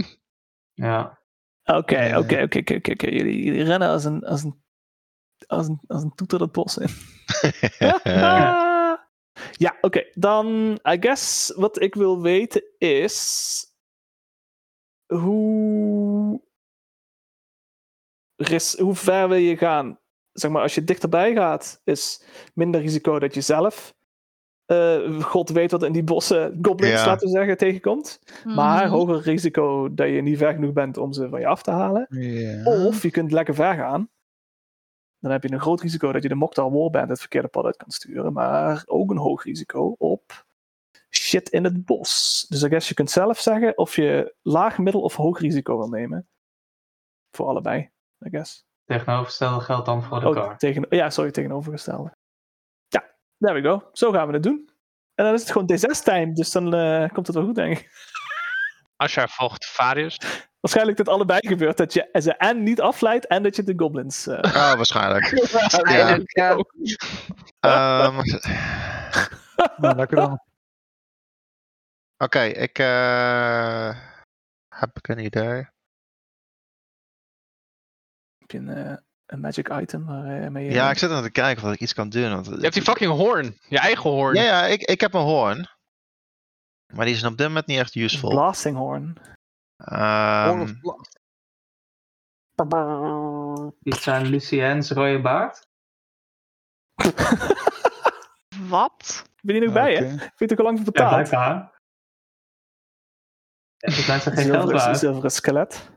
S2: ja.
S1: Oké, oké, oké, oké, oké, oké. Jullie jullie rennen als een, als een, als een, als een toeter dat bos in. Eh, ja, oké. Dan, I guess, wat ik wil weten is... Hoe... ris- hoe ver wil je gaan? Zeg maar, als je dichterbij gaat, is minder risico dat je zelf eh, god weet wat in die bossen goblins,
S6: Ja.
S1: laten we zeggen, tegenkomt. Maar
S3: Mhm.
S1: hoger risico dat je niet ver genoeg bent om ze van je af te halen.
S5: Ja.
S1: Of je kunt lekker ver gaan. Dan heb je een groot risico dat je de Moktal Warband het verkeerde pad uit kan sturen. Maar ook een hoog risico op shit in het bos. Dus I guess je kunt zelf zeggen of je laag, middel of hoog risico wil nemen. Voor allebei, I guess.
S2: Tegenovergestelde geldt dan voor de
S1: Oh,
S2: car.
S1: tegen, ja, sorry, tegenovergestelde. Ja, there we go. Zo gaan we het doen. En dan is het gewoon D6-time, dus dan eh, komt het wel goed, denk ik.
S4: Asha volgt Varius.
S1: Waarschijnlijk dat allebei gebeurt, dat je ze en niet afleidt en dat je de goblins... eh,
S6: Ah, waarschijnlijk.
S3: Eigenlijk, ja.
S6: Ehm,
S5: Nou, lekker dan.
S6: Oké, ik eh, heb ik een idee.
S1: heb je een, eh, een magic item eh, waarmee je...
S6: Ja, ik zit aan te kijken of ik iets kan doen. Want
S4: Je hebt die fucking hoorn. Je eigen hoorn.
S6: Ja, ja ik, ik heb een hoorn. Maar die is op dit moment niet echt useful.
S1: Blasting horn.
S6: Ehm,
S2: Dit zijn Lucien's rode baard.
S3: Wat?
S1: [laughs] Ben je nog bij, hè?
S5: Oké.
S1: Vind je ook al lang voor
S2: Ja,
S1: betaald?
S2: blijkbaar. Het zijn ze geen geld
S1: Zilveren,
S2: waard.
S1: zilveren skelet.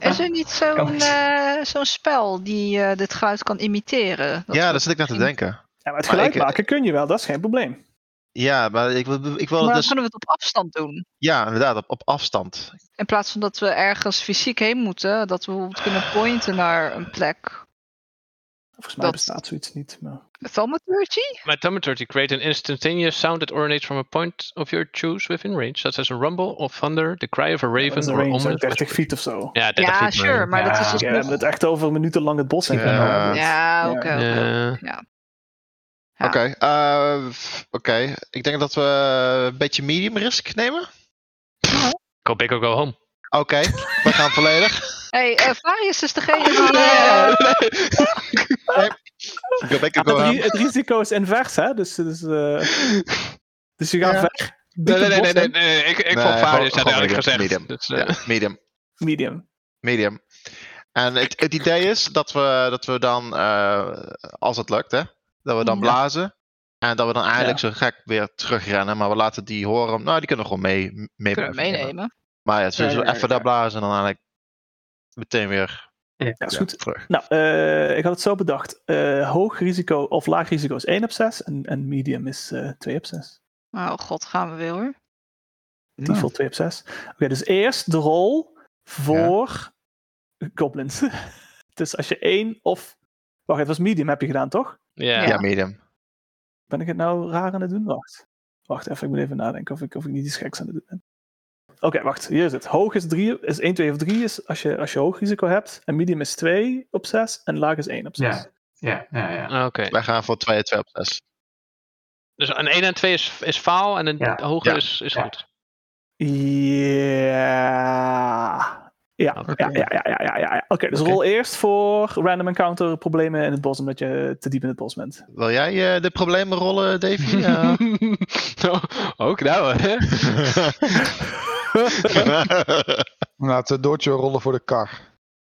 S3: Is
S6: Ah.
S3: er niet zo'n
S2: Kan-
S3: eh, zo'n spel die eh, dit geluid kan imiteren?
S6: ja,
S3: we-
S6: daar zit ik naar te
S3: misschien-
S6: denken.
S1: Ja, maar het geluid
S6: ik- eh,
S1: maken kun je wel, dat is geen probleem.
S6: Ja, maar ik, wil- ik wil
S3: Maar
S6: het
S3: dan
S6: dus...
S3: kunnen we het op afstand doen.
S6: Ja, inderdaad, op, op afstand.
S3: In plaats van dat we ergens fysiek heen moeten, dat we bijvoorbeeld kunnen pointen naar een plek.
S1: Volgens mij
S3: Dat-
S1: bestaat zoiets niet. Maar...
S3: Thaumaturgy?
S4: My thaumaturgy create an instantaneous sound that originates from a point of your choose within range, such as a rumble of thunder, the cry of a
S1: Dat is
S4: raven
S1: een
S4: or
S1: range,
S4: ominous
S1: zo'n 30
S4: whisper.
S1: feet of zo.
S4: Ja, 30
S3: Ja,
S4: feet.
S3: sure, maar dat is dus
S1: Ja,
S2: Ja.
S1: we hebben het echt over minuten lang het bos in
S6: Ja.
S1: gedaan.
S3: Ja, oké.
S1: Ja.
S3: oké,
S4: Ja.
S3: oké, ja. Ja.
S6: Oké, eh, f- oké. ik denk dat we een beetje medium risk nemen.
S4: Go big or go home.
S6: Oké, we
S3: [laughs]
S6: gaan volledig.
S3: hey, eh, Varius is degene die... eh,
S6: [laughs] Go back and
S1: Het,
S6: go
S1: ri-
S6: home.
S1: het risico is invers, hè? Dus, dus, eh, dus je gaat
S6: Ja.
S1: weg.
S4: Nee,
S1: diep
S4: nee,
S1: het
S4: nee,
S1: bos
S4: nee, nee,
S1: in,
S4: nee, Ik, ik
S6: Nee,
S4: volg
S6: gewoon-
S4: Varius, had
S6: gewoon
S4: eigenlijk
S6: medium,
S4: gezegd.
S6: medium.
S4: Dus, eh,
S6: Ja, medium.
S1: Medium.
S6: Medium. En het, het idee is dat we, dat we dan, eh, als het lukt, hè, dat we dan
S1: Ja.
S6: blazen. En dat we dan eigenlijk zo gek weer terugrennen. Maar we laten die horen. Nou, die kunnen gewoon mee, mee
S3: kunnen we
S6: blijven rennen.
S3: meenemen.
S6: Maar ja, het is
S2: Ja,
S6: sowieso
S2: ja, ja,
S6: even
S2: ja.
S6: daar blazen en dan eigenlijk meteen weer
S1: Ja, is
S6: ja,
S1: goed.
S6: terug.
S1: Nou, eh, ik had het zo bedacht. Eh, hoog risico of laag risico is 1 op 6 en, en medium is eh 2 op 6.
S3: Oh god, gaan we weer hoor.
S1: Die
S5: Nou,
S1: valt 2 op 6. Oké, dus eerst de rol voor goblins. [laughs] dus als je één of... Wacht, het was medium heb je gedaan, toch?
S4: ja.
S6: Ja, medium.
S1: Ben ik het nou raar aan het doen? Wacht. Wacht even, ik moet even nadenken of ik, of ik niet iets geks aan het doen ben. Oké, wacht. Hier is het. Hoog is, 3, is 1, 2 of 3 is als je, als je hoog risico hebt. En medium is 2 op 6 en laag is 1 op 6.
S2: Ja, ja, ja. ja.
S4: Ah, Oké.
S6: Wij gaan voor 2 2 op 6.
S4: Dus een 1 en 2 is, is faal en een
S2: Ja.
S4: hoger
S6: Ja.
S4: is, is
S2: Ja.
S4: goed.
S1: Ja. Ja,
S4: Oké.
S1: ja, ja, ja, ja, ja, ja. Oké, dus
S4: Oké.
S1: rol eerst voor random encounter problemen in het bos, omdat je te diep in het bos bent.
S6: Wil jij eh, de problemen
S4: [laughs]
S6: rollen, Davy? Ja.
S4: Oh, Ook nou, hè?
S5: Nou, Laten we doortje rollen voor de kar.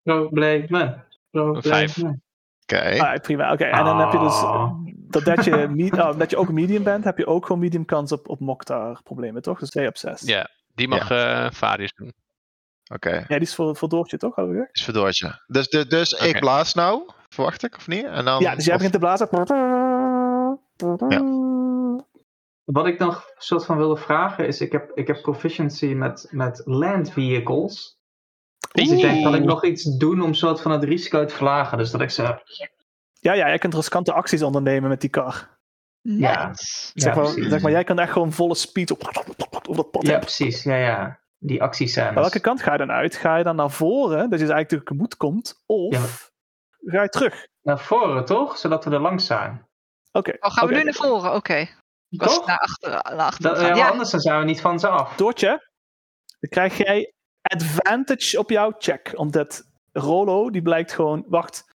S2: Problemen.
S4: vijf.
S2: Problemen.
S6: [laughs] Oké.
S1: Ah, prima, oké. En dan heb je dus,
S2: Ah.
S1: dat, dat
S2: [laughs]
S1: je, me- oh, omdat je ook medium bent, heb je ook gewoon medium kans op, op Mokhtar problemen, toch? Dus 2 op 6.
S4: Ja. Die mag eh Varius doen.
S6: Oké.
S1: Ja, die is voor, voor Doortje, toch? hadden we gezegd?
S6: Is verdoortje. Dus, dus, dus
S4: Oké.
S6: ik blaas nou, verwacht ik, of niet? En dan,
S1: Ja, dus jij
S6: of-
S1: begint te blazen.
S2: Wat ik nog soort van wilde vragen is, ik heb, ik heb proficiency met, met land vehicles. Dus ik denk, kan ik nog iets doen om soort van het risico te verlagen? Dus dat ik ze...
S1: Ja, ja, jij kunt riskante acties ondernemen met die kar.
S2: Ja.
S3: Nice.
S1: Zeg
S2: Ja,
S1: maar,
S2: precies.
S1: zeg maar jij kan echt gewoon volle speed op, op dat pad
S2: Ja,
S1: heen.
S2: precies. Ja, ja. Die acties zijn.
S1: Maar welke kant ga je dan uit? Ga je dan naar voren, dat je ze eigenlijk tegemoet komt, of ga je terug?
S2: Naar voren, toch? Zodat we er langs zijn.
S1: Oké.
S3: Oh, gaan we
S1: oké.
S3: nu naar voren? Oké. Ik was
S2: Toch?
S3: Naar achteren. Naar achteren
S2: Dat,
S3: gaan.
S2: ja,
S3: ja,
S2: Anders dan zijn we niet van ze af.
S1: Doortje, dan krijg jij advantage op jouw check, omdat Rolo, die blijkt gewoon, wacht,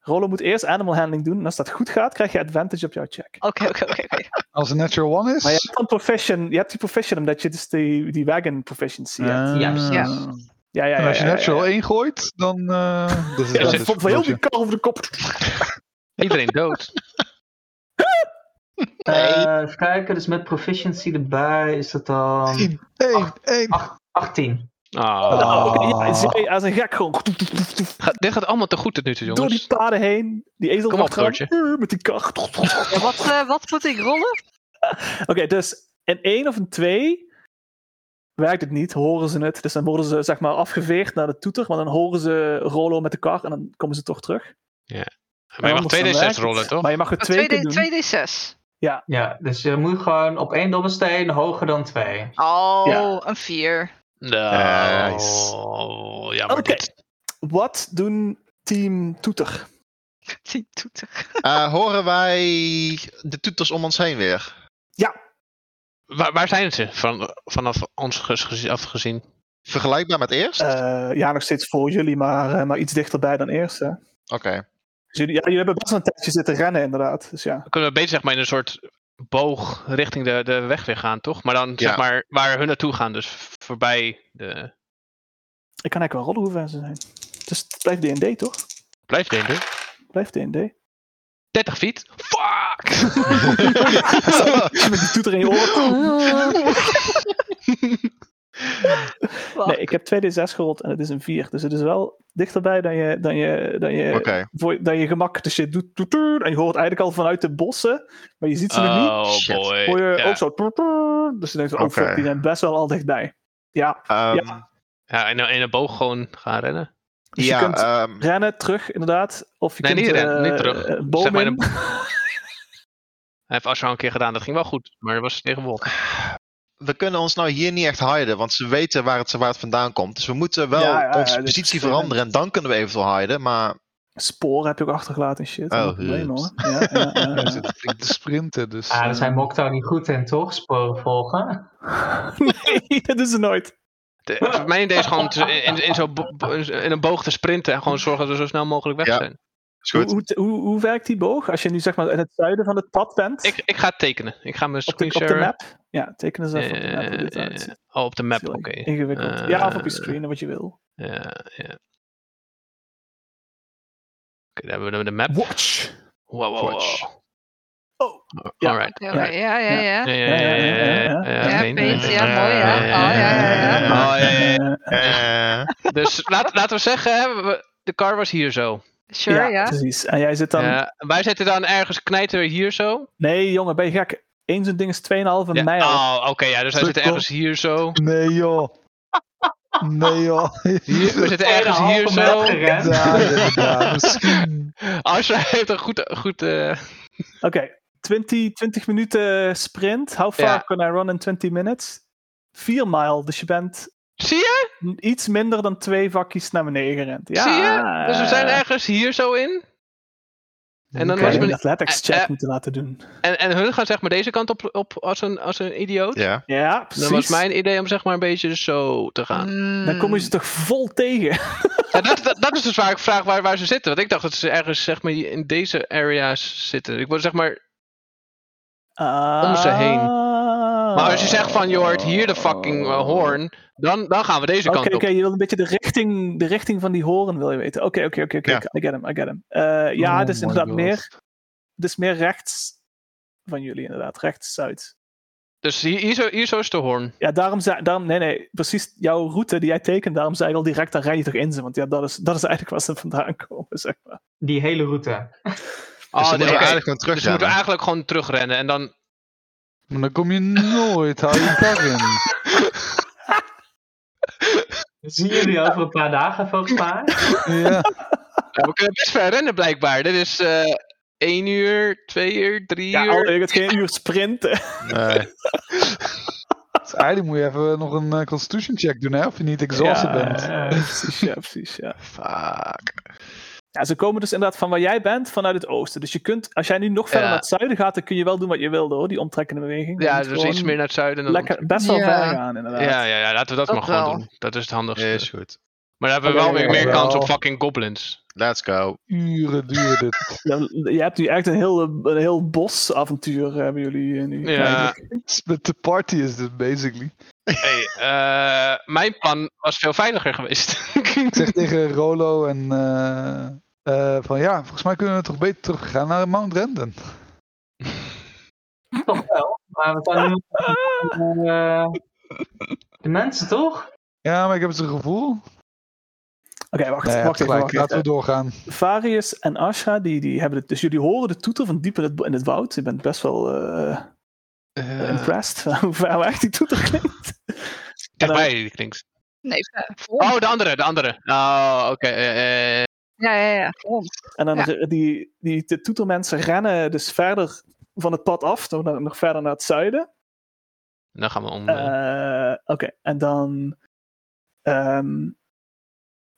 S1: Rolo moet eerst animal handling doen, en als dat goed gaat, krijg je advantage op jouw check.
S3: oké, oké, oké. oké.
S5: Als het natural one is.
S1: Maar je hebt dan profession, je hebt die profession omdat je dus die, die wagon proficiency hebt.
S5: Ah.
S2: Ja, precies.
S3: Ja.
S1: Ja, ja,
S5: En
S1: ja.
S5: als je
S1: ja, ja,
S5: natural
S1: ja.
S5: 1 gooit, dan. [laughs] eh dus
S1: Ja,
S5: dat
S1: dat
S5: is
S1: valt van heel
S5: verdoortje.
S1: die kar over de kop.
S4: Iedereen dood.
S2: Eh, even kijken, dus met proficiency erbij is dat dan
S5: 1,
S2: Ach.
S5: 1.
S2: 18.
S4: Ah.
S1: Ah, oké, [laughs] ja, hij zei als een gek gewoon.
S4: Ga- dit gaat allemaal te goed tot nu toe,
S1: Door die
S4: jongens.
S1: paden heen. Die ezel
S4: Kom op,
S1: mag gaan.
S4: Floortje.
S1: Eh, Met die kacht. [laughs] Oké,
S3: Ja, wat, eh, wat moet ik rollen?
S1: dus een 1 of een 2 werkt het niet. Horen ze het. Dus dan worden ze zeg maar afgeveegd naar de toeter. Maar dan horen ze Rolo met de kar en dan komen ze toch terug.
S4: Maar je mag
S1: Anders dan werkt
S4: 2D6
S1: het.
S4: rollen, toch?
S1: Maar je mag er Oh, twee keer
S3: 2D,
S1: doen.
S3: 2D6.
S2: Ja, dus je moet gewoon op één dobbelsteen hoger dan twee.
S3: Oh,
S1: Ja.
S3: een 4.
S4: Nou,
S6: Nice.
S4: Ja, maar
S1: Oké.
S4: Oh, dit-
S1: Wat doen team toeter?
S3: [laughs] Die toeter.
S6: Eh, horen wij de toeters om ons heen weer?
S4: waar, waar zijn ze van, vanaf ons gez- gez- afgezien?
S6: Vergelijkbaar met eerst? Oké.
S1: Eh, ja, nog steeds voor jullie, maar, eh, maar iets dichterbij dan eerst. Hè. Dus jullie, ja, jullie hebben best wel een tijdje zitten rennen, inderdaad. Dus ja.
S4: Dan kunnen we beter zeg maar, in een soort boog richting de, de weg weer gaan, toch? Maar dan zeg
S6: Ja.
S4: maar waar hun naartoe gaan, dus voorbij de...
S1: Ik kan eigenlijk wel rollen hoe ver ze zijn. Dus het blijft D&D, toch?
S4: Blijf denken.
S1: Het Blijft D&D.
S4: 30 feet. Fuck!
S1: Met die toeter in je oren.
S4: Oh.
S1: Nee,
S3: Wacht.
S1: ik heb 2d6 gerold en het is een 4. Dus het is wel dichterbij dan je, dan je, dan je,
S6: Oké.
S1: voor, dan je gemak. Dus je doet toet, toet, en je hoort eigenlijk al vanuit de bossen, maar je ziet ze nog niet.
S4: Oh
S6: Shit.
S4: boy.
S1: Hoor je
S4: Ja.
S1: ook zo. toet, toet. Dus je denkt, van, oh
S6: Oké.
S1: fuck, die zijn best wel al dichtbij. Ja,
S6: Ehm,
S1: Ja.
S4: Ja, in, een- in een boog gewoon gaan rennen.
S1: Dus je
S6: ja,
S1: kunt-
S6: ehm,
S1: rennen terug inderdaad. Of je
S4: Nee,
S1: kunt
S4: niet rennen,
S1: eh,
S4: niet terug.
S1: eh, boom
S4: Zeg maar
S1: in.
S4: in Hij heeft Ashra een keer gedaan, dat ging wel goed. Maar dat was tegen Wolf.
S6: we kunnen ons nou hier niet echt hiden, want ze weten waar het, waar het vandaan komt. Dus we moeten wel
S1: Ja, ja, ja,
S6: onze
S1: dit is
S6: positie
S1: vervelend.
S6: veranderen en dan kunnen we eventueel hiden. Maar
S1: Sporen heb je ook achtergelaten en shit.
S6: Oh,
S1: Oh, probleem,
S6: goed.
S1: hoor. Ja, ja,
S6: [laughs]
S1: ja,
S5: Hij
S1: ja.
S5: zit flink te sprinten, dus...
S2: Ah, daar
S5: eh,
S2: zijn Mokta niet goed in, toch? Sporen
S4: [laughs]
S2: volgen.
S1: nee, [laughs] dat is er nooit.
S4: De- Mijn idee is gewoon te- in, in, zo'n bo- bo- in een boog te sprinten en gewoon zorgen dat we zo snel mogelijk weg
S6: Ja.
S4: zijn.
S6: is
S1: Hoe,
S6: goed.
S1: hoe, hoe, hoe werkt die boog? Als je nu zeg maar in het zuiden van het pad bent,
S4: Ik, ik ga het tekenen. Ik ga mijn
S1: op, de, op de
S4: screenshare...
S1: map. Ja, tekenen eens even op de map hoe dit
S4: Eh,
S1: eruit ziet.
S4: oh, op de
S1: Het
S4: map,
S1: is heel
S4: oké.
S1: Ingewikkeld. ja, of op je
S4: Eh,
S1: screen, wat je wil.
S4: Ja, ja. Oké, daar hebben we de map.
S1: Watch!
S4: Wow, wow,
S6: Watch.
S4: wow.
S1: Oh,
S4: ja.
S1: ja.
S4: Alright.
S3: Oké, oké, ja, ja, ja.
S4: Ja, ja, ja, ja, ja, ja, ja,
S3: Ja,
S4: geen-
S3: Peet, ja, mooi, ja. Oh, ja, ja, ja.
S4: Oh, ja, ja, ja.
S1: Eh,
S6: Eh,
S4: Dus laat, laten we zeggen, hè, we- de car was hier zo.
S1: ja,
S3: Sure, ja.
S1: precies. En jij zit dan...
S4: Ja, wij zitten dan ergens knijter hier zo.
S1: Nee, jongen, ben je gek? Eén zo'n ding is 2,5
S4: Ja.
S1: mijl.
S4: Oh, oké, ja, dus wij zitten
S5: Cirkel.
S4: ergens hier [laughs] zo.
S5: Nee joh. Nee
S1: [laughs]
S5: joh.
S4: Hier, we zitten ergens hier zo.
S5: Ja, ja, misschien.
S4: Als jij heeft een goed, goed eh,
S1: Oké, 20, 20 minuten sprint. How far
S4: Ja.
S1: can I run in 20 minutes? 4 mile, dus je bent
S4: zie je?
S1: n- iets minder dan twee vakjes naar beneden gerend. Ja, Eh,
S4: Zie je? Dus we zijn ergens hier zo in. En dan
S1: Ik
S4: was
S1: had een
S4: we,
S1: athletics
S4: eh,
S1: check
S4: eh.
S1: moeten laten doen.
S4: en, en hun gaan zeg maar deze kant op, op als, een, als een idioot.
S6: ja.
S1: Ja, precies.
S4: Dat was mijn idee om zeg maar een beetje zo te
S3: Mm.
S4: gaan.
S1: Dan kom je ze toch vol tegen.
S4: Ja, dat, dat, dat is dus waar ik vraag waar, waar ze zitten. Want ik dacht dat ze ergens zeg maar, in deze area's zitten. Ik wil zeg maar. Om ze heen.
S1: Ah.
S4: Maar
S1: Oh.
S4: als je zegt van, joh, hoort hier de fucking eh, hoorn. dus Dan, dan gaan we deze
S1: Oké,
S4: kant
S1: oké,
S4: op.
S1: je wil een beetje de richting, de richting van die horen wil je weten. Oké, oké, oké, oké.
S6: Ja.
S1: I get him, I get him. Eh, ja,
S5: Oh
S1: dus
S5: my
S1: inderdaad
S5: God.
S1: meer, dus meer rechts van jullie inderdaad. Rechts, zuid.
S4: Dus hier, hier, zo, hier zo is de hoorn.
S1: Ja, daarom, zei- daarom nee, nee, precies jouw route die jij tekent, daarom zei ik al direct, daar rij je toch in ze. Want ja, dat is, dat is eigenlijk waar ze vandaan komen, zeg maar.
S2: [laughs] Die hele route.
S4: Oh,
S6: dus dan
S4: nee,
S6: moeten we
S4: oké.
S6: eigenlijk gewoon
S4: Dus we moeten
S6: teruggaan.
S4: eigenlijk gewoon terugrennen. En dan.
S5: Maar dan kom je nooit, hou je kar in.
S2: Zien jullie over een paar dagen volgens mij?
S5: Ja.
S4: [laughs] Ja, we kunnen best ver rennen blijkbaar. Dit is eh 1 uur, 2 uur, 3
S1: Ja,
S4: uur.
S1: Aldo, je gaat geen uur sprinten.
S6: Nee.
S5: Dus eigenlijk moet je even nog een eh, constitution check doen, hè? Of je niet exhausted
S1: ja,
S5: bent.
S1: ja, precies, ja, precies, ja.
S4: Fuck.
S1: ja. Ze komen dus inderdaad van waar jij bent, vanuit het oosten. Dus je kunt, als jij nu nog verder
S4: Ja.
S1: naar het zuiden gaat, dan kun je wel doen wat je wilde, hoor. Die omtrekkende beweging. Je
S4: Ja,
S1: moet
S4: dus
S1: gewoon
S4: iets meer naar het zuiden. Dan
S1: Lekker, best wel
S3: Ja.
S1: ver gaan, inderdaad.
S4: Ja, ja, ja, laten we dat,
S3: Dat
S4: maar gewoon
S3: wel.
S4: doen. Dat is het handigste.
S6: Eh, Is goed.
S4: Maar dan hebben we
S1: Oké,
S4: wel weer
S1: oké,
S4: meer
S5: oké.
S4: kans op
S5: Wel.
S4: fucking goblins.
S6: Let's go.
S5: Uren duurde dit.
S1: Je je hebt nu echt een heel, een heel bosavontuur, hebben jullie eh, nu.
S4: Ja.
S5: Met de party is dit, basically.
S4: Hey, eh, mijn plan was veel veiliger geweest.
S5: Ik zeg tegen Rolo en... eh, eh, van ja, volgens mij kunnen we toch beter teruggaan naar Mount Renden.
S2: nog wel, maar we zijn nu... eh, de mensen toch?
S5: Ja, maar ik heb het gevoel.
S1: Oké, wacht,
S5: Nee,
S1: wacht even.
S5: gelijk.
S1: Wacht, Oh, even.
S5: Laten we doorgaan.
S1: Varius en Ashra, die, die hebben het. Dus jullie horen de toeter van dieper in het, in het woud. Je bent best wel eh, impressed [laughs] hoe ver hoe echt die toeter klinkt.
S4: Dichtbij die klinkt.
S3: Nee, eh, voor ons.
S4: Oh, de andere, de andere. Oh, oké. eh, eh,
S3: Ja, ja, ja, voor ons.
S1: En dan
S3: Ja.
S1: re- die, die de toetermensen rennen dus verder van het pad af, nog, naar- nog verder naar het zuiden.
S4: dan gaan we om. eh,
S1: Eh, Oké, en dan ehm,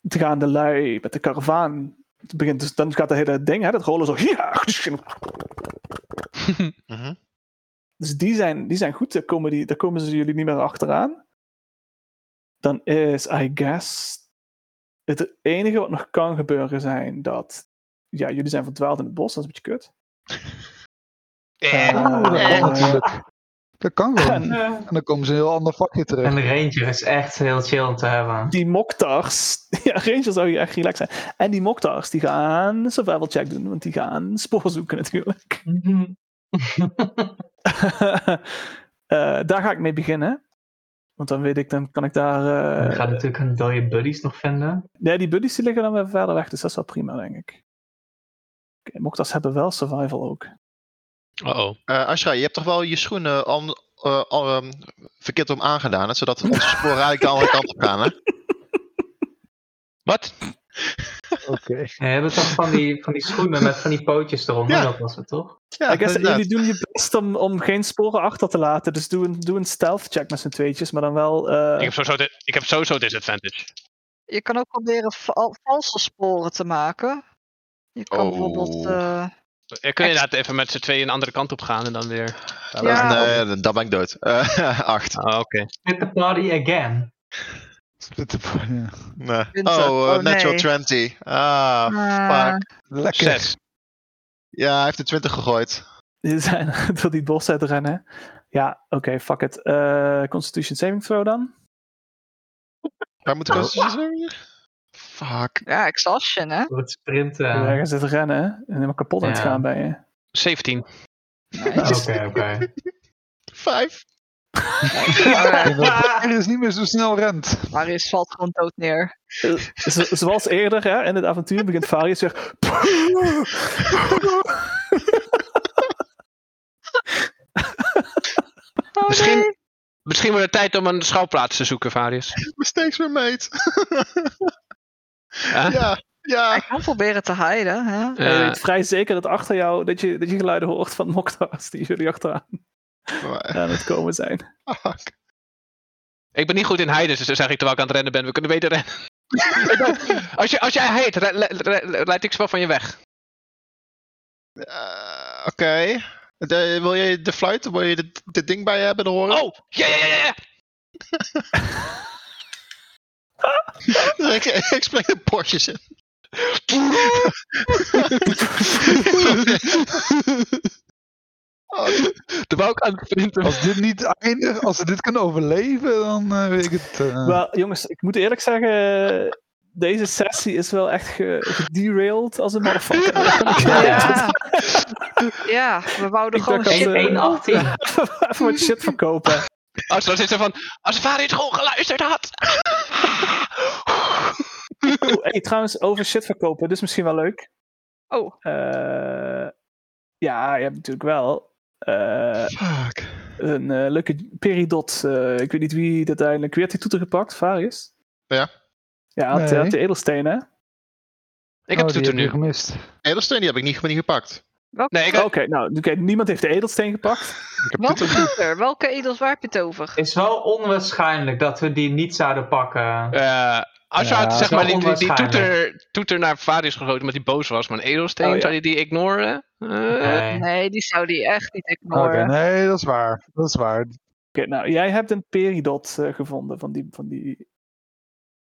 S1: te gaan de lui met de karavaan. Het begint dus, dan gaat dat hele ding, hè, dat rollen zo. Ja,
S6: Mhm.
S1: Dus die zijn, die zijn goed, daar komen, die, daar komen ze jullie niet meer achteraan. Dan is, I guess, het enige wat nog kan gebeuren zijn dat... Ja, jullie zijn verdwaald in het bos, dat is een beetje kut.
S4: eh,
S1: Eh,
S5: dat,
S1: eh,
S5: kan natuurlijk. dat kan gewoon.
S1: en
S2: En eh,
S5: En dan komen ze een heel ander vakje terecht.
S2: de ranger is echt heel chill om te
S4: [laughs]
S2: hebben. [laughs]
S1: die moktars... [laughs] Ja, Ranger zou je echt relaxed zijn. En die moktars, die gaan een survival check doen, want die gaan spoor zoeken natuurlijk. [laughs] Eh, daar ga ik mee beginnen. Want dan weet ik, dan kan ik daar... eh,
S2: We gaan natuurlijk hun dode buddies nog vinden.
S1: Nee, die buddies die liggen dan weer verder weg, dus dat is wel prima, denk ik. Oké, Moktas hebben wel survival ook.
S4: oh.
S6: Eh, Ashra, je hebt toch wel je schoenen om, eh, om, ehm, verkeerd om aangedaan, hè, zodat onze sporen eigenlijk de andere kant op gaan. Hè?
S4: Wat?
S5: Oké.
S2: We hebben toch van die, van die schoenen met van die pootjes eronder,
S6: Ja.
S2: dat was het toch?
S6: Ja,
S1: I guess
S6: inderdaad.
S1: jullie doen je best om, om geen sporen achter te laten, dus doe een, doe een stealth check met z'n tweetjes, maar dan wel... eh, [laughs]
S4: Ik heb sowieso, di- ik heb sowieso disadvantage.
S3: Je kan ook proberen val- valse sporen te maken. Je kan
S6: Oh.
S3: bijvoorbeeld. eh,
S4: Ik kun inderdaad even met z'n tweeën een andere kant op gaan en dan weer.
S3: Ja. Ja.
S6: Nee, dan- dan ben ik dood. Eh, [laughs] acht.
S4: Oh, oké.
S2: Hit the party again.
S5: Split up, ja.
S6: Nee.
S3: Winter.
S6: Oh, eh,
S3: Oh,
S6: natural
S3: nee.
S6: 20. Ah,
S3: eh,
S5: Lekker.
S4: Zes.
S6: ja, hij heeft de 20 gegooid.
S1: die zijn [laughs] door die bos uit rennen. Ja, oké, fuck it. Eh, Constitution saving throw dan?
S6: Waar moet ik zeggen? Fuck.
S3: ja, exhaustion, hè?
S2: Door het eh, sprinten.
S1: Ja. Ergens zitten rennen en helemaal kapot aan het
S2: Ja.
S1: gaan bij je. Dus
S4: 17.
S2: Ah, Oké,
S1: Nice.
S2: oké.
S5: [laughs]
S6: Vijf.
S5: En dat hij dus niet meer zo snel rent.
S3: Marius valt gewoon dood neer.
S1: Zo- zoals eerder hè, in het avontuur begint Varius weer...
S3: Oh,
S4: Misschien-
S3: nee.
S4: Misschien wordt het tijd om een schouwplaats te zoeken, Varius.
S6: Mistakes were made.
S4: Ja?
S6: ja, ja.
S3: Ik kan proberen te hiden, hè?
S1: En je
S4: Eh,
S1: weet vrij zeker dat achter jou, dat je, dat je geluiden hoort van Moktars die jullie achteraan
S6: Maar,
S1: aan het komen zijn.
S6: fuck.
S4: ik ben niet goed in heiden, dus dan zeg ik terwijl ik aan het rennen ben. We kunnen beter rennen. Ik ben- als, je, als jij heet, re- le- re- leid ik ze wel van je weg.
S6: Eh, Oké. De- Wil je de fluit? Wil je dit, dit ding bij je hebben horen?
S4: Oh, ja, ja, ja, ja, ja.
S6: [laughs] ik, ik spring de bosjes in. oh,
S4: Terwijl ik aan het sprinten was.
S5: Als dit niet eindigt, als ze dit kunnen overleven, dan eh, weet ik het. eh.
S1: Wel, jongens, ik moet eerlijk zeggen. Deze sessie is wel echt ge- gederailed als een motherfucker. [laughs] Dat kan ik zeggen.
S3: Ja. ja, we wouden
S1: Ik
S3: gewoon
S1: dacht
S3: shit.
S1: dat, eh,
S2: 118.
S1: Even wat shit verkopen.
S4: Als dan zit ze van, als Varius gewoon geluisterd had.
S1: Oeh, hey, trouwens, over shit verkopen, dit is misschien wel leuk.
S3: Oh,
S1: Eh, ja, je hebt natuurlijk wel eh,
S6: fuck.
S1: een eh, leuke peridot. eh, ik weet niet wie dat uiteindelijk. Wie had die toeter gepakt? Varius?
S6: Ja.
S1: Ja, had,
S5: Nee.
S1: had de edelstenen. hè?
S4: Ik heb
S5: Oh,
S4: het
S5: die
S4: er
S5: je
S4: nu.
S5: gemist.
S6: Edelsteen die heb ik niet, niet gepakt.
S3: welke,
S4: Nee, ik
S1: Oké, nou, oké, niemand heeft de edelsteen gepakt.
S6: Ik heb
S3: welke
S6: dit
S3: toeter? Welke edels waar heb je het over?
S2: is wel onwaarschijnlijk dat we die niet zouden pakken.
S4: Eh, als je
S5: Ja,
S4: had,
S5: dat
S2: is
S4: zeg maar,
S2: wel
S4: die, die, die
S2: onwaarschijnlijk.
S4: toeter, toeter naar Varius gegooid omdat hij boos was, maar een edelsteen,
S1: Oh, ja.
S4: zou hij die ignoren? Eh,
S2: Nee.
S3: Nee, die zou die echt niet
S5: Oké,
S3: ignoren.
S5: nee, dat is waar. Dat is waar.
S1: Oké, nou, jij hebt een peridot eh, gevonden van die, van die.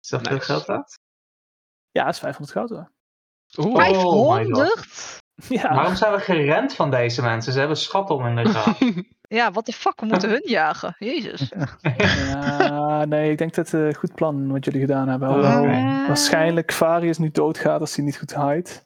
S2: Is dat veel
S4: Nice.
S2: geld dat?
S1: Ja, is 500 goud hoor. [laughs]
S4: oeh.
S2: Wij- Oh my
S3: 500?
S1: Ja.
S6: Ah.
S2: Waarom zijn we gerend van deze mensen? Ze hebben schat om in de zaal.
S3: Ja, wat de fuck, we moeten hun jagen. Jezus.
S1: Ja, nee, ik denk dat het eh, goed plan wat jullie gedaan hebben.
S2: Oh,
S3: Eh,
S1: Hoewel
S2: oké.
S6: [laughs]
S1: waarschijnlijk Varius nu doodgaat als hij niet goed hides.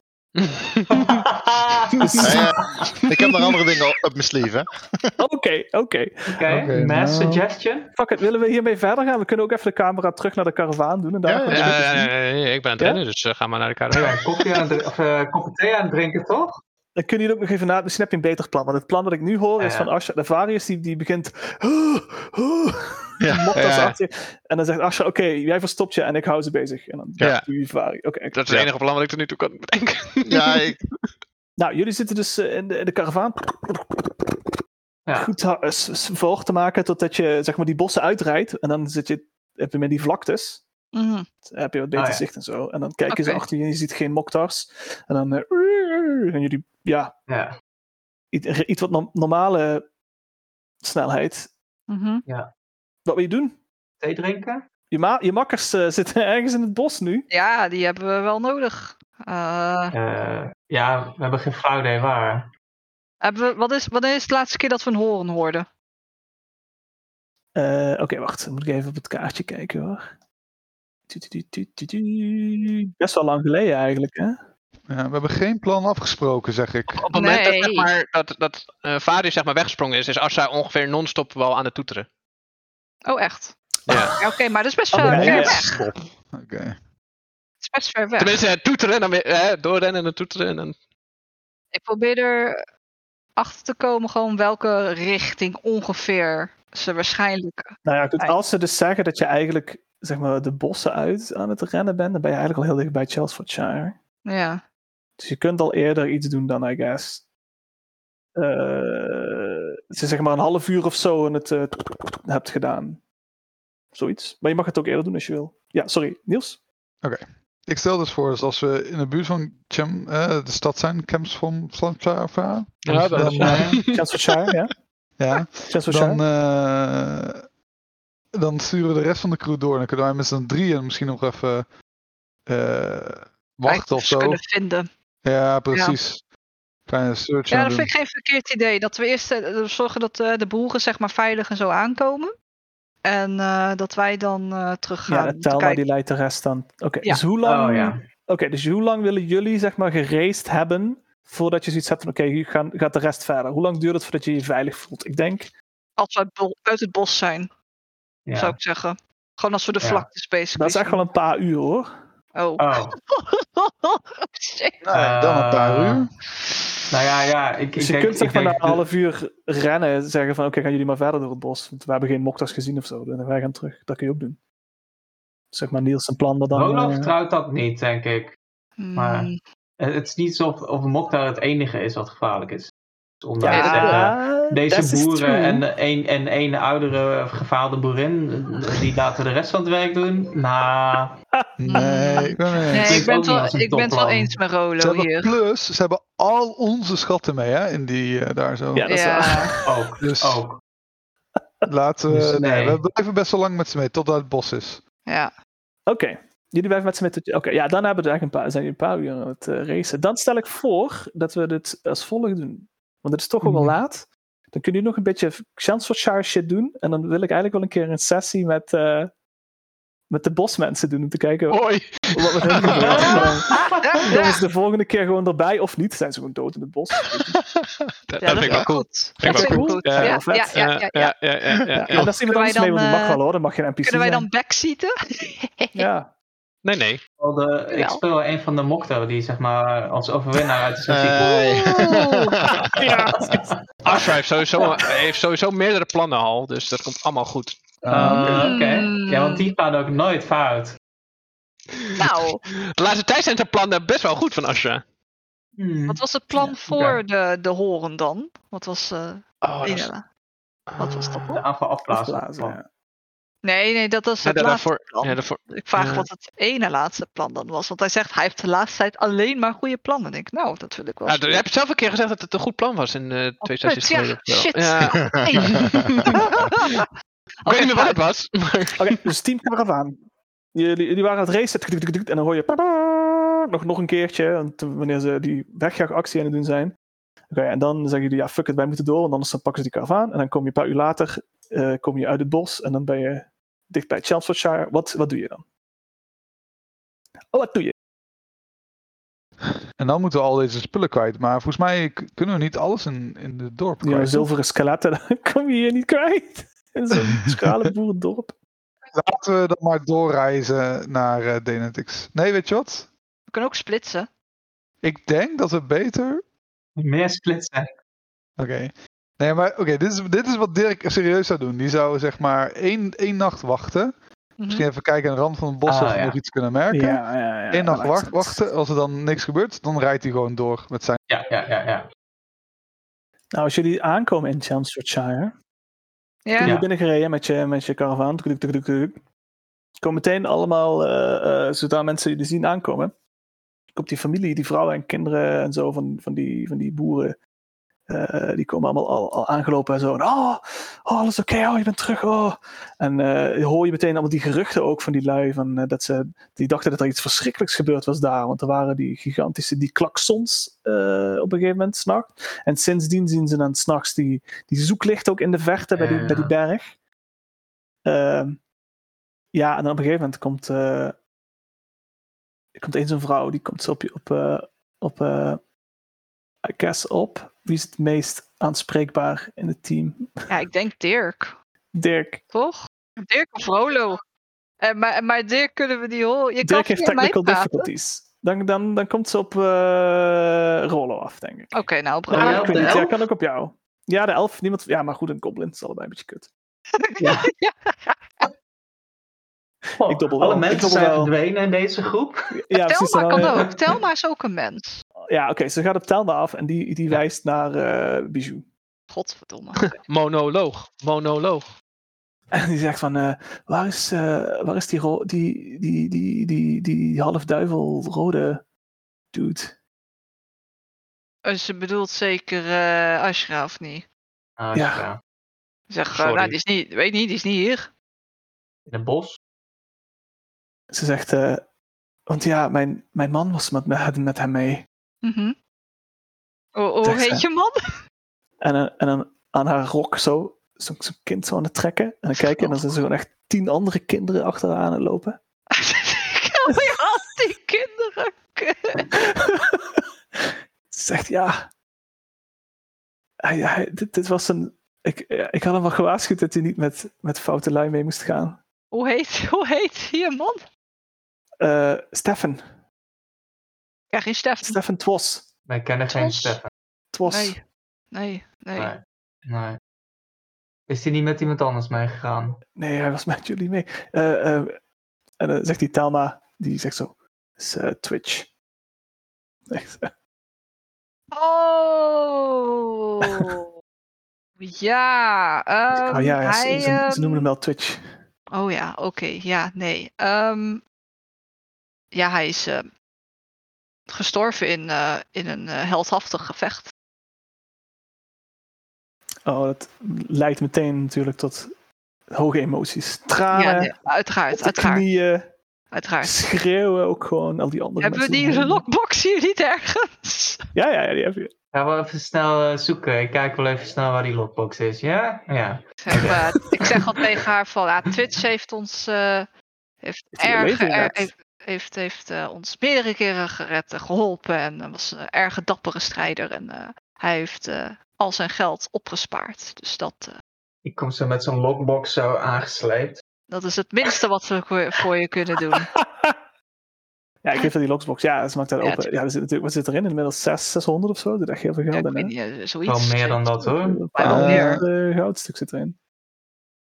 S6: Nou ja, ik heb nog andere dingen op mijn sleeve, hè.
S1: Oké, oké.
S2: Oké,
S5: Oké,
S2: mass
S5: nou.
S2: suggestion.
S1: Fuck it, willen we hiermee verder gaan? We kunnen ook even de camera terug naar de karavaan doen. En daar
S6: Ja,
S1: even-
S4: Ja, ja, ja, ja, ja, ik ben aan
S1: Ja?
S4: het rennen, dus eh, ga maar naar de
S2: We
S4: karavaan.
S2: zijn Oh koffie aan het drinken, of eh, kopje thee aan het drinken, toch?
S1: Dan kun je hier ook nog even na. Misschien heb je een beter plan. Want het plan dat ik nu hoor is
S2: Ja.
S1: van Asha. De Varius die, die begint.
S6: Ja,
S1: mokt als
S4: ja.
S1: actie. En dan zegt Asha: Oké, jij verstopt je en ik hou ze bezig. En dan
S4: Ja.
S1: doe je Varius. Oké. ik-
S4: Dat is
S6: Ja.
S4: het enige plan wat ik tot nu toe kan bedenken.
S6: Ja, ik,
S1: Nou, jullie zitten dus eh, in de, in de karavaan.
S2: Ja.
S1: Goed ha- eh, s- s- voor te maken totdat je zeg maar, die bossen uitrijdt. En dan zit je, heb je met die vlaktes.
S3: Mhm.
S1: Dan heb je wat beter
S2: Ah, ja.
S1: zicht en zo. En dan kijk je ze
S3: Oké.
S1: achter je en je ziet geen moktars. En dan. eh, en jullie, ja,
S2: Ja.
S1: iets, iets wat no- normale snelheid.
S3: Mhm.
S1: Wat wil je doen?
S2: Thee drinken?
S1: Je, ma- je makkers eh, [laughs] zitten ergens in het bos nu.
S3: Ja, die hebben we wel nodig. Eh,
S2: Eh, ja, we hebben geen flauw idee waar.
S3: hebben we, wat, is, wat is de laatste keer dat we een horen hoorden?
S1: Eh, Oké, wacht. Dan moet ik even op het kaartje kijken hoor. Tu, tu, tu, tu, tu, tu. Best wel lang geleden eigenlijk, hè?
S5: Ja, we hebben geen plan afgesproken, zeg ik.
S4: Op het moment dat, zeg
S3: Nee.
S4: maar, dat, dat eh, Varys zeg maar, weggesprongen is, is Assa ongeveer non-stop wel aan het toeteren.
S3: Oh, echt?
S4: Ja.
S3: Ja, Oké, maar dat is best
S1: Oh,
S3: ver,
S1: nee,
S3: ver
S1: ja.
S3: weg.
S5: Oké.
S3: Het is best ver weg.
S4: Tenminste, eh, toeteren, dan weer eh, doorrennen en dan toeteren. En dan...
S3: Ik probeer er achter te komen gewoon welke richting ongeveer ze waarschijnlijk.
S1: Nou ja, goed,
S3: Eigenlijk.
S1: als ze dus zeggen dat je eigenlijk zeg maar, de bossen uit aan het rennen bent, dan ben je eigenlijk al heel dicht bij Chelmsfordshire.
S3: Ja.
S1: Dus je kunt al eerder iets doen dan, I guess. Eh, het is zeg maar een half uur of zo en het eh, hebt gedaan. Zoiets. Maar je mag het ook eerder doen als je wil. Ja, sorry. Niels?
S5: Ik stel dus voor, dus als we in de buurt van Chem, eh, de stad zijn, Camps van Slamtra,
S4: Ja,
S5: dan, eh,
S1: Chelmsfordshire, ja?
S5: ja,
S1: Chelmsfordshire?
S5: dan, eh, dan sturen we de rest van de crew door. Dan kunnen wij met z'n drieën misschien nog even eh, wachten of
S3: kijkers
S5: zo.
S3: kunnen vinden.
S5: Ja, precies. Kleine search
S3: Ja,
S5: aan
S3: dat
S5: doen.
S3: vind ik geen verkeerd idee. Dat we eerst eh, zorgen dat eh, de boeren zeg maar veilig en zo aankomen. En eh, dat wij dan eh, terug gaan.
S1: ja,
S3: om
S1: de
S3: te
S1: Telma
S3: kijken.
S1: die leidt de rest dan. Oké,
S3: Ja.
S1: dus hoe lang...
S2: Oh ja.
S1: Oké, dus hoe lang willen jullie zeg maar geraced hebben voordat je zoiets hebt van oké, hier gaan- gaat de rest verder? Hoe lang duurt het voordat je je veilig voelt? Ik denk,
S3: Als we uit, bo- uit het bos zijn,
S2: ja.
S3: zou ik zeggen. Gewoon als we de
S2: Ja.
S3: vlakte space
S1: dat is echt wel een paar uur hoor.
S3: Oh.
S2: Oh,
S3: [laughs] shit.
S5: Nee, Nou, dan een paar
S1: Ah.
S2: Eh,
S5: uur.
S2: nou ja, ja. Ik,
S1: Dus
S2: ik
S1: je
S2: denk-
S1: kunt zeg
S2: ik
S1: maar na
S2: denk-
S1: een half uur rennen en zeggen van oké, gaan jullie maar verder door het bos. Want we hebben geen moktas gezien of zo. En wij gaan terug. Dat kun je ook doen. Zeg maar Niels zijn plan dat dan...
S2: Roland
S1: eh,
S2: vertrouwt dat niet, denk ik. Maar-
S3: Hmm.
S2: Eh, Het is niet zo of, of Moktar het enige is wat gevaarlijk is. Dus Om daar
S1: ja,
S2: te zeggen,
S1: that
S2: deze
S1: is
S2: boeren
S1: true.
S2: en de een, en een oudere eh, gefaalde boerin, eh, die laten de rest van het werk doen. Nou,
S5: Nee, eh, ik ben het niet eens.
S3: Nee,
S2: klinkt
S3: ik ben
S2: ook
S3: het wel,
S2: niet als een
S3: ik ben het wel
S2: topplan.
S3: eens met
S5: Ze
S3: Rolo
S5: hebben
S3: hier.
S5: plus, ze hebben al onze schatten mee, hè, in die eh, daar zo.
S1: Ja, dat is waar.
S3: Ja.
S2: ook,
S5: Dus-
S2: ook.
S5: Laten we,
S2: Dus
S5: nee.
S2: nee.
S5: we blijven best wel lang met ze mee, totdat het bos is.
S3: [laughs] [laughs] ja.
S1: Oké, jullie blijven met z'n met. Oké, ja, daarna hebben we eigenlijk een paar, zijn jullie een paar uur aan het eh, racen. Dan stel ik voor dat we dit als volgt doen. Want het is toch wel wel
S5: Mhm.
S1: laat. Dan kunnen jullie nog een beetje Chancellorshire shit doen. En dan wil ik eigenlijk wel een keer een sessie met, eh, met de bosmensen doen. Om te kijken
S6: Oh.
S1: wat
S4: [laughs] Hoi!
S1: met hen gebeurt. En dan
S3: Ja,
S1: Komen ze de volgende keer gewoon erbij of niet? Zijn ze gewoon dood in het bos?
S4: Dat,
S3: Ja,
S4: dat vind ik wel cool.
S3: goed.
S4: Vind
S3: Dat vind
S4: ik
S1: wel
S3: ik
S1: cool.
S3: goed.
S4: Ja,
S3: Ja, ja,
S1: wel vet.
S3: ja,
S6: eh,
S3: ja, ja.
S4: ja, ja, ja, ja,
S1: Ja,
S4: ja.
S1: en dat is iemand
S3: wij
S1: anders mee,
S3: dan,
S1: want dat mag
S3: eh,
S1: wel hoor. Dat mag geen NPC
S3: Kunnen wij dan
S1: zijn.
S3: backseaten?
S1: Ja.
S4: Nee, nee.
S2: Wel de- ik
S3: Wel.
S2: speel wel een van de Moktar die zeg maar als overwinnaar uit de sessie
S6: Nee.
S4: [laughs]
S1: [laughs]
S4: Asra heeft sowieso, heeft sowieso meerdere plannen al, dus dat komt allemaal goed.
S5: Um,
S2: Ah, Oké,
S3: Mm.
S2: ja, want die gaan ook nooit fout.
S3: nou,
S4: De laatste tijd zijn zijn plannen best wel goed van Asra.
S2: Hmm.
S3: wat was het plan voor de, de horen dan? Wat was, eh,
S4: Oh, dat is-
S3: Inella? wat was dat
S2: De
S3: plan?
S2: aanval afblazen.
S1: Afblazen, ja.
S3: Nee, nee, dat was
S4: Ja,
S3: het
S4: da-
S3: laatste
S4: daarvoor,
S3: plan.
S4: ja, daarvoor,
S3: Ik vraag
S4: ja.
S3: wat het ene laatste plan dan was. Want hij zegt, hij heeft de laatste tijd alleen maar goede plannen. Ik denk, nou, dat wil ik wel.
S4: Ah, je hebt zelf een keer gezegd dat het een goed plan was in eh
S3: Oh,
S4: twee sessies
S3: kut, ja,
S4: geleden of zo.
S3: shit. [laughs]
S4: Ja, ik weet niet meer wat het was. Maar... [laughs]
S1: Oké, [laughs] dus team caravaan. Jullie, jullie waren aan het racen tuk, tuk, tuk, tuk, en dan hoor je nog, nog een keertje want toen- wanneer ze die wegjaagactie aan het doen zijn. Oké, en dan zeggen jullie ja, fuck it, wij moeten door, want anders dan pakken ze die caravaan. En dan kom je een paar uur later eh, kom je uit het bos en dan ben je dicht bij Chelmsfordshire. Wat, wat doe je dan? Oh, wat doe je?
S5: En dan moeten we al deze spullen kwijt. Maar volgens mij k- kunnen we niet alles in, in het dorp
S1: Die
S5: kwijt.
S1: zilveren skeletten, [laughs] dat kom je hier niet kwijt. In zo'n
S5: [laughs]
S1: schrale boerendorp.
S5: Laten we dan maar doorreizen naar eh Denetix. Nee, weet je wat?
S3: We kunnen ook splitsen.
S5: Ik denk dat we beter...
S2: Meer splitsen.
S5: Oké. Nee, maar oké, dit, is, dit is wat Dirk serieus zou doen. Die zou zeg maar één, één nacht wachten.
S3: Mhm.
S5: Misschien even kijken aan de rand van het bos
S2: Ah,
S5: of we
S2: ja.
S5: nog iets kunnen merken.
S1: Ja, ja, ja.
S5: Eén nacht
S1: dat
S5: wacht,
S1: is-
S5: wachten. Als er dan niks gebeurt, dan rijdt hij gewoon door met zijn...
S2: Ja, ja, ja, ja.
S1: Nou, als jullie aankomen in Chelmsfordshire,
S3: Ja.
S1: Jullie
S2: Ja.
S1: binnengereden met je, met je karavaan. Tuk, tuk, tuk, tuk. Kom meteen allemaal, eh, eh, zodra mensen jullie zien aankomen, komt die familie, die vrouwen en kinderen en zo van, van, die, van die boeren. eh, die komen allemaal al, al aangelopen en zo. En, oh, oh, alles oké, oh, je bent terug. Oh. En eh, hoor je meteen allemaal die geruchten ook van die lui. Van, eh, dat ze, die dachten dat er iets verschrikkelijks gebeurd was daar. Want er waren die gigantische, die klaksons eh, op een gegeven moment, s'nachts. En sindsdien zien ze dan s'nachts die, die zoeklicht ook in de verte bij die,
S2: Ja.
S1: bij die berg. Ehm, ja, en dan op een gegeven moment komt, eh, er komt eens een vrouw, die komt zo op, je- op, eh, op eh, I guess op. Wie is het meest aanspreekbaar in het team?
S3: ja, ik denk Dirk.
S1: Dirk.
S3: Toch? Dirk of Rolo. Eh, maar, maar Dirk kunnen we die horen. Je kan
S1: Dirk heeft
S3: via mij
S1: technical
S3: praten.
S1: difficulties. Dan, dan, dan komt ze op eh Rollo af, denk ik.
S3: Oké, nou, op
S2: Ah,
S1: Ja,
S3: Rolo.
S1: ik
S2: op
S1: weet
S2: de
S1: niet. Ja,
S2: elf?
S1: kan ook op jou. Ja, de elf. Niemand, ja, maar goed, een goblin is allebei een beetje kut.
S2: Oh,
S1: Ik dobbel wel.
S2: alle
S1: Ik
S2: mensen
S1: dobbel
S2: zijn
S1: wel.
S2: verdwenen in deze groep.
S1: Ja, precies.
S3: Telma
S1: dan,
S3: kan
S1: eh,
S3: ook. Telma is ook een mens.
S1: Ja, oké, ze gaat op Telma af en die, die wijst naar eh Bijou.
S3: Godverdomme.
S4: Monoloog. Monoloog.
S1: En die zegt van, eh, waar, is, eh, waar is die, ro- die, die, die, die, die halfduivel rode dude?
S3: Eh, Ze bedoelt zeker eh Ashraf niet.
S2: Ah,
S1: Ja.
S2: ja.
S3: Zeg, eh,
S4: Sorry.
S3: nou, die is niet, weet niet, die is niet hier.
S2: In het bos.
S1: Ze zegt, eh, want ja, mijn, mijn man was met, me- met hem mee.
S3: Mhm. Hoe- Hoe
S1: Zeg,
S3: heet
S1: eh,
S3: je man? [laughs]
S1: En, dan- en dan aan haar rok zo, zo- zo'n kind zo aan het trekken. En dan kijken en dan zijn ze gewoon echt tien andere kinderen achter haar aan het lopen.
S3: Ik hou je
S1: [laughs]
S3: al die kinderen.
S1: Ze zegt, ja, hij, hij- dit, dit was een... Ik, ik had hem wel gewaarschuwd dat hij niet met, met foute lui mee moest gaan.
S3: Hoe heet, hoe heet je man?
S1: Eh Stefan,
S3: Ja, geen Stef.
S1: Stefan Twos.
S2: Wij kennen geen
S3: Tros.
S2: Stefan.
S1: Twos.
S3: Nee. Nee, nee.
S2: Nee. nee. Is hij niet met iemand anders meegegaan?
S1: Nee, hij was [laughs] met jullie mee. Eh, eh, en dan zegt die Thelma, die zegt zo, is eh, Twitch. Echt, eh,
S3: Oh. [laughs] ja. ehm,
S1: oh ja, ja, ze-
S3: hij,
S1: ze, ze,
S3: ehm,
S1: noemen hem wel Twitch.
S3: Oh ja, oké. ja, nee. Ehm, ja, hij is ehm, gestorven in, eh, in een eh, heldhaftig gevecht.
S1: Oh, dat leidt meteen natuurlijk tot hoge emoties. Tranen,
S3: ja, nee, uiteraard,
S1: op de
S3: uiteraard,
S1: knieën,
S3: uiteraard.
S1: schreeuwen ook gewoon, al die andere
S3: Hebben we
S1: mensen.
S3: die
S1: eromheen.
S3: [laughs] lockbox hier niet ergens?
S1: Ja, ja, ja, die heb je.
S2: Gaan we even snel eh, zoeken. Ik kijk wel even snel waar die lockbox is. Ja? Ja.
S3: Zeg, eh, ik zeg al tegen haar van, ja, Twitch heeft ons, eh, heeft
S1: je
S3: erg,
S1: leven
S3: er-
S1: gered?
S3: heeft, heeft, heeft, eh, ons meerdere keren gered en geholpen en eh, was een erg dappere strijder en eh, hij heeft eh, al zijn geld opgespaard. Dus dat, eh,
S2: Ik kom zo met zo'n lockbox zo aangesleept.
S3: dat is het minste wat we voor- voor je kunnen doen.
S1: [laughs] Ja, ik geef dat die lockbox. Ja, ze maakt dat
S3: Ja,
S1: open. Ja, er zit natuurlijk, wat zit erin? Inmiddels 6, 600 of zo. Dat is echt heel veel
S3: Ja,
S1: geld
S3: ik
S1: in, hè?
S3: weet niet, eh,
S2: Wel
S3: zoiets.
S2: meer dan dat hoor.
S1: Een
S3: wel
S1: paar
S5: meer.
S1: honderd, eh, goudstuk zit erin.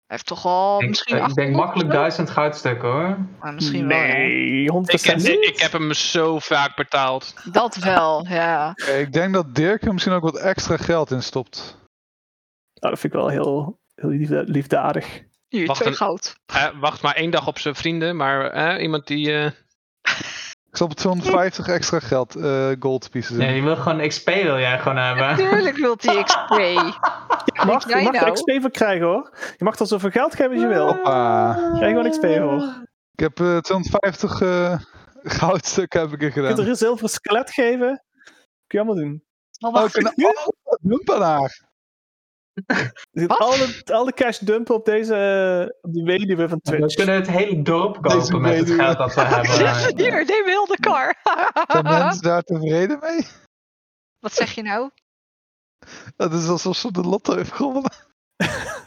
S3: Hij heeft toch al
S2: Ik, eh,
S3: misschien
S2: ik denk
S3: 800
S2: makkelijk
S3: of zo?
S2: duizend goudstukken hoor.
S3: Maar misschien wel.
S1: nee, 100%
S4: Ik heb,
S1: niet.
S4: ik heb hem zo vaak betaald.
S3: ja. Dat wel, ja.
S5: Oké, ik denk dat Dirk er misschien ook wat extra geld in stopt.
S1: Nou, dat vind ik wel heel, heel liefde- liefdadig.
S3: Hier,
S4: Wacht
S3: twee
S4: een-
S3: goud.
S4: Eh, wacht maar één dag op zijn vrienden, maar eh, iemand die... eh,
S5: Ik stop 250 extra geld, eh, gold pieces in.
S2: Nee, je wil gewoon XP wil jij gewoon hebben.
S3: Tuurlijk wilt hij XP.
S1: Je mag, je
S3: jij
S1: mag er
S3: nou? Ah.
S1: XP voor krijgen hoor. Je mag er zoveel geld geven als je wil.
S5: Hoppa.
S1: Krijg gewoon XP
S3: Eh, oh,
S1: hoor.
S5: Ah. Ik heb eh, 250 eh [laughs] goudstukken heb ik er
S1: Je kunt
S5: gedaan.
S1: er een zilveren skelet geven. Kun je allemaal doen.
S3: Maar
S5: Oh,
S3: wacht, Ah,
S5: ik kan oh, dat doen we daar.
S1: Je gaat al, de, al de cash dumpen op deze eh, op die weduwe van
S2: [laughs] We
S1: Twitch.
S2: kunnen het hele dorp kopen
S5: Deze
S2: met het
S5: weduwe.
S2: geld [laughs] dat we
S1: Ah,
S2: hebben.
S3: [laughs] Hier, neem heel de
S1: [laughs]
S3: car.
S5: Zijn
S3: ah,
S5: mensen daar tevreden mee?
S3: Wat zeg je nou?
S5: Dat is alsof ze de lotto heeft gewonnen.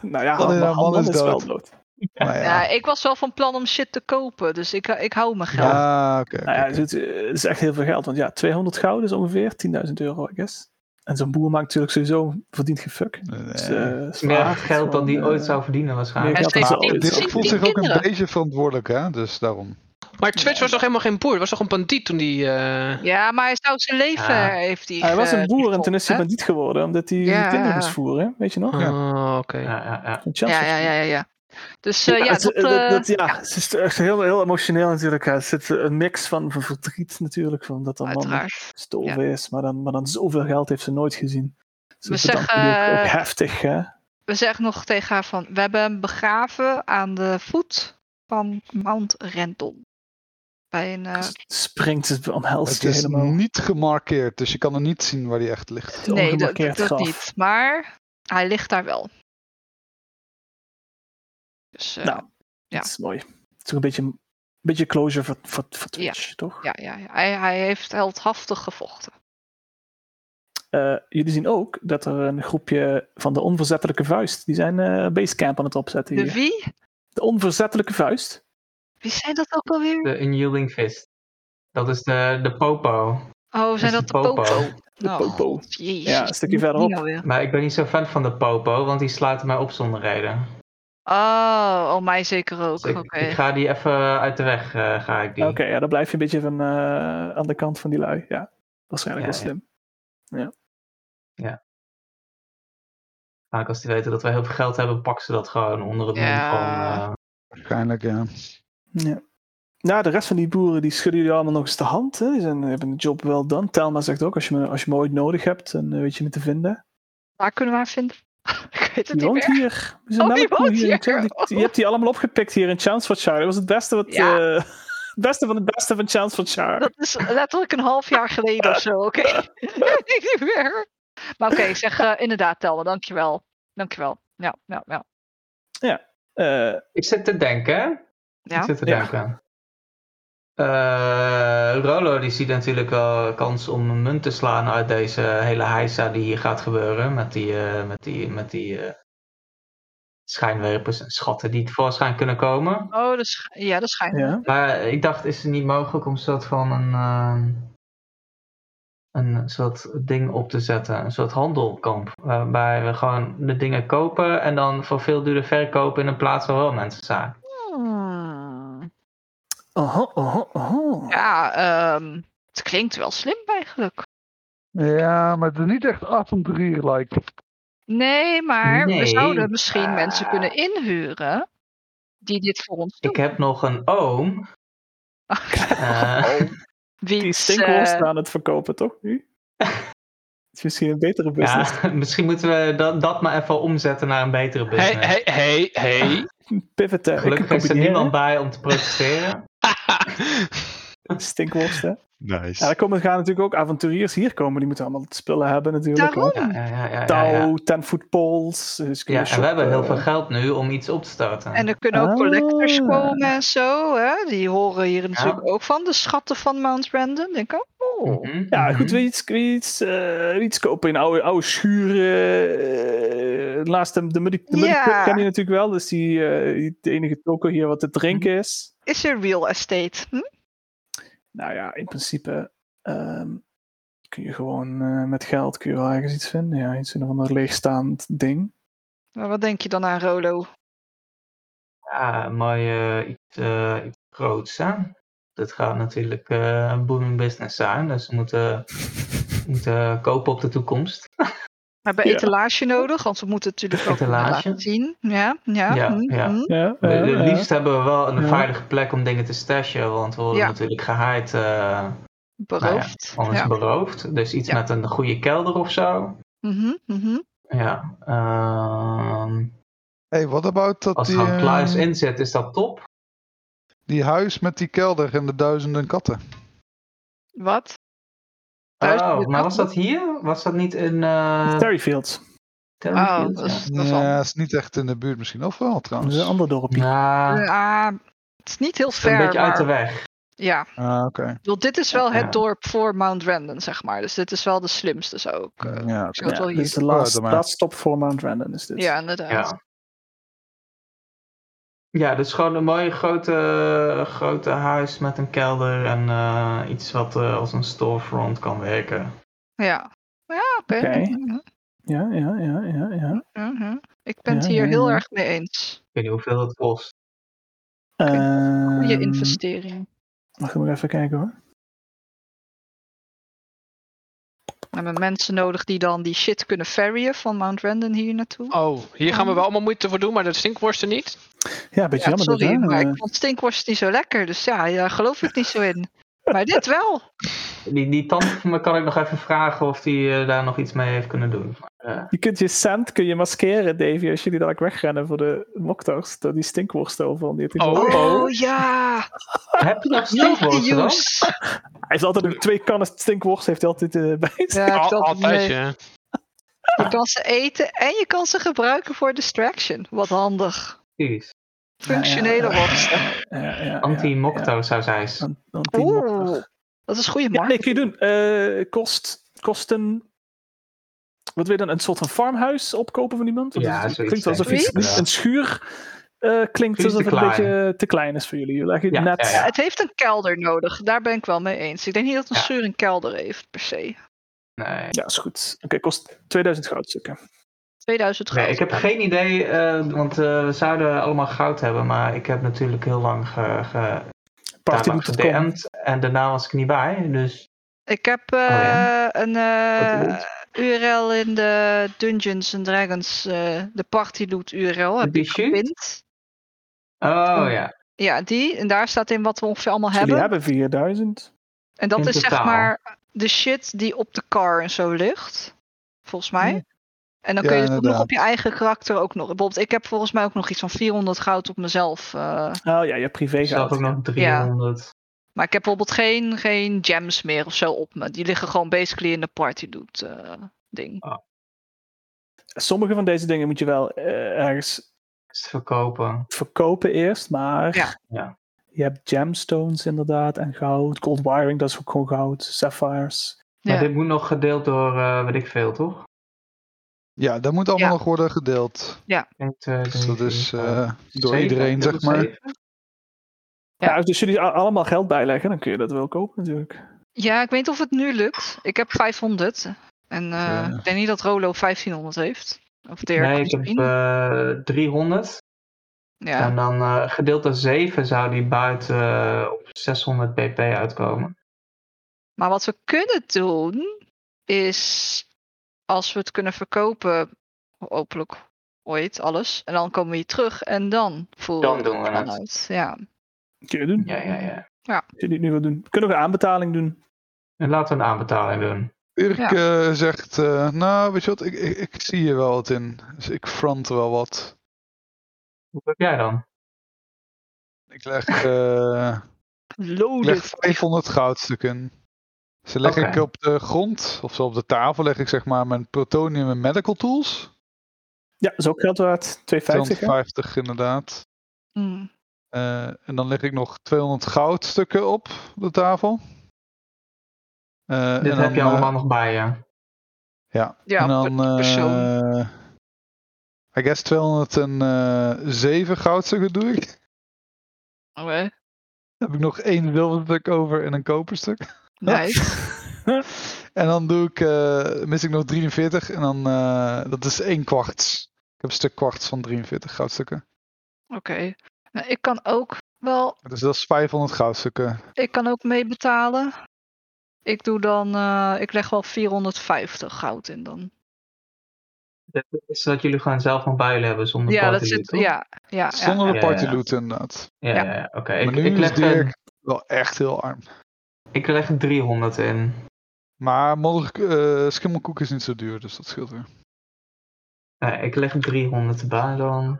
S1: Nou ja,
S5: Wat is
S1: man,
S5: haar man
S1: man
S5: is
S1: is wel
S5: dood.
S1: dood.
S5: Maar
S3: Ja.
S5: ja.
S3: ik was wel van plan om shit te kopen, dus ik, ik hou mijn geld.
S5: Ah, oké.
S1: Nou ja,
S5: oké,
S1: het
S5: oké.
S1: is, het is echt heel veel geld. Want ja, 200 goud is ongeveer 10.000 euro, I guess. En zo'n boer maakt natuurlijk sowieso verdient gefuck. Dus,
S5: Nee.
S1: eh, is
S2: Meer
S1: waar.
S2: geld dan die
S1: Eh,
S2: ooit zou verdienen waarschijnlijk.
S1: meer
S3: En
S1: geld dan
S3: steeds
S1: ze
S3: die-
S1: ooit
S3: die-
S1: zou
S3: die-
S5: Dirk voelt
S1: verdienen.
S5: zich ook een
S3: kinderen.
S5: beetje verantwoordelijk, hè? Dus daarom.
S4: Maar Twitch was toch helemaal geen boer? Het was toch een bandiet toen die... eh,
S3: Ja, maar hij zou zijn leven
S2: Ja.
S3: heeft hij.
S1: Ah, Hij was
S3: ge-
S1: een boer en toen is hij
S3: eh, hè?
S1: bandiet geworden, omdat hij
S3: Ja,
S1: die kinderen
S3: ja.
S1: moest voeren, weet je nog?
S5: Ja.
S4: Oh, oké.
S2: Ja, ja, ja.
S1: Van Chelsea.
S3: Ja, ja, ja, ja, ja. Dus eh, ja,
S1: het-
S3: dat,
S1: eh, dat-
S3: eh,
S1: dat- ja, het is echt heel, heel emotioneel natuurlijk. hè. Er zit een mix van, van verdriet natuurlijk, van dat een man
S3: uiteraard.
S1: stoven is, maar dan, maar dan zoveel geld heeft ze nooit gezien. Dus
S3: We
S1: dat is dan
S3: zeggen-
S1: natuurlijk ook heftig, hè?
S3: We zeggen nog tegen haar van, we hebben hem begraven aan de voet van Mount Renton. Bij een, eh,
S1: Springt ze omhelst
S5: Het
S1: je
S5: is
S1: helemaal.
S5: niet gemarkeerd, dus je kan er niet zien waar die echt ligt.
S1: een
S3: nee, dat,
S1: ongemarkeerd
S3: dat
S1: graf.
S3: niet. Maar hij ligt daar wel. Dus, eh,
S1: Nou.
S3: ja.
S1: Dat is mooi. Het is ook een beetje, een beetje closure voor, voor, voor Twitch, toch?
S3: ja, ja, ja. Hij, hij heeft heldhaftig gevochten.
S1: Eh, jullie zien ook dat er een groepje van de onverzettelijke vuist, die zijn eh basecamp aan het opzetten
S3: De
S1: hier.
S3: wie?
S1: De onverzettelijke vuist.
S3: Wie zijn dat ook alweer?
S2: De Unyielding Fist. Dat is de, de Popo.
S3: Oh,
S2: de
S3: zijn dat de
S2: Popo.
S3: Popo?
S1: De
S3: Oh,
S1: Popo.
S3: God, jezus.
S1: Ja, een stukje
S3: Wie
S1: verderop.
S3: nou weer?
S2: Maar ik ben niet zo fan van de Popo, want die sluiten mij op zonder reden.
S3: Oh, oh, mij zeker ook.
S2: Dus ik,
S3: Oké.
S2: ik ga die even uit de weg. eh, ga ik die.
S1: Oké, ja, dan blijf je een beetje van, eh, aan de kant van die lui. Ja, waarschijnlijk
S2: Ja,
S1: wel slim.
S2: Vaak als die weten dat wij heel veel geld hebben, pakken ze dat gewoon onder het mom
S3: Ja.
S2: van. eh,
S5: Waarschijnlijk, ja.
S1: Ja. Nou, de rest van die boeren die schudden jullie allemaal nog eens de hand. Hè. Die zijn, eh, hebben hun job wel done. Telma zegt ook, als je me, als je me ooit nodig hebt, dan eh, weet je me te vinden.
S3: Waar kunnen we haar vinden? [laughs] ik weet het
S1: Die
S3: niet
S1: woont
S3: meer.
S1: hier. We zijn
S3: Oh, die
S1: melkboer
S3: woont
S1: in
S3: hier.
S1: Chelsea. Die-
S3: [laughs]
S1: die- je hebt die allemaal opgepikt hier in Chelmsfordshire. Dat was het beste, wat,
S3: Ja.
S1: eh, [laughs] het beste van het beste van Chelmsfordshire.
S3: Dat is letterlijk een half jaar
S1: [laughs]
S3: geleden of zo, oké? [laughs] Ik weet niet meer. Maar oké, ik zeg eh, inderdaad, Telma, dankjewel. Dankjewel. Ja, ja, ja.
S1: Eh
S2: Ik zit te denken. hè?
S3: Ja?
S2: Ik zit te
S1: Ja.
S2: denken. Eh, Rolo die ziet natuurlijk wel kans om een munt te slaan uit deze hele heisa die hier gaat gebeuren. Met die, eh, met die, met die eh, schijnwerpers en schatten die tevoorschijn kunnen komen.
S3: Oh, dat sch- ja, dat schijnt.
S1: ja.
S2: Maar ik dacht, is het niet mogelijk om een soort van een, ehm, een soort ding op te zetten? Een soort handelkamp. Waarbij we gewoon de dingen kopen en dan voor veel duurder verkopen in een plaats waar wel mensen zijn.
S3: Hmm.
S1: Aha, aha, aha.
S3: Ja, ehm, het klinkt wel slim eigenlijk.
S5: Ja, maar het is niet echt avontuur, like.
S3: Nee, maar we
S2: Nee.
S3: zouden misschien
S2: Ah.
S3: mensen kunnen inhuren die dit voor ons doen.
S2: Ik heb nog een oom. eh,
S1: Oh,
S3: Wie
S1: Die
S3: eh,
S1: stinkhols aan het verkopen, toch? Nu? Het is misschien een betere
S2: ja,
S1: business.
S2: [laughs] misschien moeten we dat, dat maar even omzetten naar een betere
S4: Hey,
S2: business.
S4: hey, hey, hey. [laughs]
S1: Pivoten. eh, ik
S2: Gelukkig
S1: kan
S2: is er
S1: combineren.
S2: niemand bij om te protesteren.
S1: Stinkworsten. Ja,
S6: Nice.
S1: er komen, gaan natuurlijk ook avonturiers hier komen. Die moeten allemaal spullen hebben natuurlijk.
S3: Daarom.
S2: Ja, ja, ja, ja, ja,
S1: Touw,
S2: ja.
S1: tenvoetpols. Dus kun je
S2: Ja, en we
S1: shoppen.
S2: hebben heel veel geld nu om iets op te starten.
S3: En er kunnen ook collectors
S1: Ah.
S3: komen en zo. Hè? Die horen hier natuurlijk ook van. De schatten van Mount Brandon. Denk ik, oh.
S2: Mhm,
S1: Ja,
S2: mhm.
S1: goed, wil je iets, wil je iets, eh, wil je iets kopen in oude, oude schuren? eh laatst de, de Muddy de Muddy
S3: Ja.
S1: Cup ken je natuurlijk wel. Dus die, eh, die- de enige toko hier wat te
S3: Mhm.
S1: drinken is.
S3: Is er real estate? Hm?
S1: Nou ja, in principe ehm, kun je gewoon eh, met geld kun je wel ergens iets vinden. Ja, iets in een of ander leegstaand ding.
S3: Maar wat denk je dan aan Rolo?
S2: Ja, mooi eh, iets, eh, iets groots. Hè? Dit gaat natuurlijk eh, een booming business zijn, dus we moeten, we moeten kopen op de toekomst.
S3: We hebben
S1: Ja.
S3: etalage nodig, want we moeten het natuurlijk ook kunnen
S2: Etalage.
S3: laten zien. Ja, ja.
S2: Ja,
S3: hm,
S2: ja. Nou
S3: hm.
S1: Ja,
S2: Het
S1: eh, eh.
S2: liefst hebben we wel een
S1: Ja.
S2: veilige plek om dingen te stashen, want we worden
S3: Ja.
S2: natuurlijk gehaaid, eh
S3: Beroofd.
S2: anders
S3: ja.
S2: beroofd. Dus iets
S3: Ja.
S2: met een goede kelder of zo.
S3: Mhm, mhm.
S2: Ja, ehm,
S5: Hey, what about dat
S2: als er
S5: die,
S2: gewoon kluis
S5: eh,
S2: in zit, is dat top.
S5: die huis met die kelder en de duizenden katten?
S3: Wat? Thuis
S2: Oh,
S3: met
S2: maar was
S3: katten?
S2: Oh, dat hier? Was dat niet in... eh,
S1: Terryfields.
S3: Oh,
S2: Terrorfield,
S3: dat
S2: ja.
S3: is, dat is
S5: Ja,
S3: al-
S5: dat is niet echt in de buurt misschien. Of wel
S1: Dat is
S5: trouwens.
S1: een ander dorpje.
S2: Nou,
S3: Ja, eh, ah, het is niet heel
S2: het is een
S3: ver.
S2: beetje uit de
S3: maar-
S2: weg.
S3: Ja,
S5: Ah, oké.
S3: ik bedoel, dit is wel
S2: Ja.
S3: het dorp voor Mount Randon, zeg maar. Dus dit is wel de slimste zo ook. eh.
S5: Ja,
S3: Ik
S5: oké.
S3: zou het
S1: Ja,
S3: wel
S1: dit
S3: hier-
S1: is de laatste
S5: Oh, dan maar.
S1: laatste stop voor Mount Randon is dit.
S3: Ja, inderdaad.
S2: Ja. Ja, dus gewoon een mooie grote, grote huis met een kelder en eh, iets wat eh, als een storefront kan werken.
S3: Ja, ja oké.
S1: Oké.
S3: Mhm,
S1: ja, ja, ja, ja. ja.
S3: mhm. Ik ben
S1: Ja,
S3: het hier
S1: ja,
S3: heel
S1: ja.
S3: erg mee eens.
S2: Ik weet niet hoeveel het kost.
S3: Goede
S1: Ehm,
S3: investering.
S1: Mag ik nog even kijken hoor.
S3: We hebben mensen nodig die dan die shit kunnen ferryen van Mount Randon hier naartoe.
S4: Oh, hier gaan we wel allemaal moeite voor doen, maar dat stinkworsten niet.
S1: Ja, een beetje jammer.
S3: Ja,
S1: dit,
S3: sorry,
S1: hè?
S3: maar
S1: Eh,
S3: ik vond stinkworst niet zo lekker. Dus ja, daar geloof ik niet zo in. Maar dit wel.
S2: Die, die tante [laughs] van me kan ik nog even vragen of die eh, daar nog iets mee heeft kunnen doen. Maar, eh,
S1: Je kunt je cent kun je maskeren, Davy, als jullie dadelijk wegrennen voor de moktars. Dat die stinkworstel van die.
S4: Oh,
S3: Oh,
S4: oh.
S3: ja.
S1: Ah,
S2: heb je nog
S3: Not the
S2: stinkworsten dan?
S3: use.
S1: Hij heeft altijd een twee kannen stinkworst heeft hij altijd eh, bij zich.
S3: Ja,
S4: Al-
S3: dat
S4: altijd,
S3: nee.
S4: ja.
S3: Je kan ze eten en je kan ze gebruiken voor distraction. Wat handig.
S2: Precies.
S3: Functionele
S1: Ja, ja, ja.
S3: worsten.
S1: Ja, ja, ja,
S2: Anti-mokto zou zij
S1: ja.
S2: zijn.
S1: An- anti-mokto.
S3: Oeh, dat is goede
S1: Ja, nee,
S3: markt.
S1: kun je doen. Eh, kost, kost een. Wat wil je dan? Een soort van farmhuis opkopen van iemand? Want
S2: Ja,
S1: het
S2: zoiets
S1: klinkt alsof
S2: denk
S1: iets,
S2: ik, ja.
S1: een schuur eh, klinkt
S2: Schuur is
S1: alsof
S2: te
S1: het een
S2: klein.
S1: beetje te klein is voor jullie. Je legt het
S2: Ja,
S1: net.
S2: ja, ja.
S3: Het heeft een kelder nodig, daar ben ik wel mee eens. Ik denk niet dat een
S2: Ja.
S3: schuur een kelder heeft, per se.
S2: Nee.
S1: Ja, is goed. Oké, kost 2000 goudstukken.
S3: 2000
S2: Nee,
S3: goud.
S2: ik heb geen idee, eh, want eh, we zouden allemaal goud hebben, maar ik heb natuurlijk heel lang ge, ge,
S1: Party
S2: daarlang
S1: moet het komen.
S2: gedm'd en daarna was ik niet bij, dus
S3: Ik heb eh,
S2: ja.
S3: een
S2: Wat
S3: eh
S2: is
S3: URL in de Dungeons and Dragons, eh, de party loot URL, heb
S2: Die
S3: ik
S2: sheet?
S3: gepind.
S2: Oh ja,
S3: Ja, die. En daar staat in wat we ongeveer allemaal
S1: Jullie
S3: hebben.
S1: hebben 4000.
S3: En dat
S2: in
S3: is zeg
S2: totaal.
S3: maar de shit die op de car en zo ligt. Volgens mij.
S5: Ja.
S3: En dan
S5: Ja,
S3: kun je het ook nog
S5: inderdaad.
S3: op je eigen karakter ook nog. Bijvoorbeeld, ik heb volgens mij ook nog iets van 400 goud op mezelf. eh,
S1: Oh ja, je hebt privé
S2: ik zat ook
S1: goud.
S2: nog 300.
S3: Maar ik heb bijvoorbeeld geen, geen gems meer of zo op me. Die liggen gewoon basically in de party loot eh, ding.
S1: Sommige van deze dingen moet je wel eh, ergens
S2: Is te verkopen.
S1: verkopen eerst, maar
S3: Ja.
S2: Ja.
S1: je hebt gemstones inderdaad en goud. Gold wiring, dat is ook gewoon goud. Sapphires.
S2: Maar
S3: Ja.
S2: dit moet nog gedeeld door, eh weet ik veel, toch?
S5: Ja, dat moet allemaal
S3: Ja.
S5: nog worden gedeeld.
S2: 1, 2,
S5: Dus
S2: 3,
S5: dat is
S2: vier,
S5: eh,
S2: vijf,
S5: door
S2: zeven,
S5: iedereen,
S2: tot
S5: zeg maar.
S2: zeven.
S1: Ja.
S3: Ja.
S1: dus jullie a- allemaal geld bijleggen, dan kun je dat wel kopen natuurlijk.
S3: ja, ik weet niet of het nu lukt. Ik heb 500. En eh,
S5: Ja.
S3: ik denk niet dat Rolo 1500 heeft. Of Dirk
S2: Nee, ik heb
S3: misschien.
S2: eh, 300.
S3: ja.
S2: En dan eh, gedeeld door 7 zou die buiten eh, op 600 pp uitkomen.
S3: Maar wat we kunnen doen is, als we het kunnen verkopen, hopelijk ooit alles, en dan komen we hier terug en dan voeren
S2: Dan
S3: we
S2: doen we
S3: ervan
S2: het.
S3: uit. Ja.
S1: Kun je doen.
S2: Ja, ja, ja.
S1: Als jullie het nu wil doen. Kunnen we een aanbetaling doen?
S2: En laten we een aanbetaling doen.
S5: Dirk
S3: Ja.
S5: eh, zegt, eh, nou weet je wat, ik, ik, ik zie hier wel wat in. Dus ik front wel wat.
S2: Hoe heb jij dan?
S5: Ik
S3: [laughs]
S5: leg, eh, ik leg
S3: Loaded.
S5: 500 goudstukken. Ze leg
S2: Oké.
S5: ik op de grond, of zo op de tafel leg ik zeg maar mijn plutonium en medical tools.
S1: Ja, dat is ook geld waard. 250. hè?
S5: 250 inderdaad.
S3: Hm.
S5: Eh, en dan leg ik nog 200 goudstukken op de tafel. Eh,
S2: Dit
S5: en
S2: heb
S5: dan,
S2: je
S5: eh,
S2: allemaal nog bij je.
S3: Ja,
S5: en dan,
S3: per persoon.
S5: eh, I guess 207 goudstukken doe ik. [laughs]
S3: Oké,
S5: Dan heb ik nog één zilverstuk over en een koperstuk.
S3: Nice.
S5: En dan doe ik, eh, mis ik nog 43 en dan, eh, dat is één kwarts. Ik heb een stuk kwarts van 43 goudstukken.
S3: Oké. Nou, ik kan ook wel,
S5: Dus dat is 500 goudstukken.
S3: ik kan ook meebetalen. Ik doe dan, eh, ik leg wel 450 goud in dan.
S2: Dat is dat jullie gewoon zelf nog bij jullie hebben zonder
S3: Ja, dat
S2: party
S3: zit,
S2: lead, toch?
S3: ja, ja, ja.
S5: Zonder de
S2: ja, ja,
S5: party
S2: ja.
S5: loot inderdaad.
S2: Ja,
S3: Ja.
S2: ja, ja, oké.
S5: maar
S2: Ik,
S5: nu
S2: ik,
S5: is
S2: leg,
S5: Dirk
S2: eh,
S5: wel echt heel arm.
S2: ik leg 300 in.
S5: Maar modder, eh, schimmelkoek is niet zo duur, dus dat scheelt weer.
S2: Nee, ik leg 300 erbij dan.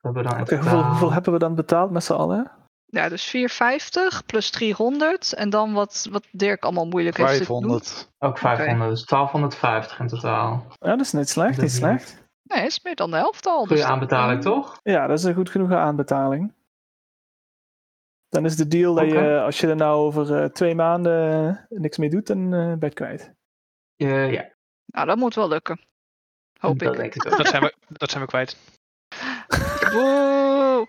S2: We hebben dan in
S1: Oké, hoeveel,
S2: totaal-
S1: hoeveel hebben we dan betaald met z'n allen?
S3: Ja, dus 450 plus 300. En dan wat, wat Dirk allemaal moeilijk heeft zitten doen.
S5: 500.
S2: Ook 500, dus 1250 in totaal.
S3: Oh,
S1: Ja, dat is niet slecht, niet slecht.
S3: Nee, is meer dan de helft al.
S2: Goede
S3: dus dan-
S2: aanbetaling, toch?
S1: Ja, dat is een goed genoeg aanbetaling. Dan is de deal dat je,
S2: Oké.
S1: als je er nou over eh, twee maanden eh, niks mee doet, dan eh ben je het kwijt. [laughs]
S2: Eh, ja,
S3: Nou, dat moet wel lukken. Hoop
S2: dat
S3: ik.
S2: denk ik ook.
S4: Dat zijn we, [laughs] dat zijn we kwijt.
S3: Woe!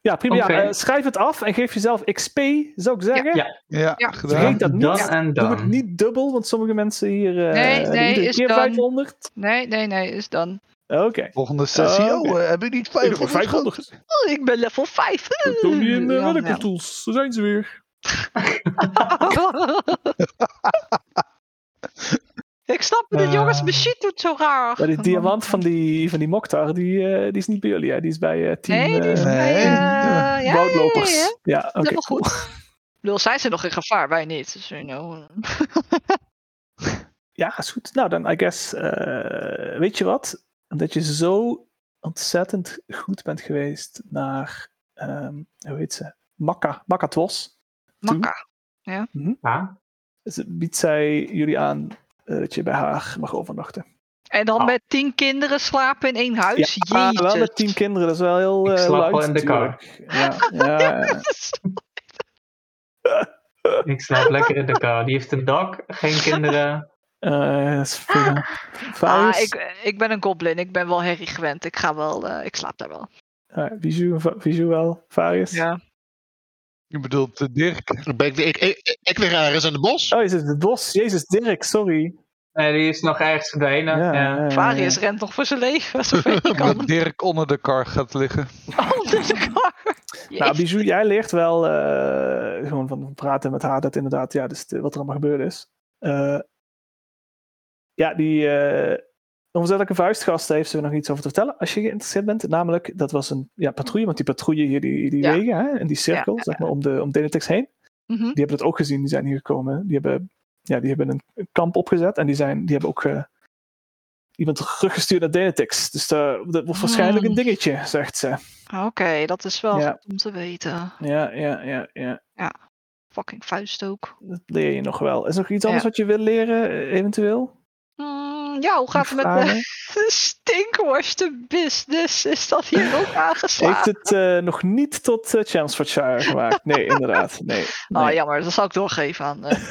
S1: ja, prima. Ja,
S2: Oké.
S1: eh, schrijf het af en geef jezelf XP, zou ik zeggen.
S2: Ja.
S5: Ja,
S3: Ja.
S5: gedaan.
S1: Vergeet dat niet.
S2: Dan en
S1: Doe het
S2: dan.
S1: niet dubbel, want sommige mensen hier... eh
S3: Nee, nee,
S1: iedere
S3: is
S1: keer
S3: dan-
S1: 500.
S3: Nee, nee, nee, is dan.
S1: Oké.
S5: Volgende sessie.
S1: Eh,
S5: oh,
S1: oké.
S5: eh, heb je niet
S1: Ieder voor
S5: 500? gehad?
S3: Oh, ik ben level 5.
S1: Dat doen die in de
S3: Ja, nou.
S1: Welcome Tools. Daar zijn ze weer.
S3: ja. [laughs] ik snap het, niet, jongens, mijn shit doet zo raar.
S1: Maar die diamant van die, van die Mokhtar, die, eh, die is niet bij jullie, hè? Die is bij eh, team
S3: Nee, die is
S1: eh,
S5: Nee.
S3: bij, eh, ja, ja,
S1: woudlopers.
S3: ja, ja.
S1: Ja, oké.
S3: Helemaal
S1: cool.
S3: goed. Ik bedoel, zij zijn nog in gevaar, wij niet. Dus, you know.
S1: Ja, is goed. Nou, dan, I guess, eh, weet je wat? Omdat je zo ontzettend goed bent geweest naar, ehm, hoe heet ze? Makka, Makatwos.
S3: Makka.
S2: Ja.
S1: Dus biedt zij jullie aan eh, dat je bij haar mag overnachten.
S3: En dan
S2: Ah.
S3: met tien kinderen slapen in één huis.
S1: Ah,
S3: Oh, Jeetje.
S1: Oh. wel
S3: [laughs]
S1: met tien kinderen, dat is wel heel
S2: Ik
S1: eh,
S2: slaap
S1: luid
S2: wel in de car.
S1: natuurlijk. Ja, ja, ja.
S2: Ik slaap lekker in de kou. Die heeft een dak, geen kinderen.
S1: Eh, dat is prima.
S3: Ah,
S1: Vuist.
S3: ik, ik ben een goblin. Ik ben wel herrie gewend. Ik ga wel, eh, ik slaap daar wel.
S1: Ah, Bijou, Va- Bijou wel, Varius.
S3: Ja.
S5: Je bedoelt eh, Dirk.
S6: Dan ben ik, ik, ik, ik weer ergens in het bos.
S1: Oh, je zit in het bos. Jezus, Dirk, sorry.
S2: Nee, die is nog ergens verdwenen. Ja,
S1: ja.
S3: Varius rent nog voor zijn leven. [laughs] Zoveel hij
S5: [laughs] Dat
S3: kan.
S5: Dirk onder de kar gaat liggen.
S3: Onder de kar.
S1: Nou,
S3: Jeetje.
S1: Bijou, jij leert wel eh, gewoon van praten met haar dat inderdaad, ja, dus de- wat er allemaal gebeurd is. Eh, ja, die eh onverzettelijke vuistgast daar heeft ze nog iets over te vertellen, als je geïnteresseerd bent. Namelijk, dat was een ja, patrouille, want die patrouille hier, die, die
S3: Ja.
S1: wegen, hè, en die cirkel, zeg maar, om, de, om Denetex heen.
S3: Mhm.
S1: die hebben dat ook gezien, die zijn hier gekomen. Die hebben, ja, die hebben een kamp opgezet en die, zijn, die hebben ook eh, iemand teruggestuurd naar Denetex. Dus eh, dat wordt waarschijnlijk een
S3: Hmm.
S1: dingetje, zegt ze.
S3: Ah, Oké, dat is wel
S1: Ja.
S3: goed om te weten.
S1: Ja, ja, ja, ja.
S3: Fucking vuist ook.
S1: Dat leer je nog wel. Is er nog iets
S3: Ja.
S1: anders wat je wil leren, eh, eventueel?
S3: Mm, ja, hoe gaat het met
S1: Vragen?
S3: de, de [laughs] stinkworsten business? Is dat hier ook
S1: [laughs] Heeft
S3: aangeslagen?
S1: het eh, nog niet tot eh, Chelmsfordshire gemaakt? Nee, inderdaad. Nee.
S3: Oh,
S1: nee.
S3: jammer. Dat zal ik doorgeven
S1: [laughs]
S3: aan, eh,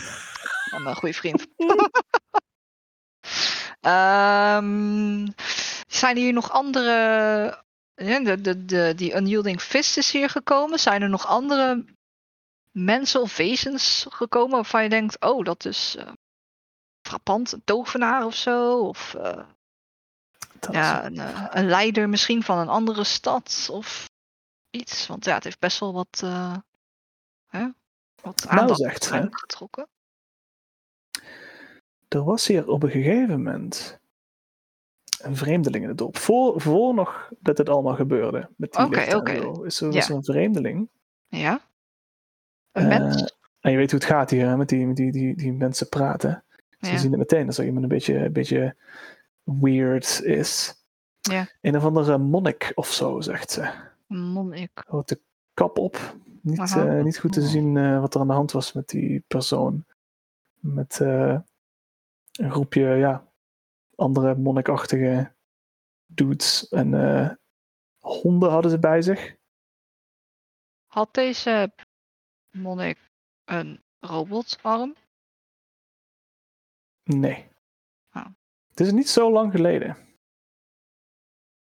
S3: aan mijn goede vriend. [laughs] Ehm, zijn hier nog andere... ja, De, de, de, die Unyielding Fist is hier gekomen. Zijn er nog andere mensen of wezens gekomen waarvan je denkt... Oh, dat is eh, frappant. Een tovenaar of zo. Of eh,
S1: Dat is-
S3: ja, een, eh, een leider misschien van een andere stad of iets. Want ja, het heeft best wel wat, eh, hè? wat
S1: Nou,
S3: aandacht
S1: zegt ze.
S3: waarschijnlijk getrokken.
S1: Er was hier op een gegeven moment een vreemdeling in het dorp. Voor, voor nog dat het allemaal gebeurde. Met die
S3: Oké,
S1: lichten en
S3: oké.
S1: zo, Is er
S3: Ja.
S1: was er een vreemdeling.
S3: Ja? Een
S1: Eh,
S3: mens?
S1: En je weet hoe het gaat hier, hè, met die, met die, die, die mensen praten. Ze
S3: Ja.
S1: zien het meteen als er iemand een beetje, een beetje weird is.
S3: Ja.
S1: Een of andere monnik of zo, zegt ze.
S3: Een monnik.
S1: Houdt de kap op. Niet,
S3: Aha.
S1: eh, niet goed te zien eh, wat er aan de hand was met die persoon. Met eh, een groepje ja, andere monnikachtige dudes. En eh, honden hadden ze bij zich.
S3: Had deze monnik een robotarm?
S1: Nee.
S3: Ah.
S1: Het is niet zo lang geleden.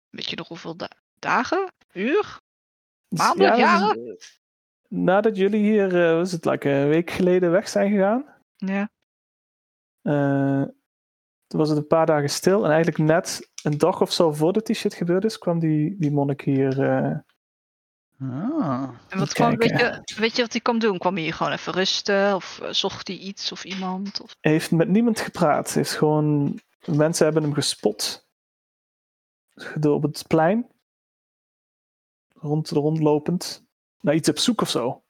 S3: Weet je nog hoeveel da- dagen? Uur?
S1: Dus
S3: Maanden?
S1: Maandelijk
S3: Jaren?
S1: nadat jullie hier, eh, wat is het, like, een week geleden weg zijn gegaan,
S3: Ja.
S1: eh, toen was het een paar dagen stil. En eigenlijk net een dag of zo voordat die shit gebeurd is, kwam die, die monnik hier. eh,
S5: Ah.
S3: En wat
S1: Even
S3: kwam, weet,
S1: kijken.
S3: je, weet je wat hij kwam doen? Kwam hij hier gewoon even rusten? Of eh, zocht hij iets of iemand? Of...
S1: heeft met niemand gepraat. Heeft gewoon, mensen hebben hem gespot. Door Op het plein. Rond, rondlopend. Naar iets op zoek of zo.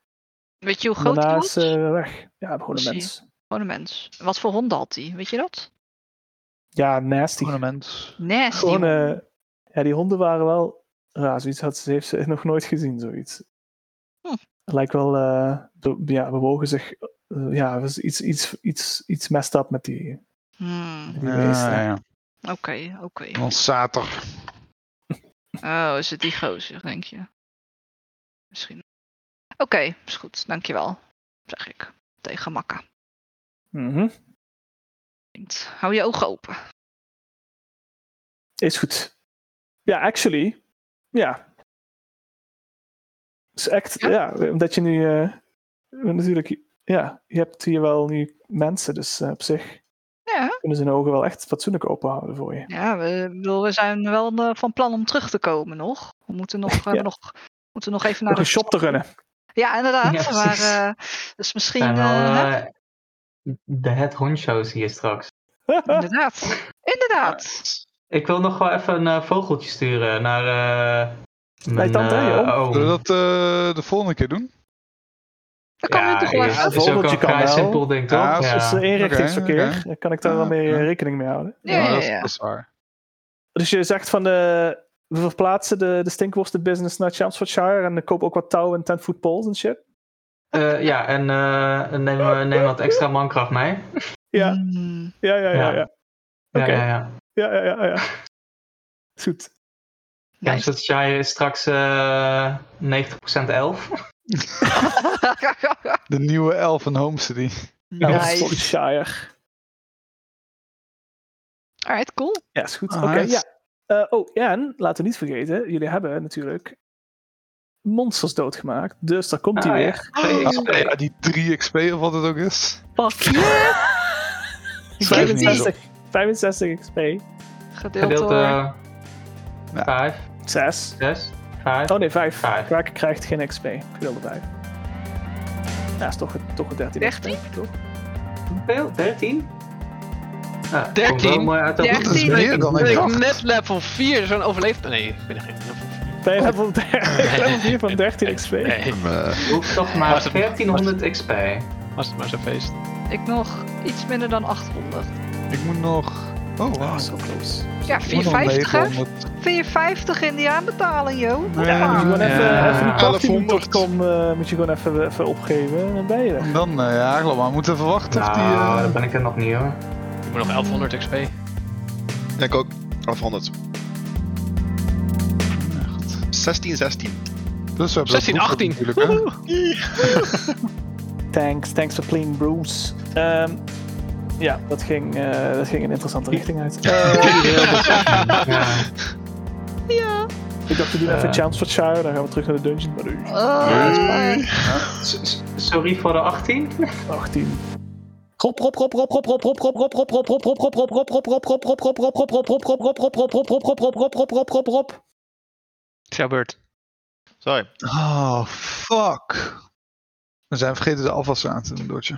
S3: Weet je hoe groot hij
S1: Daarna
S3: was?
S1: is eh, weg. Ja, gewoon
S3: Zie
S1: een
S3: je.
S1: mens.
S3: Gewoon een mens. Wat voor honden had hij? Weet je dat?
S1: Ja, nasty.
S5: Gewoon een mens.
S3: Nasty. [laughs]
S1: Gewoon, eh, ja, die honden waren wel raar. Zoiets had ze, heeft ze nog nooit gezien, zoiets.
S3: Hm.
S1: Het lijkt wel, eh, be- ja, bewogen zich. eh, ja, er was iets, iets, iets, iets messed up met die,
S3: Hmm,
S1: die beesten.
S5: Ah, Ja, ja.
S3: Oké, oké.
S5: Want zater.
S3: Oh, is het die gozer, denk je? Misschien. Oké, is goed. Dankjewel. Zeg ik. Tegen Makka.
S1: Mhm.
S3: Vriend, Hou je ogen open.
S1: Is goed. Ja, actually. Ja. Is echt,
S3: Ja.
S1: ja. omdat je nu. eh, natuurlijk, ja, je hebt hier wel nu mensen, dus eh, op zich
S3: Ja, Nou,
S1: kunnen ze hun ogen wel echt fatsoenlijk open houden voor je.
S3: ja we, ik bedoel, we zijn wel eh, van plan om terug te komen nog. We moeten nog, we
S2: [laughs]
S3: hebben nog, moeten nog even naar
S1: Nog een shop te runnen.
S3: Ja, inderdaad.
S2: Ja,
S3: maar,
S2: precies.
S3: eh, dus misschien...
S2: zijn wel
S3: eh, hè?
S2: eh, de head honcho's hier straks. eh,
S3: [laughs] Inderdaad. Inderdaad.
S2: Ik wil nog wel even een eh, vogeltje sturen naar. eh
S1: Bij tante,
S2: eh,
S1: joh.
S2: oom.
S5: Zullen we dat eh, de volgende keer doen?
S3: Dan kan je
S2: Ja,
S3: toch wel
S2: is-
S1: even?
S2: is ook wel
S1: Vogeltje kan
S2: vrij
S1: wel.
S2: simpel, denk ik. toch?
S5: Ja,
S2: Ja,
S5: als-
S1: Dus eh, eenrichtingsverkeer,
S5: oké, oké.
S1: dan kan ik daar wel mee eh, rekening mee houden.
S3: Ja, ja,
S5: dat, is,
S3: ja.
S5: dat is waar.
S1: Dus je zegt van de, we verplaatsen de, de stinkworstenbusiness naar Chelmsfordshire en koop ook wat touw en tentfoot poles en shit.
S2: Eh, ja en eh, neem, eh, neem wat extra mankracht mee.
S1: Ja,
S3: Hmm.
S1: ja, ja, ja.
S2: Ja.
S1: ja.
S2: Ja,
S1: Oké.
S2: ja, ja.
S1: Ja, ja, ja, ja. Is goed.
S2: Ja,
S3: Nice.
S2: zodat jij straks eh 90% elf.
S5: De nieuwe elf en Home City.
S3: nice.
S1: Chelmsfordshire.
S3: Alright, cool.
S1: Ja, is goed.
S5: Ah,
S1: Oké,
S5: het-
S1: ja. Eh, oh, en laten we niet vergeten, jullie hebben natuurlijk monsters doodgemaakt. Dus daar komt hij
S2: Ah, ja.
S1: weer.
S2: Twee
S5: Ah,
S2: XP.
S5: ja, die 3 XP of wat het ook is.
S3: Oh, Fuck yeah.
S5: Schrijf het niet eens op.
S1: 65, 65 XP.
S3: Gedeeld
S2: Gedeeld
S3: door...
S2: eh
S5: Ja.
S2: 5,
S1: 6.
S2: 6, 5.
S1: Oh nee, 5.
S2: Vijf.
S1: Kraken krijgt geen XP. Ik wilde 5. Ja, is toch, een- toch een 13. XP, toch?
S2: Hoeveel? 13? Ah, komt
S4: 13?
S2: wel mooi uit dat-
S5: Dat is
S3: 13.
S5: meer dan
S4: Ben
S5: ik
S4: ik
S5: dacht.
S4: net level 4, zo'n overleefd. Nee, ik ben geen level 4.
S1: Bij level, [laughs] level 4 van 13 XP.
S4: Oh. Nee,
S6: Eh,
S2: Hoeft toch
S4: Was
S2: maar
S4: het-
S2: 1400 XP.
S4: was het maar zo'n feest.
S3: Ik nog iets minder dan 800.
S5: Ik moet nog. Oh,
S1: Oh,
S5: wow.
S1: zo close.
S3: Ja,
S5: Ik moet nog
S3: 450 hè?
S5: 900.
S3: 450 in die aanbetaling, joh.
S5: Nee,
S1: Ja, moet je gewoon even,
S5: Ja.
S1: even die
S6: 1100.
S1: party.com eh, moet je gewoon even, even opgeven en ben je er.
S5: En dan, eh, ja, geloof maar. We moeten even wachten of die.
S2: Nou,
S5: eh,
S2: dan ben ik er nog niet hoor.
S4: Ik moet nog 1100 XP.
S6: ik ook. 1100.
S5: ja, goed.
S6: 16, 16.
S5: Dus we hebben dat
S4: 16,
S5: boek ook
S4: 18.
S5: natuurlijk, hè.
S1: Thanks, thanks for playing Bruce. Ehm, ja, dat ging, eh, dat ging een interessante richting
S4: [laughs]
S1: uit. Eh,
S2: Ja.
S5: [laughs]
S3: Ja.
S1: ik dacht, we doen
S2: Eh.
S1: even Chelmsfordshire, dan gaan we terug naar de dungeon. Maar nu,
S3: Oh, dat is fijn.
S2: S- s- Sorry voor de 18.
S1: 18.
S4: Is jouw beurt.
S6: Sorry.
S5: [laughs] Oh, fuck. We zijn vergeten de afwas aan te doen, Doortje.